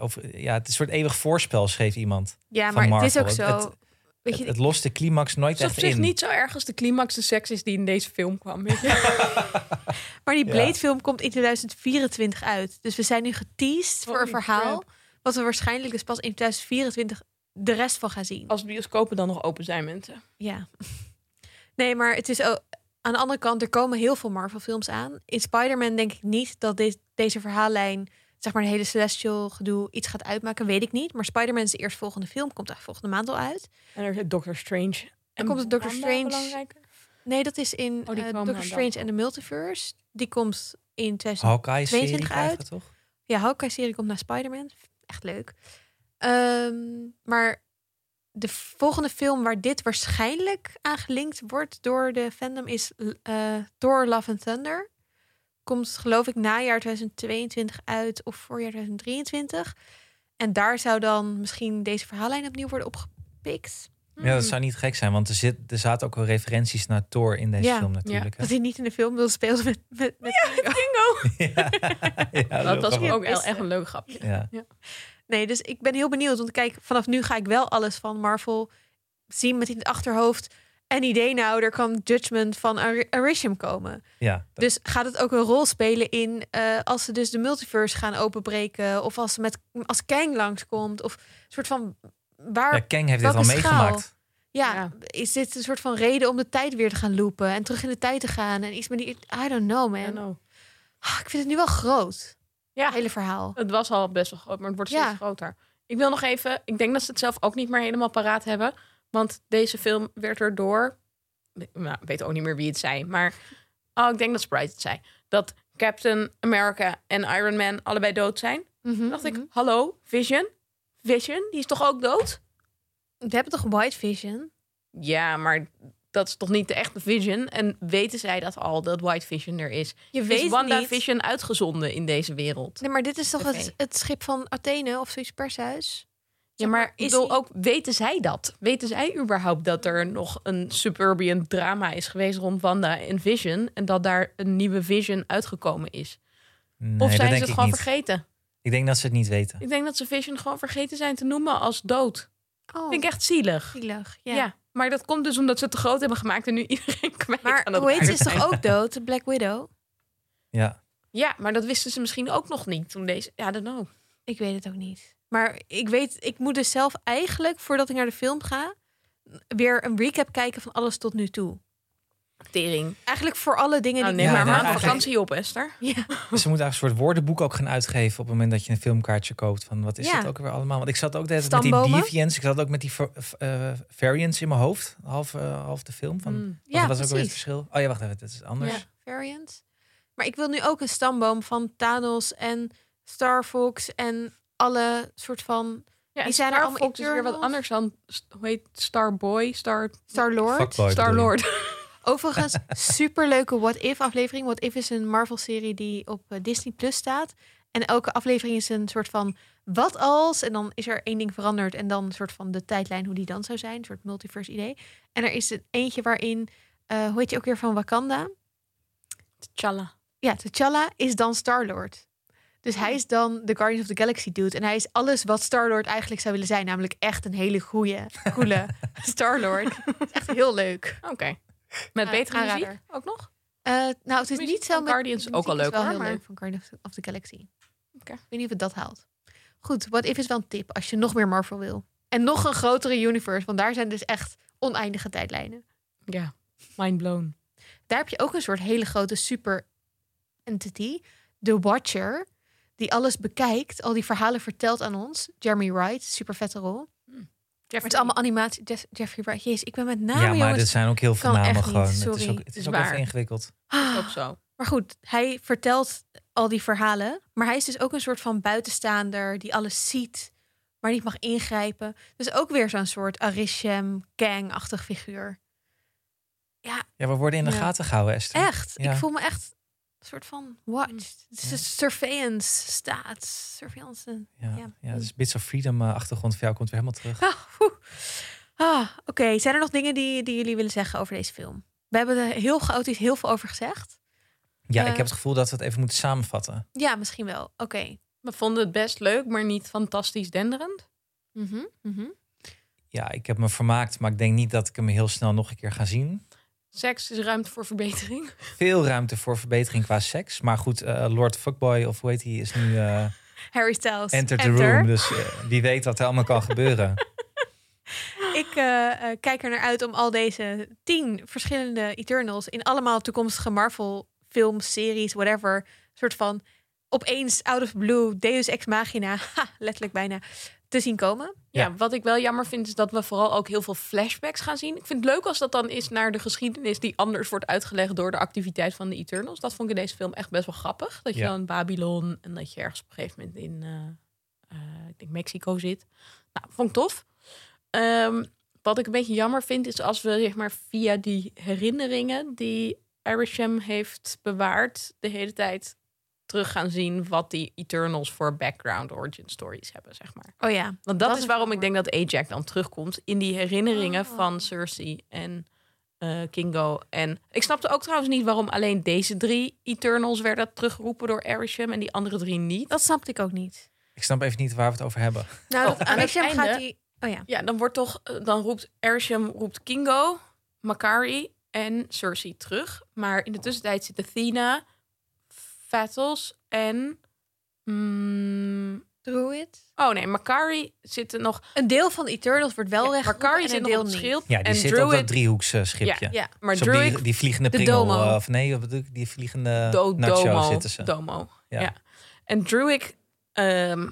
Speaker 2: over, ja, het is een soort eeuwig voorspel, schreef iemand.
Speaker 1: Ja,
Speaker 2: Van
Speaker 1: maar het is ook
Speaker 2: Marvel.
Speaker 1: zo.
Speaker 2: Het-
Speaker 1: weet
Speaker 2: Het,
Speaker 1: je,
Speaker 2: het lost de climax nooit
Speaker 3: Het is op
Speaker 2: echt
Speaker 3: zich
Speaker 2: in.
Speaker 3: niet zo erg als de climax de seks is die in deze film kwam. weet je.
Speaker 1: maar die
Speaker 2: ja.
Speaker 1: Blade-film komt in 2024 uit. Dus we zijn nu geteased voor
Speaker 3: Holy
Speaker 1: een verhaal. Wat we waarschijnlijk dus pas in 2024 de rest van gaan zien.
Speaker 3: als bioscopen dan nog open zijn, mensen.
Speaker 1: Ja. Nee, maar het is ook... Aan de andere kant, er komen heel veel Marvel-films aan. In Spider-Man denk ik niet dat de- deze verhaallijn... zeg maar de hele Celestial gedoe iets gaat uitmaken. Weet ik niet. Maar Spider-Man is de eerstvolgende film. Komt eigenlijk volgende maand al uit.
Speaker 3: En er zit Doctor Strange. En
Speaker 1: komt het Doctor
Speaker 3: Wanda
Speaker 1: Strange.
Speaker 3: belangrijker?
Speaker 1: Nee, dat is in
Speaker 3: Oh,
Speaker 1: eh,
Speaker 3: die komen
Speaker 1: Doctor
Speaker 3: dan.
Speaker 1: Strange en the Multiverse. Die komt in
Speaker 2: Oh.
Speaker 1: 2000.
Speaker 2: Hawkeye-serie
Speaker 1: 22
Speaker 2: krijgen we
Speaker 1: uit.
Speaker 2: toch?
Speaker 1: Ja, Hawkeye-serie komt naar Spider-Man. Echt leuk. Ehm, maar de volgende film waar dit waarschijnlijk aan gelinkt wordt door de fandom is eh Thor Love and Thunder. Komt geloof ik najaar 2022 uit of voorjaar 2023. En daar zou dan misschien deze verhaallijn opnieuw worden opgepikt.
Speaker 3: Hmm.
Speaker 2: Ja, dat zou niet gek zijn, want er, zit, er zaten ook wel referenties naar Thor in deze
Speaker 1: Ja.
Speaker 2: film natuurlijk. hè?
Speaker 1: Dat hij niet in de film wil spelen met, met, met
Speaker 3: Hmm. Dingo.
Speaker 2: Ja. Ja,
Speaker 3: Dat was
Speaker 2: grappig.
Speaker 3: ook wel
Speaker 1: Beste.
Speaker 3: echt een leuk grapje.
Speaker 2: Ja.
Speaker 1: Nee, dus ik ben heel benieuwd. Want kijk, vanaf nu ga ik wel alles van Marvel zien met in het achterhoofd. En idee nou, er kan Judgment van Ar- Arisham komen.
Speaker 2: Ja.
Speaker 1: Dus gaat het ook een rol spelen in eh, als ze dus de multiverse gaan openbreken? Of als, ze met, als Kang langskomt? Of een soort van... Waar,
Speaker 2: ja,
Speaker 1: ja.
Speaker 2: Kang heeft dit
Speaker 1: welke
Speaker 2: al
Speaker 1: schaal?
Speaker 2: meegemaakt.
Speaker 3: Ja.
Speaker 1: is dit een soort van reden om de tijd weer te gaan loopen? En terug in de tijd te gaan? En iets met die... I don't know, man.
Speaker 3: I know.
Speaker 1: Ah, ik vind het nu wel groot,
Speaker 3: Ja,
Speaker 1: het hele verhaal.
Speaker 3: het was al best wel groot, maar het wordt
Speaker 1: Ja.
Speaker 3: steeds groter. Ik wil nog even, ik denk dat ze het zelf ook niet meer helemaal paraat hebben. Want deze film werd er door, nou, ik weet ook niet meer wie het zei, maar oh, ik denk dat Sprite het zei. Dat Captain America en Iron Man allebei dood zijn.
Speaker 1: Mhm,
Speaker 3: Toen dacht
Speaker 1: mhm.
Speaker 3: Ah, ik, hallo, Vision? Vision, die is toch ook dood?
Speaker 1: We hebben toch White Vision?
Speaker 3: Ja, maar dat is toch niet de echte Vision? En weten zij dat al, dat White Vision er is?
Speaker 1: Je weet
Speaker 3: Is
Speaker 1: het
Speaker 3: Wanda
Speaker 1: niet.
Speaker 3: Vision uitgezonden in deze wereld?
Speaker 1: Nee, maar dit is toch
Speaker 3: Oké.
Speaker 1: het, het schip van Athene of zoiets pershuis?
Speaker 3: Ja, maar ik
Speaker 1: is
Speaker 3: bedoel
Speaker 1: die-
Speaker 3: ook, weten zij dat? Weten zij überhaupt dat er nog een suburban drama is geweest rond Wanda en Vision? En dat daar een nieuwe Vision uitgekomen is?
Speaker 2: Nee,
Speaker 3: of
Speaker 2: dat
Speaker 3: zijn
Speaker 2: denk
Speaker 3: ze het
Speaker 2: ik
Speaker 3: gewoon
Speaker 2: niet.
Speaker 3: vergeten?
Speaker 2: Ik denk dat ze het niet weten.
Speaker 3: Ik denk dat ze Vision gewoon vergeten zijn te noemen als dood.
Speaker 1: Oh,
Speaker 3: Vind ik echt zielig.
Speaker 1: zielig. Ja.
Speaker 3: Ja. maar dat komt dus omdat ze het te groot hebben gemaakt en nu iedereen kwijt aan
Speaker 1: Maar
Speaker 3: dat
Speaker 1: hoe heet ze is
Speaker 3: paard.
Speaker 1: toch ook dood? de Black Widow?
Speaker 2: Ja.
Speaker 3: Ja, maar dat wisten ze misschien ook nog niet toen deze... Ja, I don't know.
Speaker 1: Ik weet het ook niet. Maar ik weet, ik moet dus zelf eigenlijk, voordat ik naar de film ga, weer een recap kijken van alles tot nu toe.
Speaker 3: Tering.
Speaker 1: Eigenlijk voor alle dingen
Speaker 3: Nou,
Speaker 1: die
Speaker 3: neem
Speaker 2: Ja,
Speaker 1: ik
Speaker 3: maar een
Speaker 2: nee,
Speaker 1: Oh, maar
Speaker 3: maand
Speaker 2: eigenlijk-
Speaker 3: vakantie op, Esther.
Speaker 1: Ja.
Speaker 2: Dus ze moeten eigenlijk een soort woordenboek ook gaan uitgeven op het moment dat je een filmkaartje koopt. Van wat is
Speaker 1: Ja.
Speaker 2: dat ook weer allemaal? Want ik zat ook de hele tijd met die
Speaker 1: Stambomen?
Speaker 2: deviants. Ik zat ook met die ver- v- eh, variants in mijn hoofd. Half, eh, half de film. Van,
Speaker 3: Mm.
Speaker 1: Ja,
Speaker 2: wat was ook weer het
Speaker 1: precies.
Speaker 2: verschil? Oh ja, wacht even. Dat is anders.
Speaker 1: Ja, variant. Maar ik wil nu ook een stamboom van Thanos en Star Fox en alle soort van
Speaker 3: Ja,
Speaker 1: Die
Speaker 3: en
Speaker 1: zijn er
Speaker 3: Star
Speaker 1: allemaal
Speaker 3: Fox is weer wat
Speaker 1: Eternals.
Speaker 3: anders dan... Hoe heet Starboy? Star...
Speaker 1: Star-Lord.
Speaker 2: Fuckboy bedoel je?
Speaker 3: Star-Lord.
Speaker 1: Overigens, superleuke What If aflevering. What If is een Marvel serie die op eh, Disney Plus staat. En elke aflevering is een soort van wat als. En dan is er één ding veranderd. En dan een soort van de tijdlijn hoe die dan zou zijn. Een soort multiverse idee. En er is een eentje waarin, eh hoe heet je ook weer van Wakanda?
Speaker 3: T'Challa.
Speaker 1: Ja, T'Challa is dan Star-Lord. Dus
Speaker 3: Hmm.
Speaker 1: hij is dan de Guardians of the Galaxy dude. En hij is alles wat Star-Lord eigenlijk zou willen zijn. Namelijk echt een hele goeie, coole Star-Lord. Het is echt heel leuk.
Speaker 3: Oké. Met
Speaker 1: Ja,
Speaker 3: betere
Speaker 1: aanrader.
Speaker 3: muziek ook nog?
Speaker 1: Eh, nou, het is
Speaker 3: Muziek
Speaker 1: niet zo
Speaker 3: van
Speaker 1: met-
Speaker 3: Guardians
Speaker 1: de
Speaker 3: ook
Speaker 1: muziek
Speaker 3: al
Speaker 1: is
Speaker 3: leuk,
Speaker 1: wel
Speaker 3: hoor,
Speaker 1: heel
Speaker 3: maar-
Speaker 1: leuk van Guardians of the Galaxy.
Speaker 3: Oké.
Speaker 1: Ik weet niet of het dat haalt. Goed, What If is wel een tip als je nog meer Marvel wil. En nog een grotere universe, want daar zijn dus echt oneindige tijdlijnen.
Speaker 3: Ja. Mind blown.
Speaker 1: Daar heb je ook een soort hele grote super entity, The Watcher, die alles bekijkt, al die verhalen vertelt aan ons. Jeremy Wright, super vette rol.
Speaker 3: Hm.
Speaker 1: Maar het is allemaal animatie. Jeff- Jeffrey Wright, jezus, ik ben met
Speaker 2: Ja,
Speaker 1: name
Speaker 2: maar
Speaker 1: Nou,
Speaker 2: dus-
Speaker 1: jongens.
Speaker 2: dit zijn ook heel veel
Speaker 1: kan echt
Speaker 2: namen
Speaker 1: niet,
Speaker 2: gewoon. Het is
Speaker 1: sorry.
Speaker 2: ook, het is
Speaker 3: Is
Speaker 2: ook even
Speaker 3: waar.
Speaker 2: ingewikkeld.
Speaker 1: Ah.
Speaker 3: ook zo.
Speaker 1: Maar goed, hij vertelt al die verhalen. Maar hij is dus ook een soort van buitenstaander die alles ziet, maar niet mag ingrijpen. Dus ook weer zo'n soort Arishem, Kang-achtig figuur.
Speaker 2: Ja, we worden in de
Speaker 3: Ja.
Speaker 2: gaten gehouden, Esther.
Speaker 1: Echt,
Speaker 2: Ja.
Speaker 1: ik voel me echt een soort van watched. Het is een surveillance staat. Surveillance.
Speaker 2: Ja,
Speaker 1: Ja.
Speaker 2: ja. dus Bits of Freedom eh, achtergrond voor jou komt weer helemaal terug.
Speaker 1: Ah, oeh. ah oké. Zijn er nog dingen die, die jullie willen zeggen over deze film? We hebben er heel chaotisch heel veel over gezegd.
Speaker 2: Ja,
Speaker 1: Eh.
Speaker 2: ik heb het gevoel dat we het even moeten samenvatten.
Speaker 1: Ja, misschien wel. Oké.
Speaker 3: We vonden het best leuk, maar niet fantastisch denderend.
Speaker 1: Mhm, mhm.
Speaker 2: Ja, ik heb me vermaakt, maar ik denk niet dat ik hem heel snel nog een keer ga zien.
Speaker 3: Seks is ruimte voor verbetering.
Speaker 2: Veel ruimte voor verbetering qua seks. Maar goed, eh, Lord Fuckboy of hoe heet hij is nu eh
Speaker 1: Harry Styles.
Speaker 2: Enter the Room. Dus eh, wie weet wat er allemaal kan gebeuren.
Speaker 1: Ik eh, eh, kijk er naar uit om al deze tien verschillende Eternals in allemaal toekomstige Marvel films, series, whatever, soort van opeens out of blue, Deus ex machina, ha, letterlijk bijna, te zien komen.
Speaker 3: Ja.
Speaker 2: Ja.
Speaker 3: wat ik wel jammer vind is dat we vooral ook heel veel flashbacks gaan zien. Ik vind het leuk als dat dan is naar de geschiedenis die anders wordt uitgelegd door de activiteit van de Eternals. Dat vond ik in deze film echt best wel grappig. Dat je
Speaker 2: Ja.
Speaker 3: dan in Babylon en dat je ergens op een gegeven moment in eh, eh, ik denk Mexico zit. Nou, vond ik tof. Ehm, wat ik een beetje jammer vind is als we zeg maar via die herinneringen die Erisham heeft bewaard de hele tijd terug gaan zien wat die Eternals voor background origin stories hebben, zeg maar.
Speaker 1: Oh ja,
Speaker 3: Want dat,
Speaker 1: Dat
Speaker 3: is
Speaker 1: is
Speaker 3: waarom ik
Speaker 1: jammer.
Speaker 3: denk dat Ajax dan terugkomt in die herinneringen
Speaker 1: Oh.
Speaker 3: van Cersei en eh, Kingo. En ik snapte ook trouwens niet waarom alleen deze drie Eternals werden teruggeroepen door Erisham en die andere drie niet.
Speaker 1: dat snapte ik ook niet.
Speaker 2: Ik snap even niet waar we het over hebben.
Speaker 1: Nou,
Speaker 3: Oh,
Speaker 1: dat
Speaker 3: aan het
Speaker 1: Arishem
Speaker 3: einde-
Speaker 1: gaat die... Oh ja,
Speaker 3: Ja, dan wordt toch, eh, dan roept Erisham roept Kingo, Makari en Cersei terug. Maar in de tussentijd zitten Athena, Vatos en. mm,
Speaker 1: Druid.
Speaker 3: oh nee, Makari zitten nog.
Speaker 1: Een deel van de Eternals wordt wel
Speaker 3: Ja,
Speaker 1: recht.
Speaker 3: Makari
Speaker 1: en een
Speaker 3: zit nog
Speaker 1: deel
Speaker 3: op het
Speaker 1: niet.
Speaker 3: schild.
Speaker 2: Ja, die
Speaker 3: en
Speaker 2: zit op dat
Speaker 3: Druid-
Speaker 2: driehoeksschipje.
Speaker 1: Ja,
Speaker 3: Maar
Speaker 2: Zo op die-
Speaker 3: Druid
Speaker 2: die, vliegende
Speaker 1: de
Speaker 2: pringel.
Speaker 1: domo.
Speaker 2: eh, of nee, wat bedoel ik? die vliegende
Speaker 3: Do-
Speaker 2: nacho
Speaker 3: domo.
Speaker 2: zitten ze.
Speaker 3: Domo. Ja.
Speaker 2: Ja.
Speaker 3: En Druid, ehm,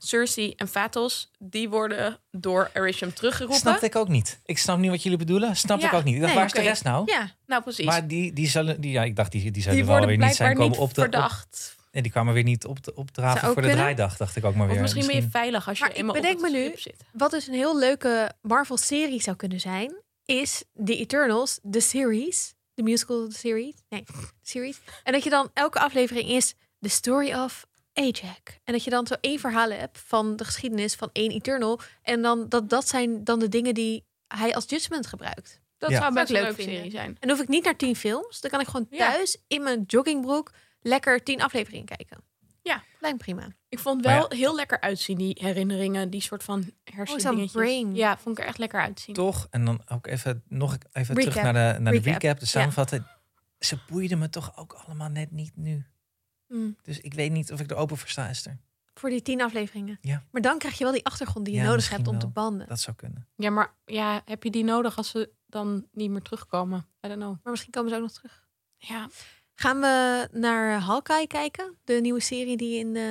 Speaker 3: Cersei en Vatos, die worden door Erisham teruggeroepen.
Speaker 2: Snapte ik ook niet. Ik snap niet wat jullie bedoelen. Snap
Speaker 3: Ja.
Speaker 2: ik ook niet. Ik dacht,
Speaker 1: Nee,
Speaker 2: waar is de
Speaker 1: oké.
Speaker 2: rest nou?
Speaker 1: Ja,
Speaker 3: Nou, precies.
Speaker 2: Maar die, die zullen, die, ja, ik dacht, die, die zullen
Speaker 3: die
Speaker 2: wel
Speaker 3: worden
Speaker 2: weer niet
Speaker 3: blijkbaar
Speaker 2: zijn komen
Speaker 3: niet
Speaker 2: op Oh de. Op,
Speaker 3: verdacht.
Speaker 2: en die kwamen weer niet op de
Speaker 1: Zou
Speaker 2: opdraven
Speaker 1: ook
Speaker 2: voor de
Speaker 1: kunnen.
Speaker 2: draaidag, dacht ik ook maar weer.
Speaker 3: of misschien, ben je veilig als je
Speaker 1: Maar ik
Speaker 3: eenmaal
Speaker 1: bedenk
Speaker 3: op het
Speaker 1: me nu-
Speaker 3: schip zit.
Speaker 1: Wat dus een heel leuke Marvel-serie zou kunnen zijn, is The Eternals, de series, de musical series, nee, series. En dat je dan elke aflevering is The Story of Ajax. En dat je dan zo één verhaal hebt van de geschiedenis van één Eternal. En dan dat, dat zijn dan de dingen die hij als judgment gebruikt.
Speaker 3: Dat
Speaker 2: Ja.
Speaker 3: zou
Speaker 1: Zou
Speaker 3: best een
Speaker 1: ik leuk
Speaker 3: leuke
Speaker 1: vinden.
Speaker 3: serie zijn.
Speaker 1: En dan hoef ik niet naar tien films. Dan kan ik gewoon
Speaker 3: Ja.
Speaker 1: thuis in mijn joggingbroek lekker tien afleveringen kijken.
Speaker 3: Ja.
Speaker 1: Lijkt me prima.
Speaker 3: Ik vond
Speaker 2: Maar
Speaker 3: wel heel lekker uitzien, die herinneringen. Die soort van hersendingetjes.
Speaker 1: Oh, brain.
Speaker 3: Ja, vond ik er echt lekker uitzien.
Speaker 2: Toch? En dan ook even nog e- even terug
Speaker 1: Recap.
Speaker 2: naar de, naar de
Speaker 1: Recap.
Speaker 2: recap, de
Speaker 1: Ja.
Speaker 2: samenvatting. Ze boeiden me toch ook allemaal net niet nu.
Speaker 1: Mm.
Speaker 2: Dus ik weet niet of ik er open voor sta, Esther.
Speaker 1: Voor die tien afleveringen.
Speaker 2: Ja.
Speaker 1: Maar dan krijg je wel die achtergrond die je
Speaker 2: Ja,
Speaker 1: nodig
Speaker 2: misschien
Speaker 1: hebt om te
Speaker 2: wel.
Speaker 1: banden.
Speaker 2: Dat zou kunnen.
Speaker 3: Ja, maar ja, heb je die nodig als ze dan niet meer terugkomen? I don't know.
Speaker 1: Maar misschien komen ze ook nog terug.
Speaker 3: Ja,
Speaker 1: Gaan we naar Hawkeye kijken? De nieuwe serie die in, eh,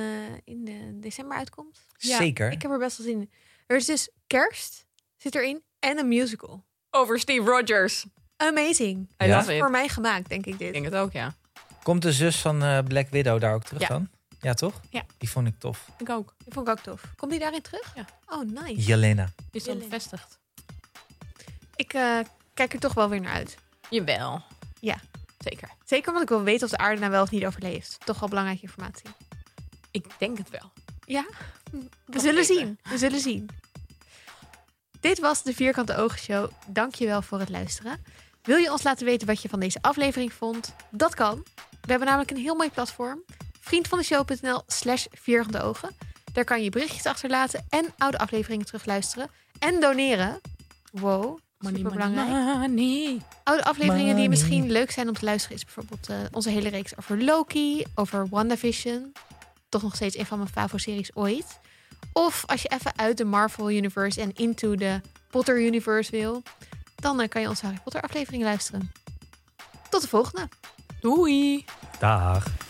Speaker 1: in eh, december uitkomt.
Speaker 3: Ja,
Speaker 2: Zeker.
Speaker 1: Ik heb er best wel zin in. Er is dus kerst zit erin en een musical.
Speaker 3: over Steve Rogers.
Speaker 1: Amazing.
Speaker 3: I
Speaker 2: Ja.
Speaker 3: love it.
Speaker 1: Voor mij gemaakt, denk ik
Speaker 3: Ik
Speaker 1: dit.
Speaker 3: denk het ook, ja.
Speaker 2: Komt de zus van eh, Black Widow daar ook terug
Speaker 3: Ja.
Speaker 2: dan? Ja, toch?
Speaker 3: Ja.
Speaker 2: Die vond ik tof.
Speaker 3: Ik ook.
Speaker 1: Die vond ik ook tof. Komt die daarin terug?
Speaker 3: Ja.
Speaker 1: Oh, nice.
Speaker 2: Jelena.
Speaker 3: Is dat
Speaker 1: Heel leuk.
Speaker 3: bevestigd?
Speaker 1: Ik eh, kijk er toch wel weer naar uit.
Speaker 3: Jawel.
Speaker 1: Ja.
Speaker 3: Zeker.
Speaker 1: Zeker omdat ik wil weten of de aarde nou wel of niet overleeft. Toch wel belangrijke informatie.
Speaker 3: Ik denk het wel.
Speaker 1: Ja, we
Speaker 3: Kan
Speaker 1: zullen
Speaker 3: beter.
Speaker 1: zien. We zullen zien. Dit was de Vierkante Ogen Show. Dankjewel voor het luisteren. Wil je ons laten weten wat je van deze aflevering vond? Dat kan. We hebben namelijk een heel mooi platform. Vriendvandeshow.nl slash Vierkante Ogen. Daar kan je berichtjes achterlaten en oude afleveringen terugluisteren. En doneren. Wow, superbelangrijk.
Speaker 3: money.
Speaker 1: Oude afleveringen die
Speaker 2: Money.
Speaker 1: misschien leuk zijn om te luisteren is bijvoorbeeld eh, onze hele reeks over Loki, over WandaVision. Toch nog steeds een van mijn favo-series ooit. Of als je even uit de Marvel Universe en into de Potter Universe wil, dan eh, kan je onze Harry Potter aflevering luisteren. Tot de volgende!
Speaker 3: Doei.
Speaker 2: Dag.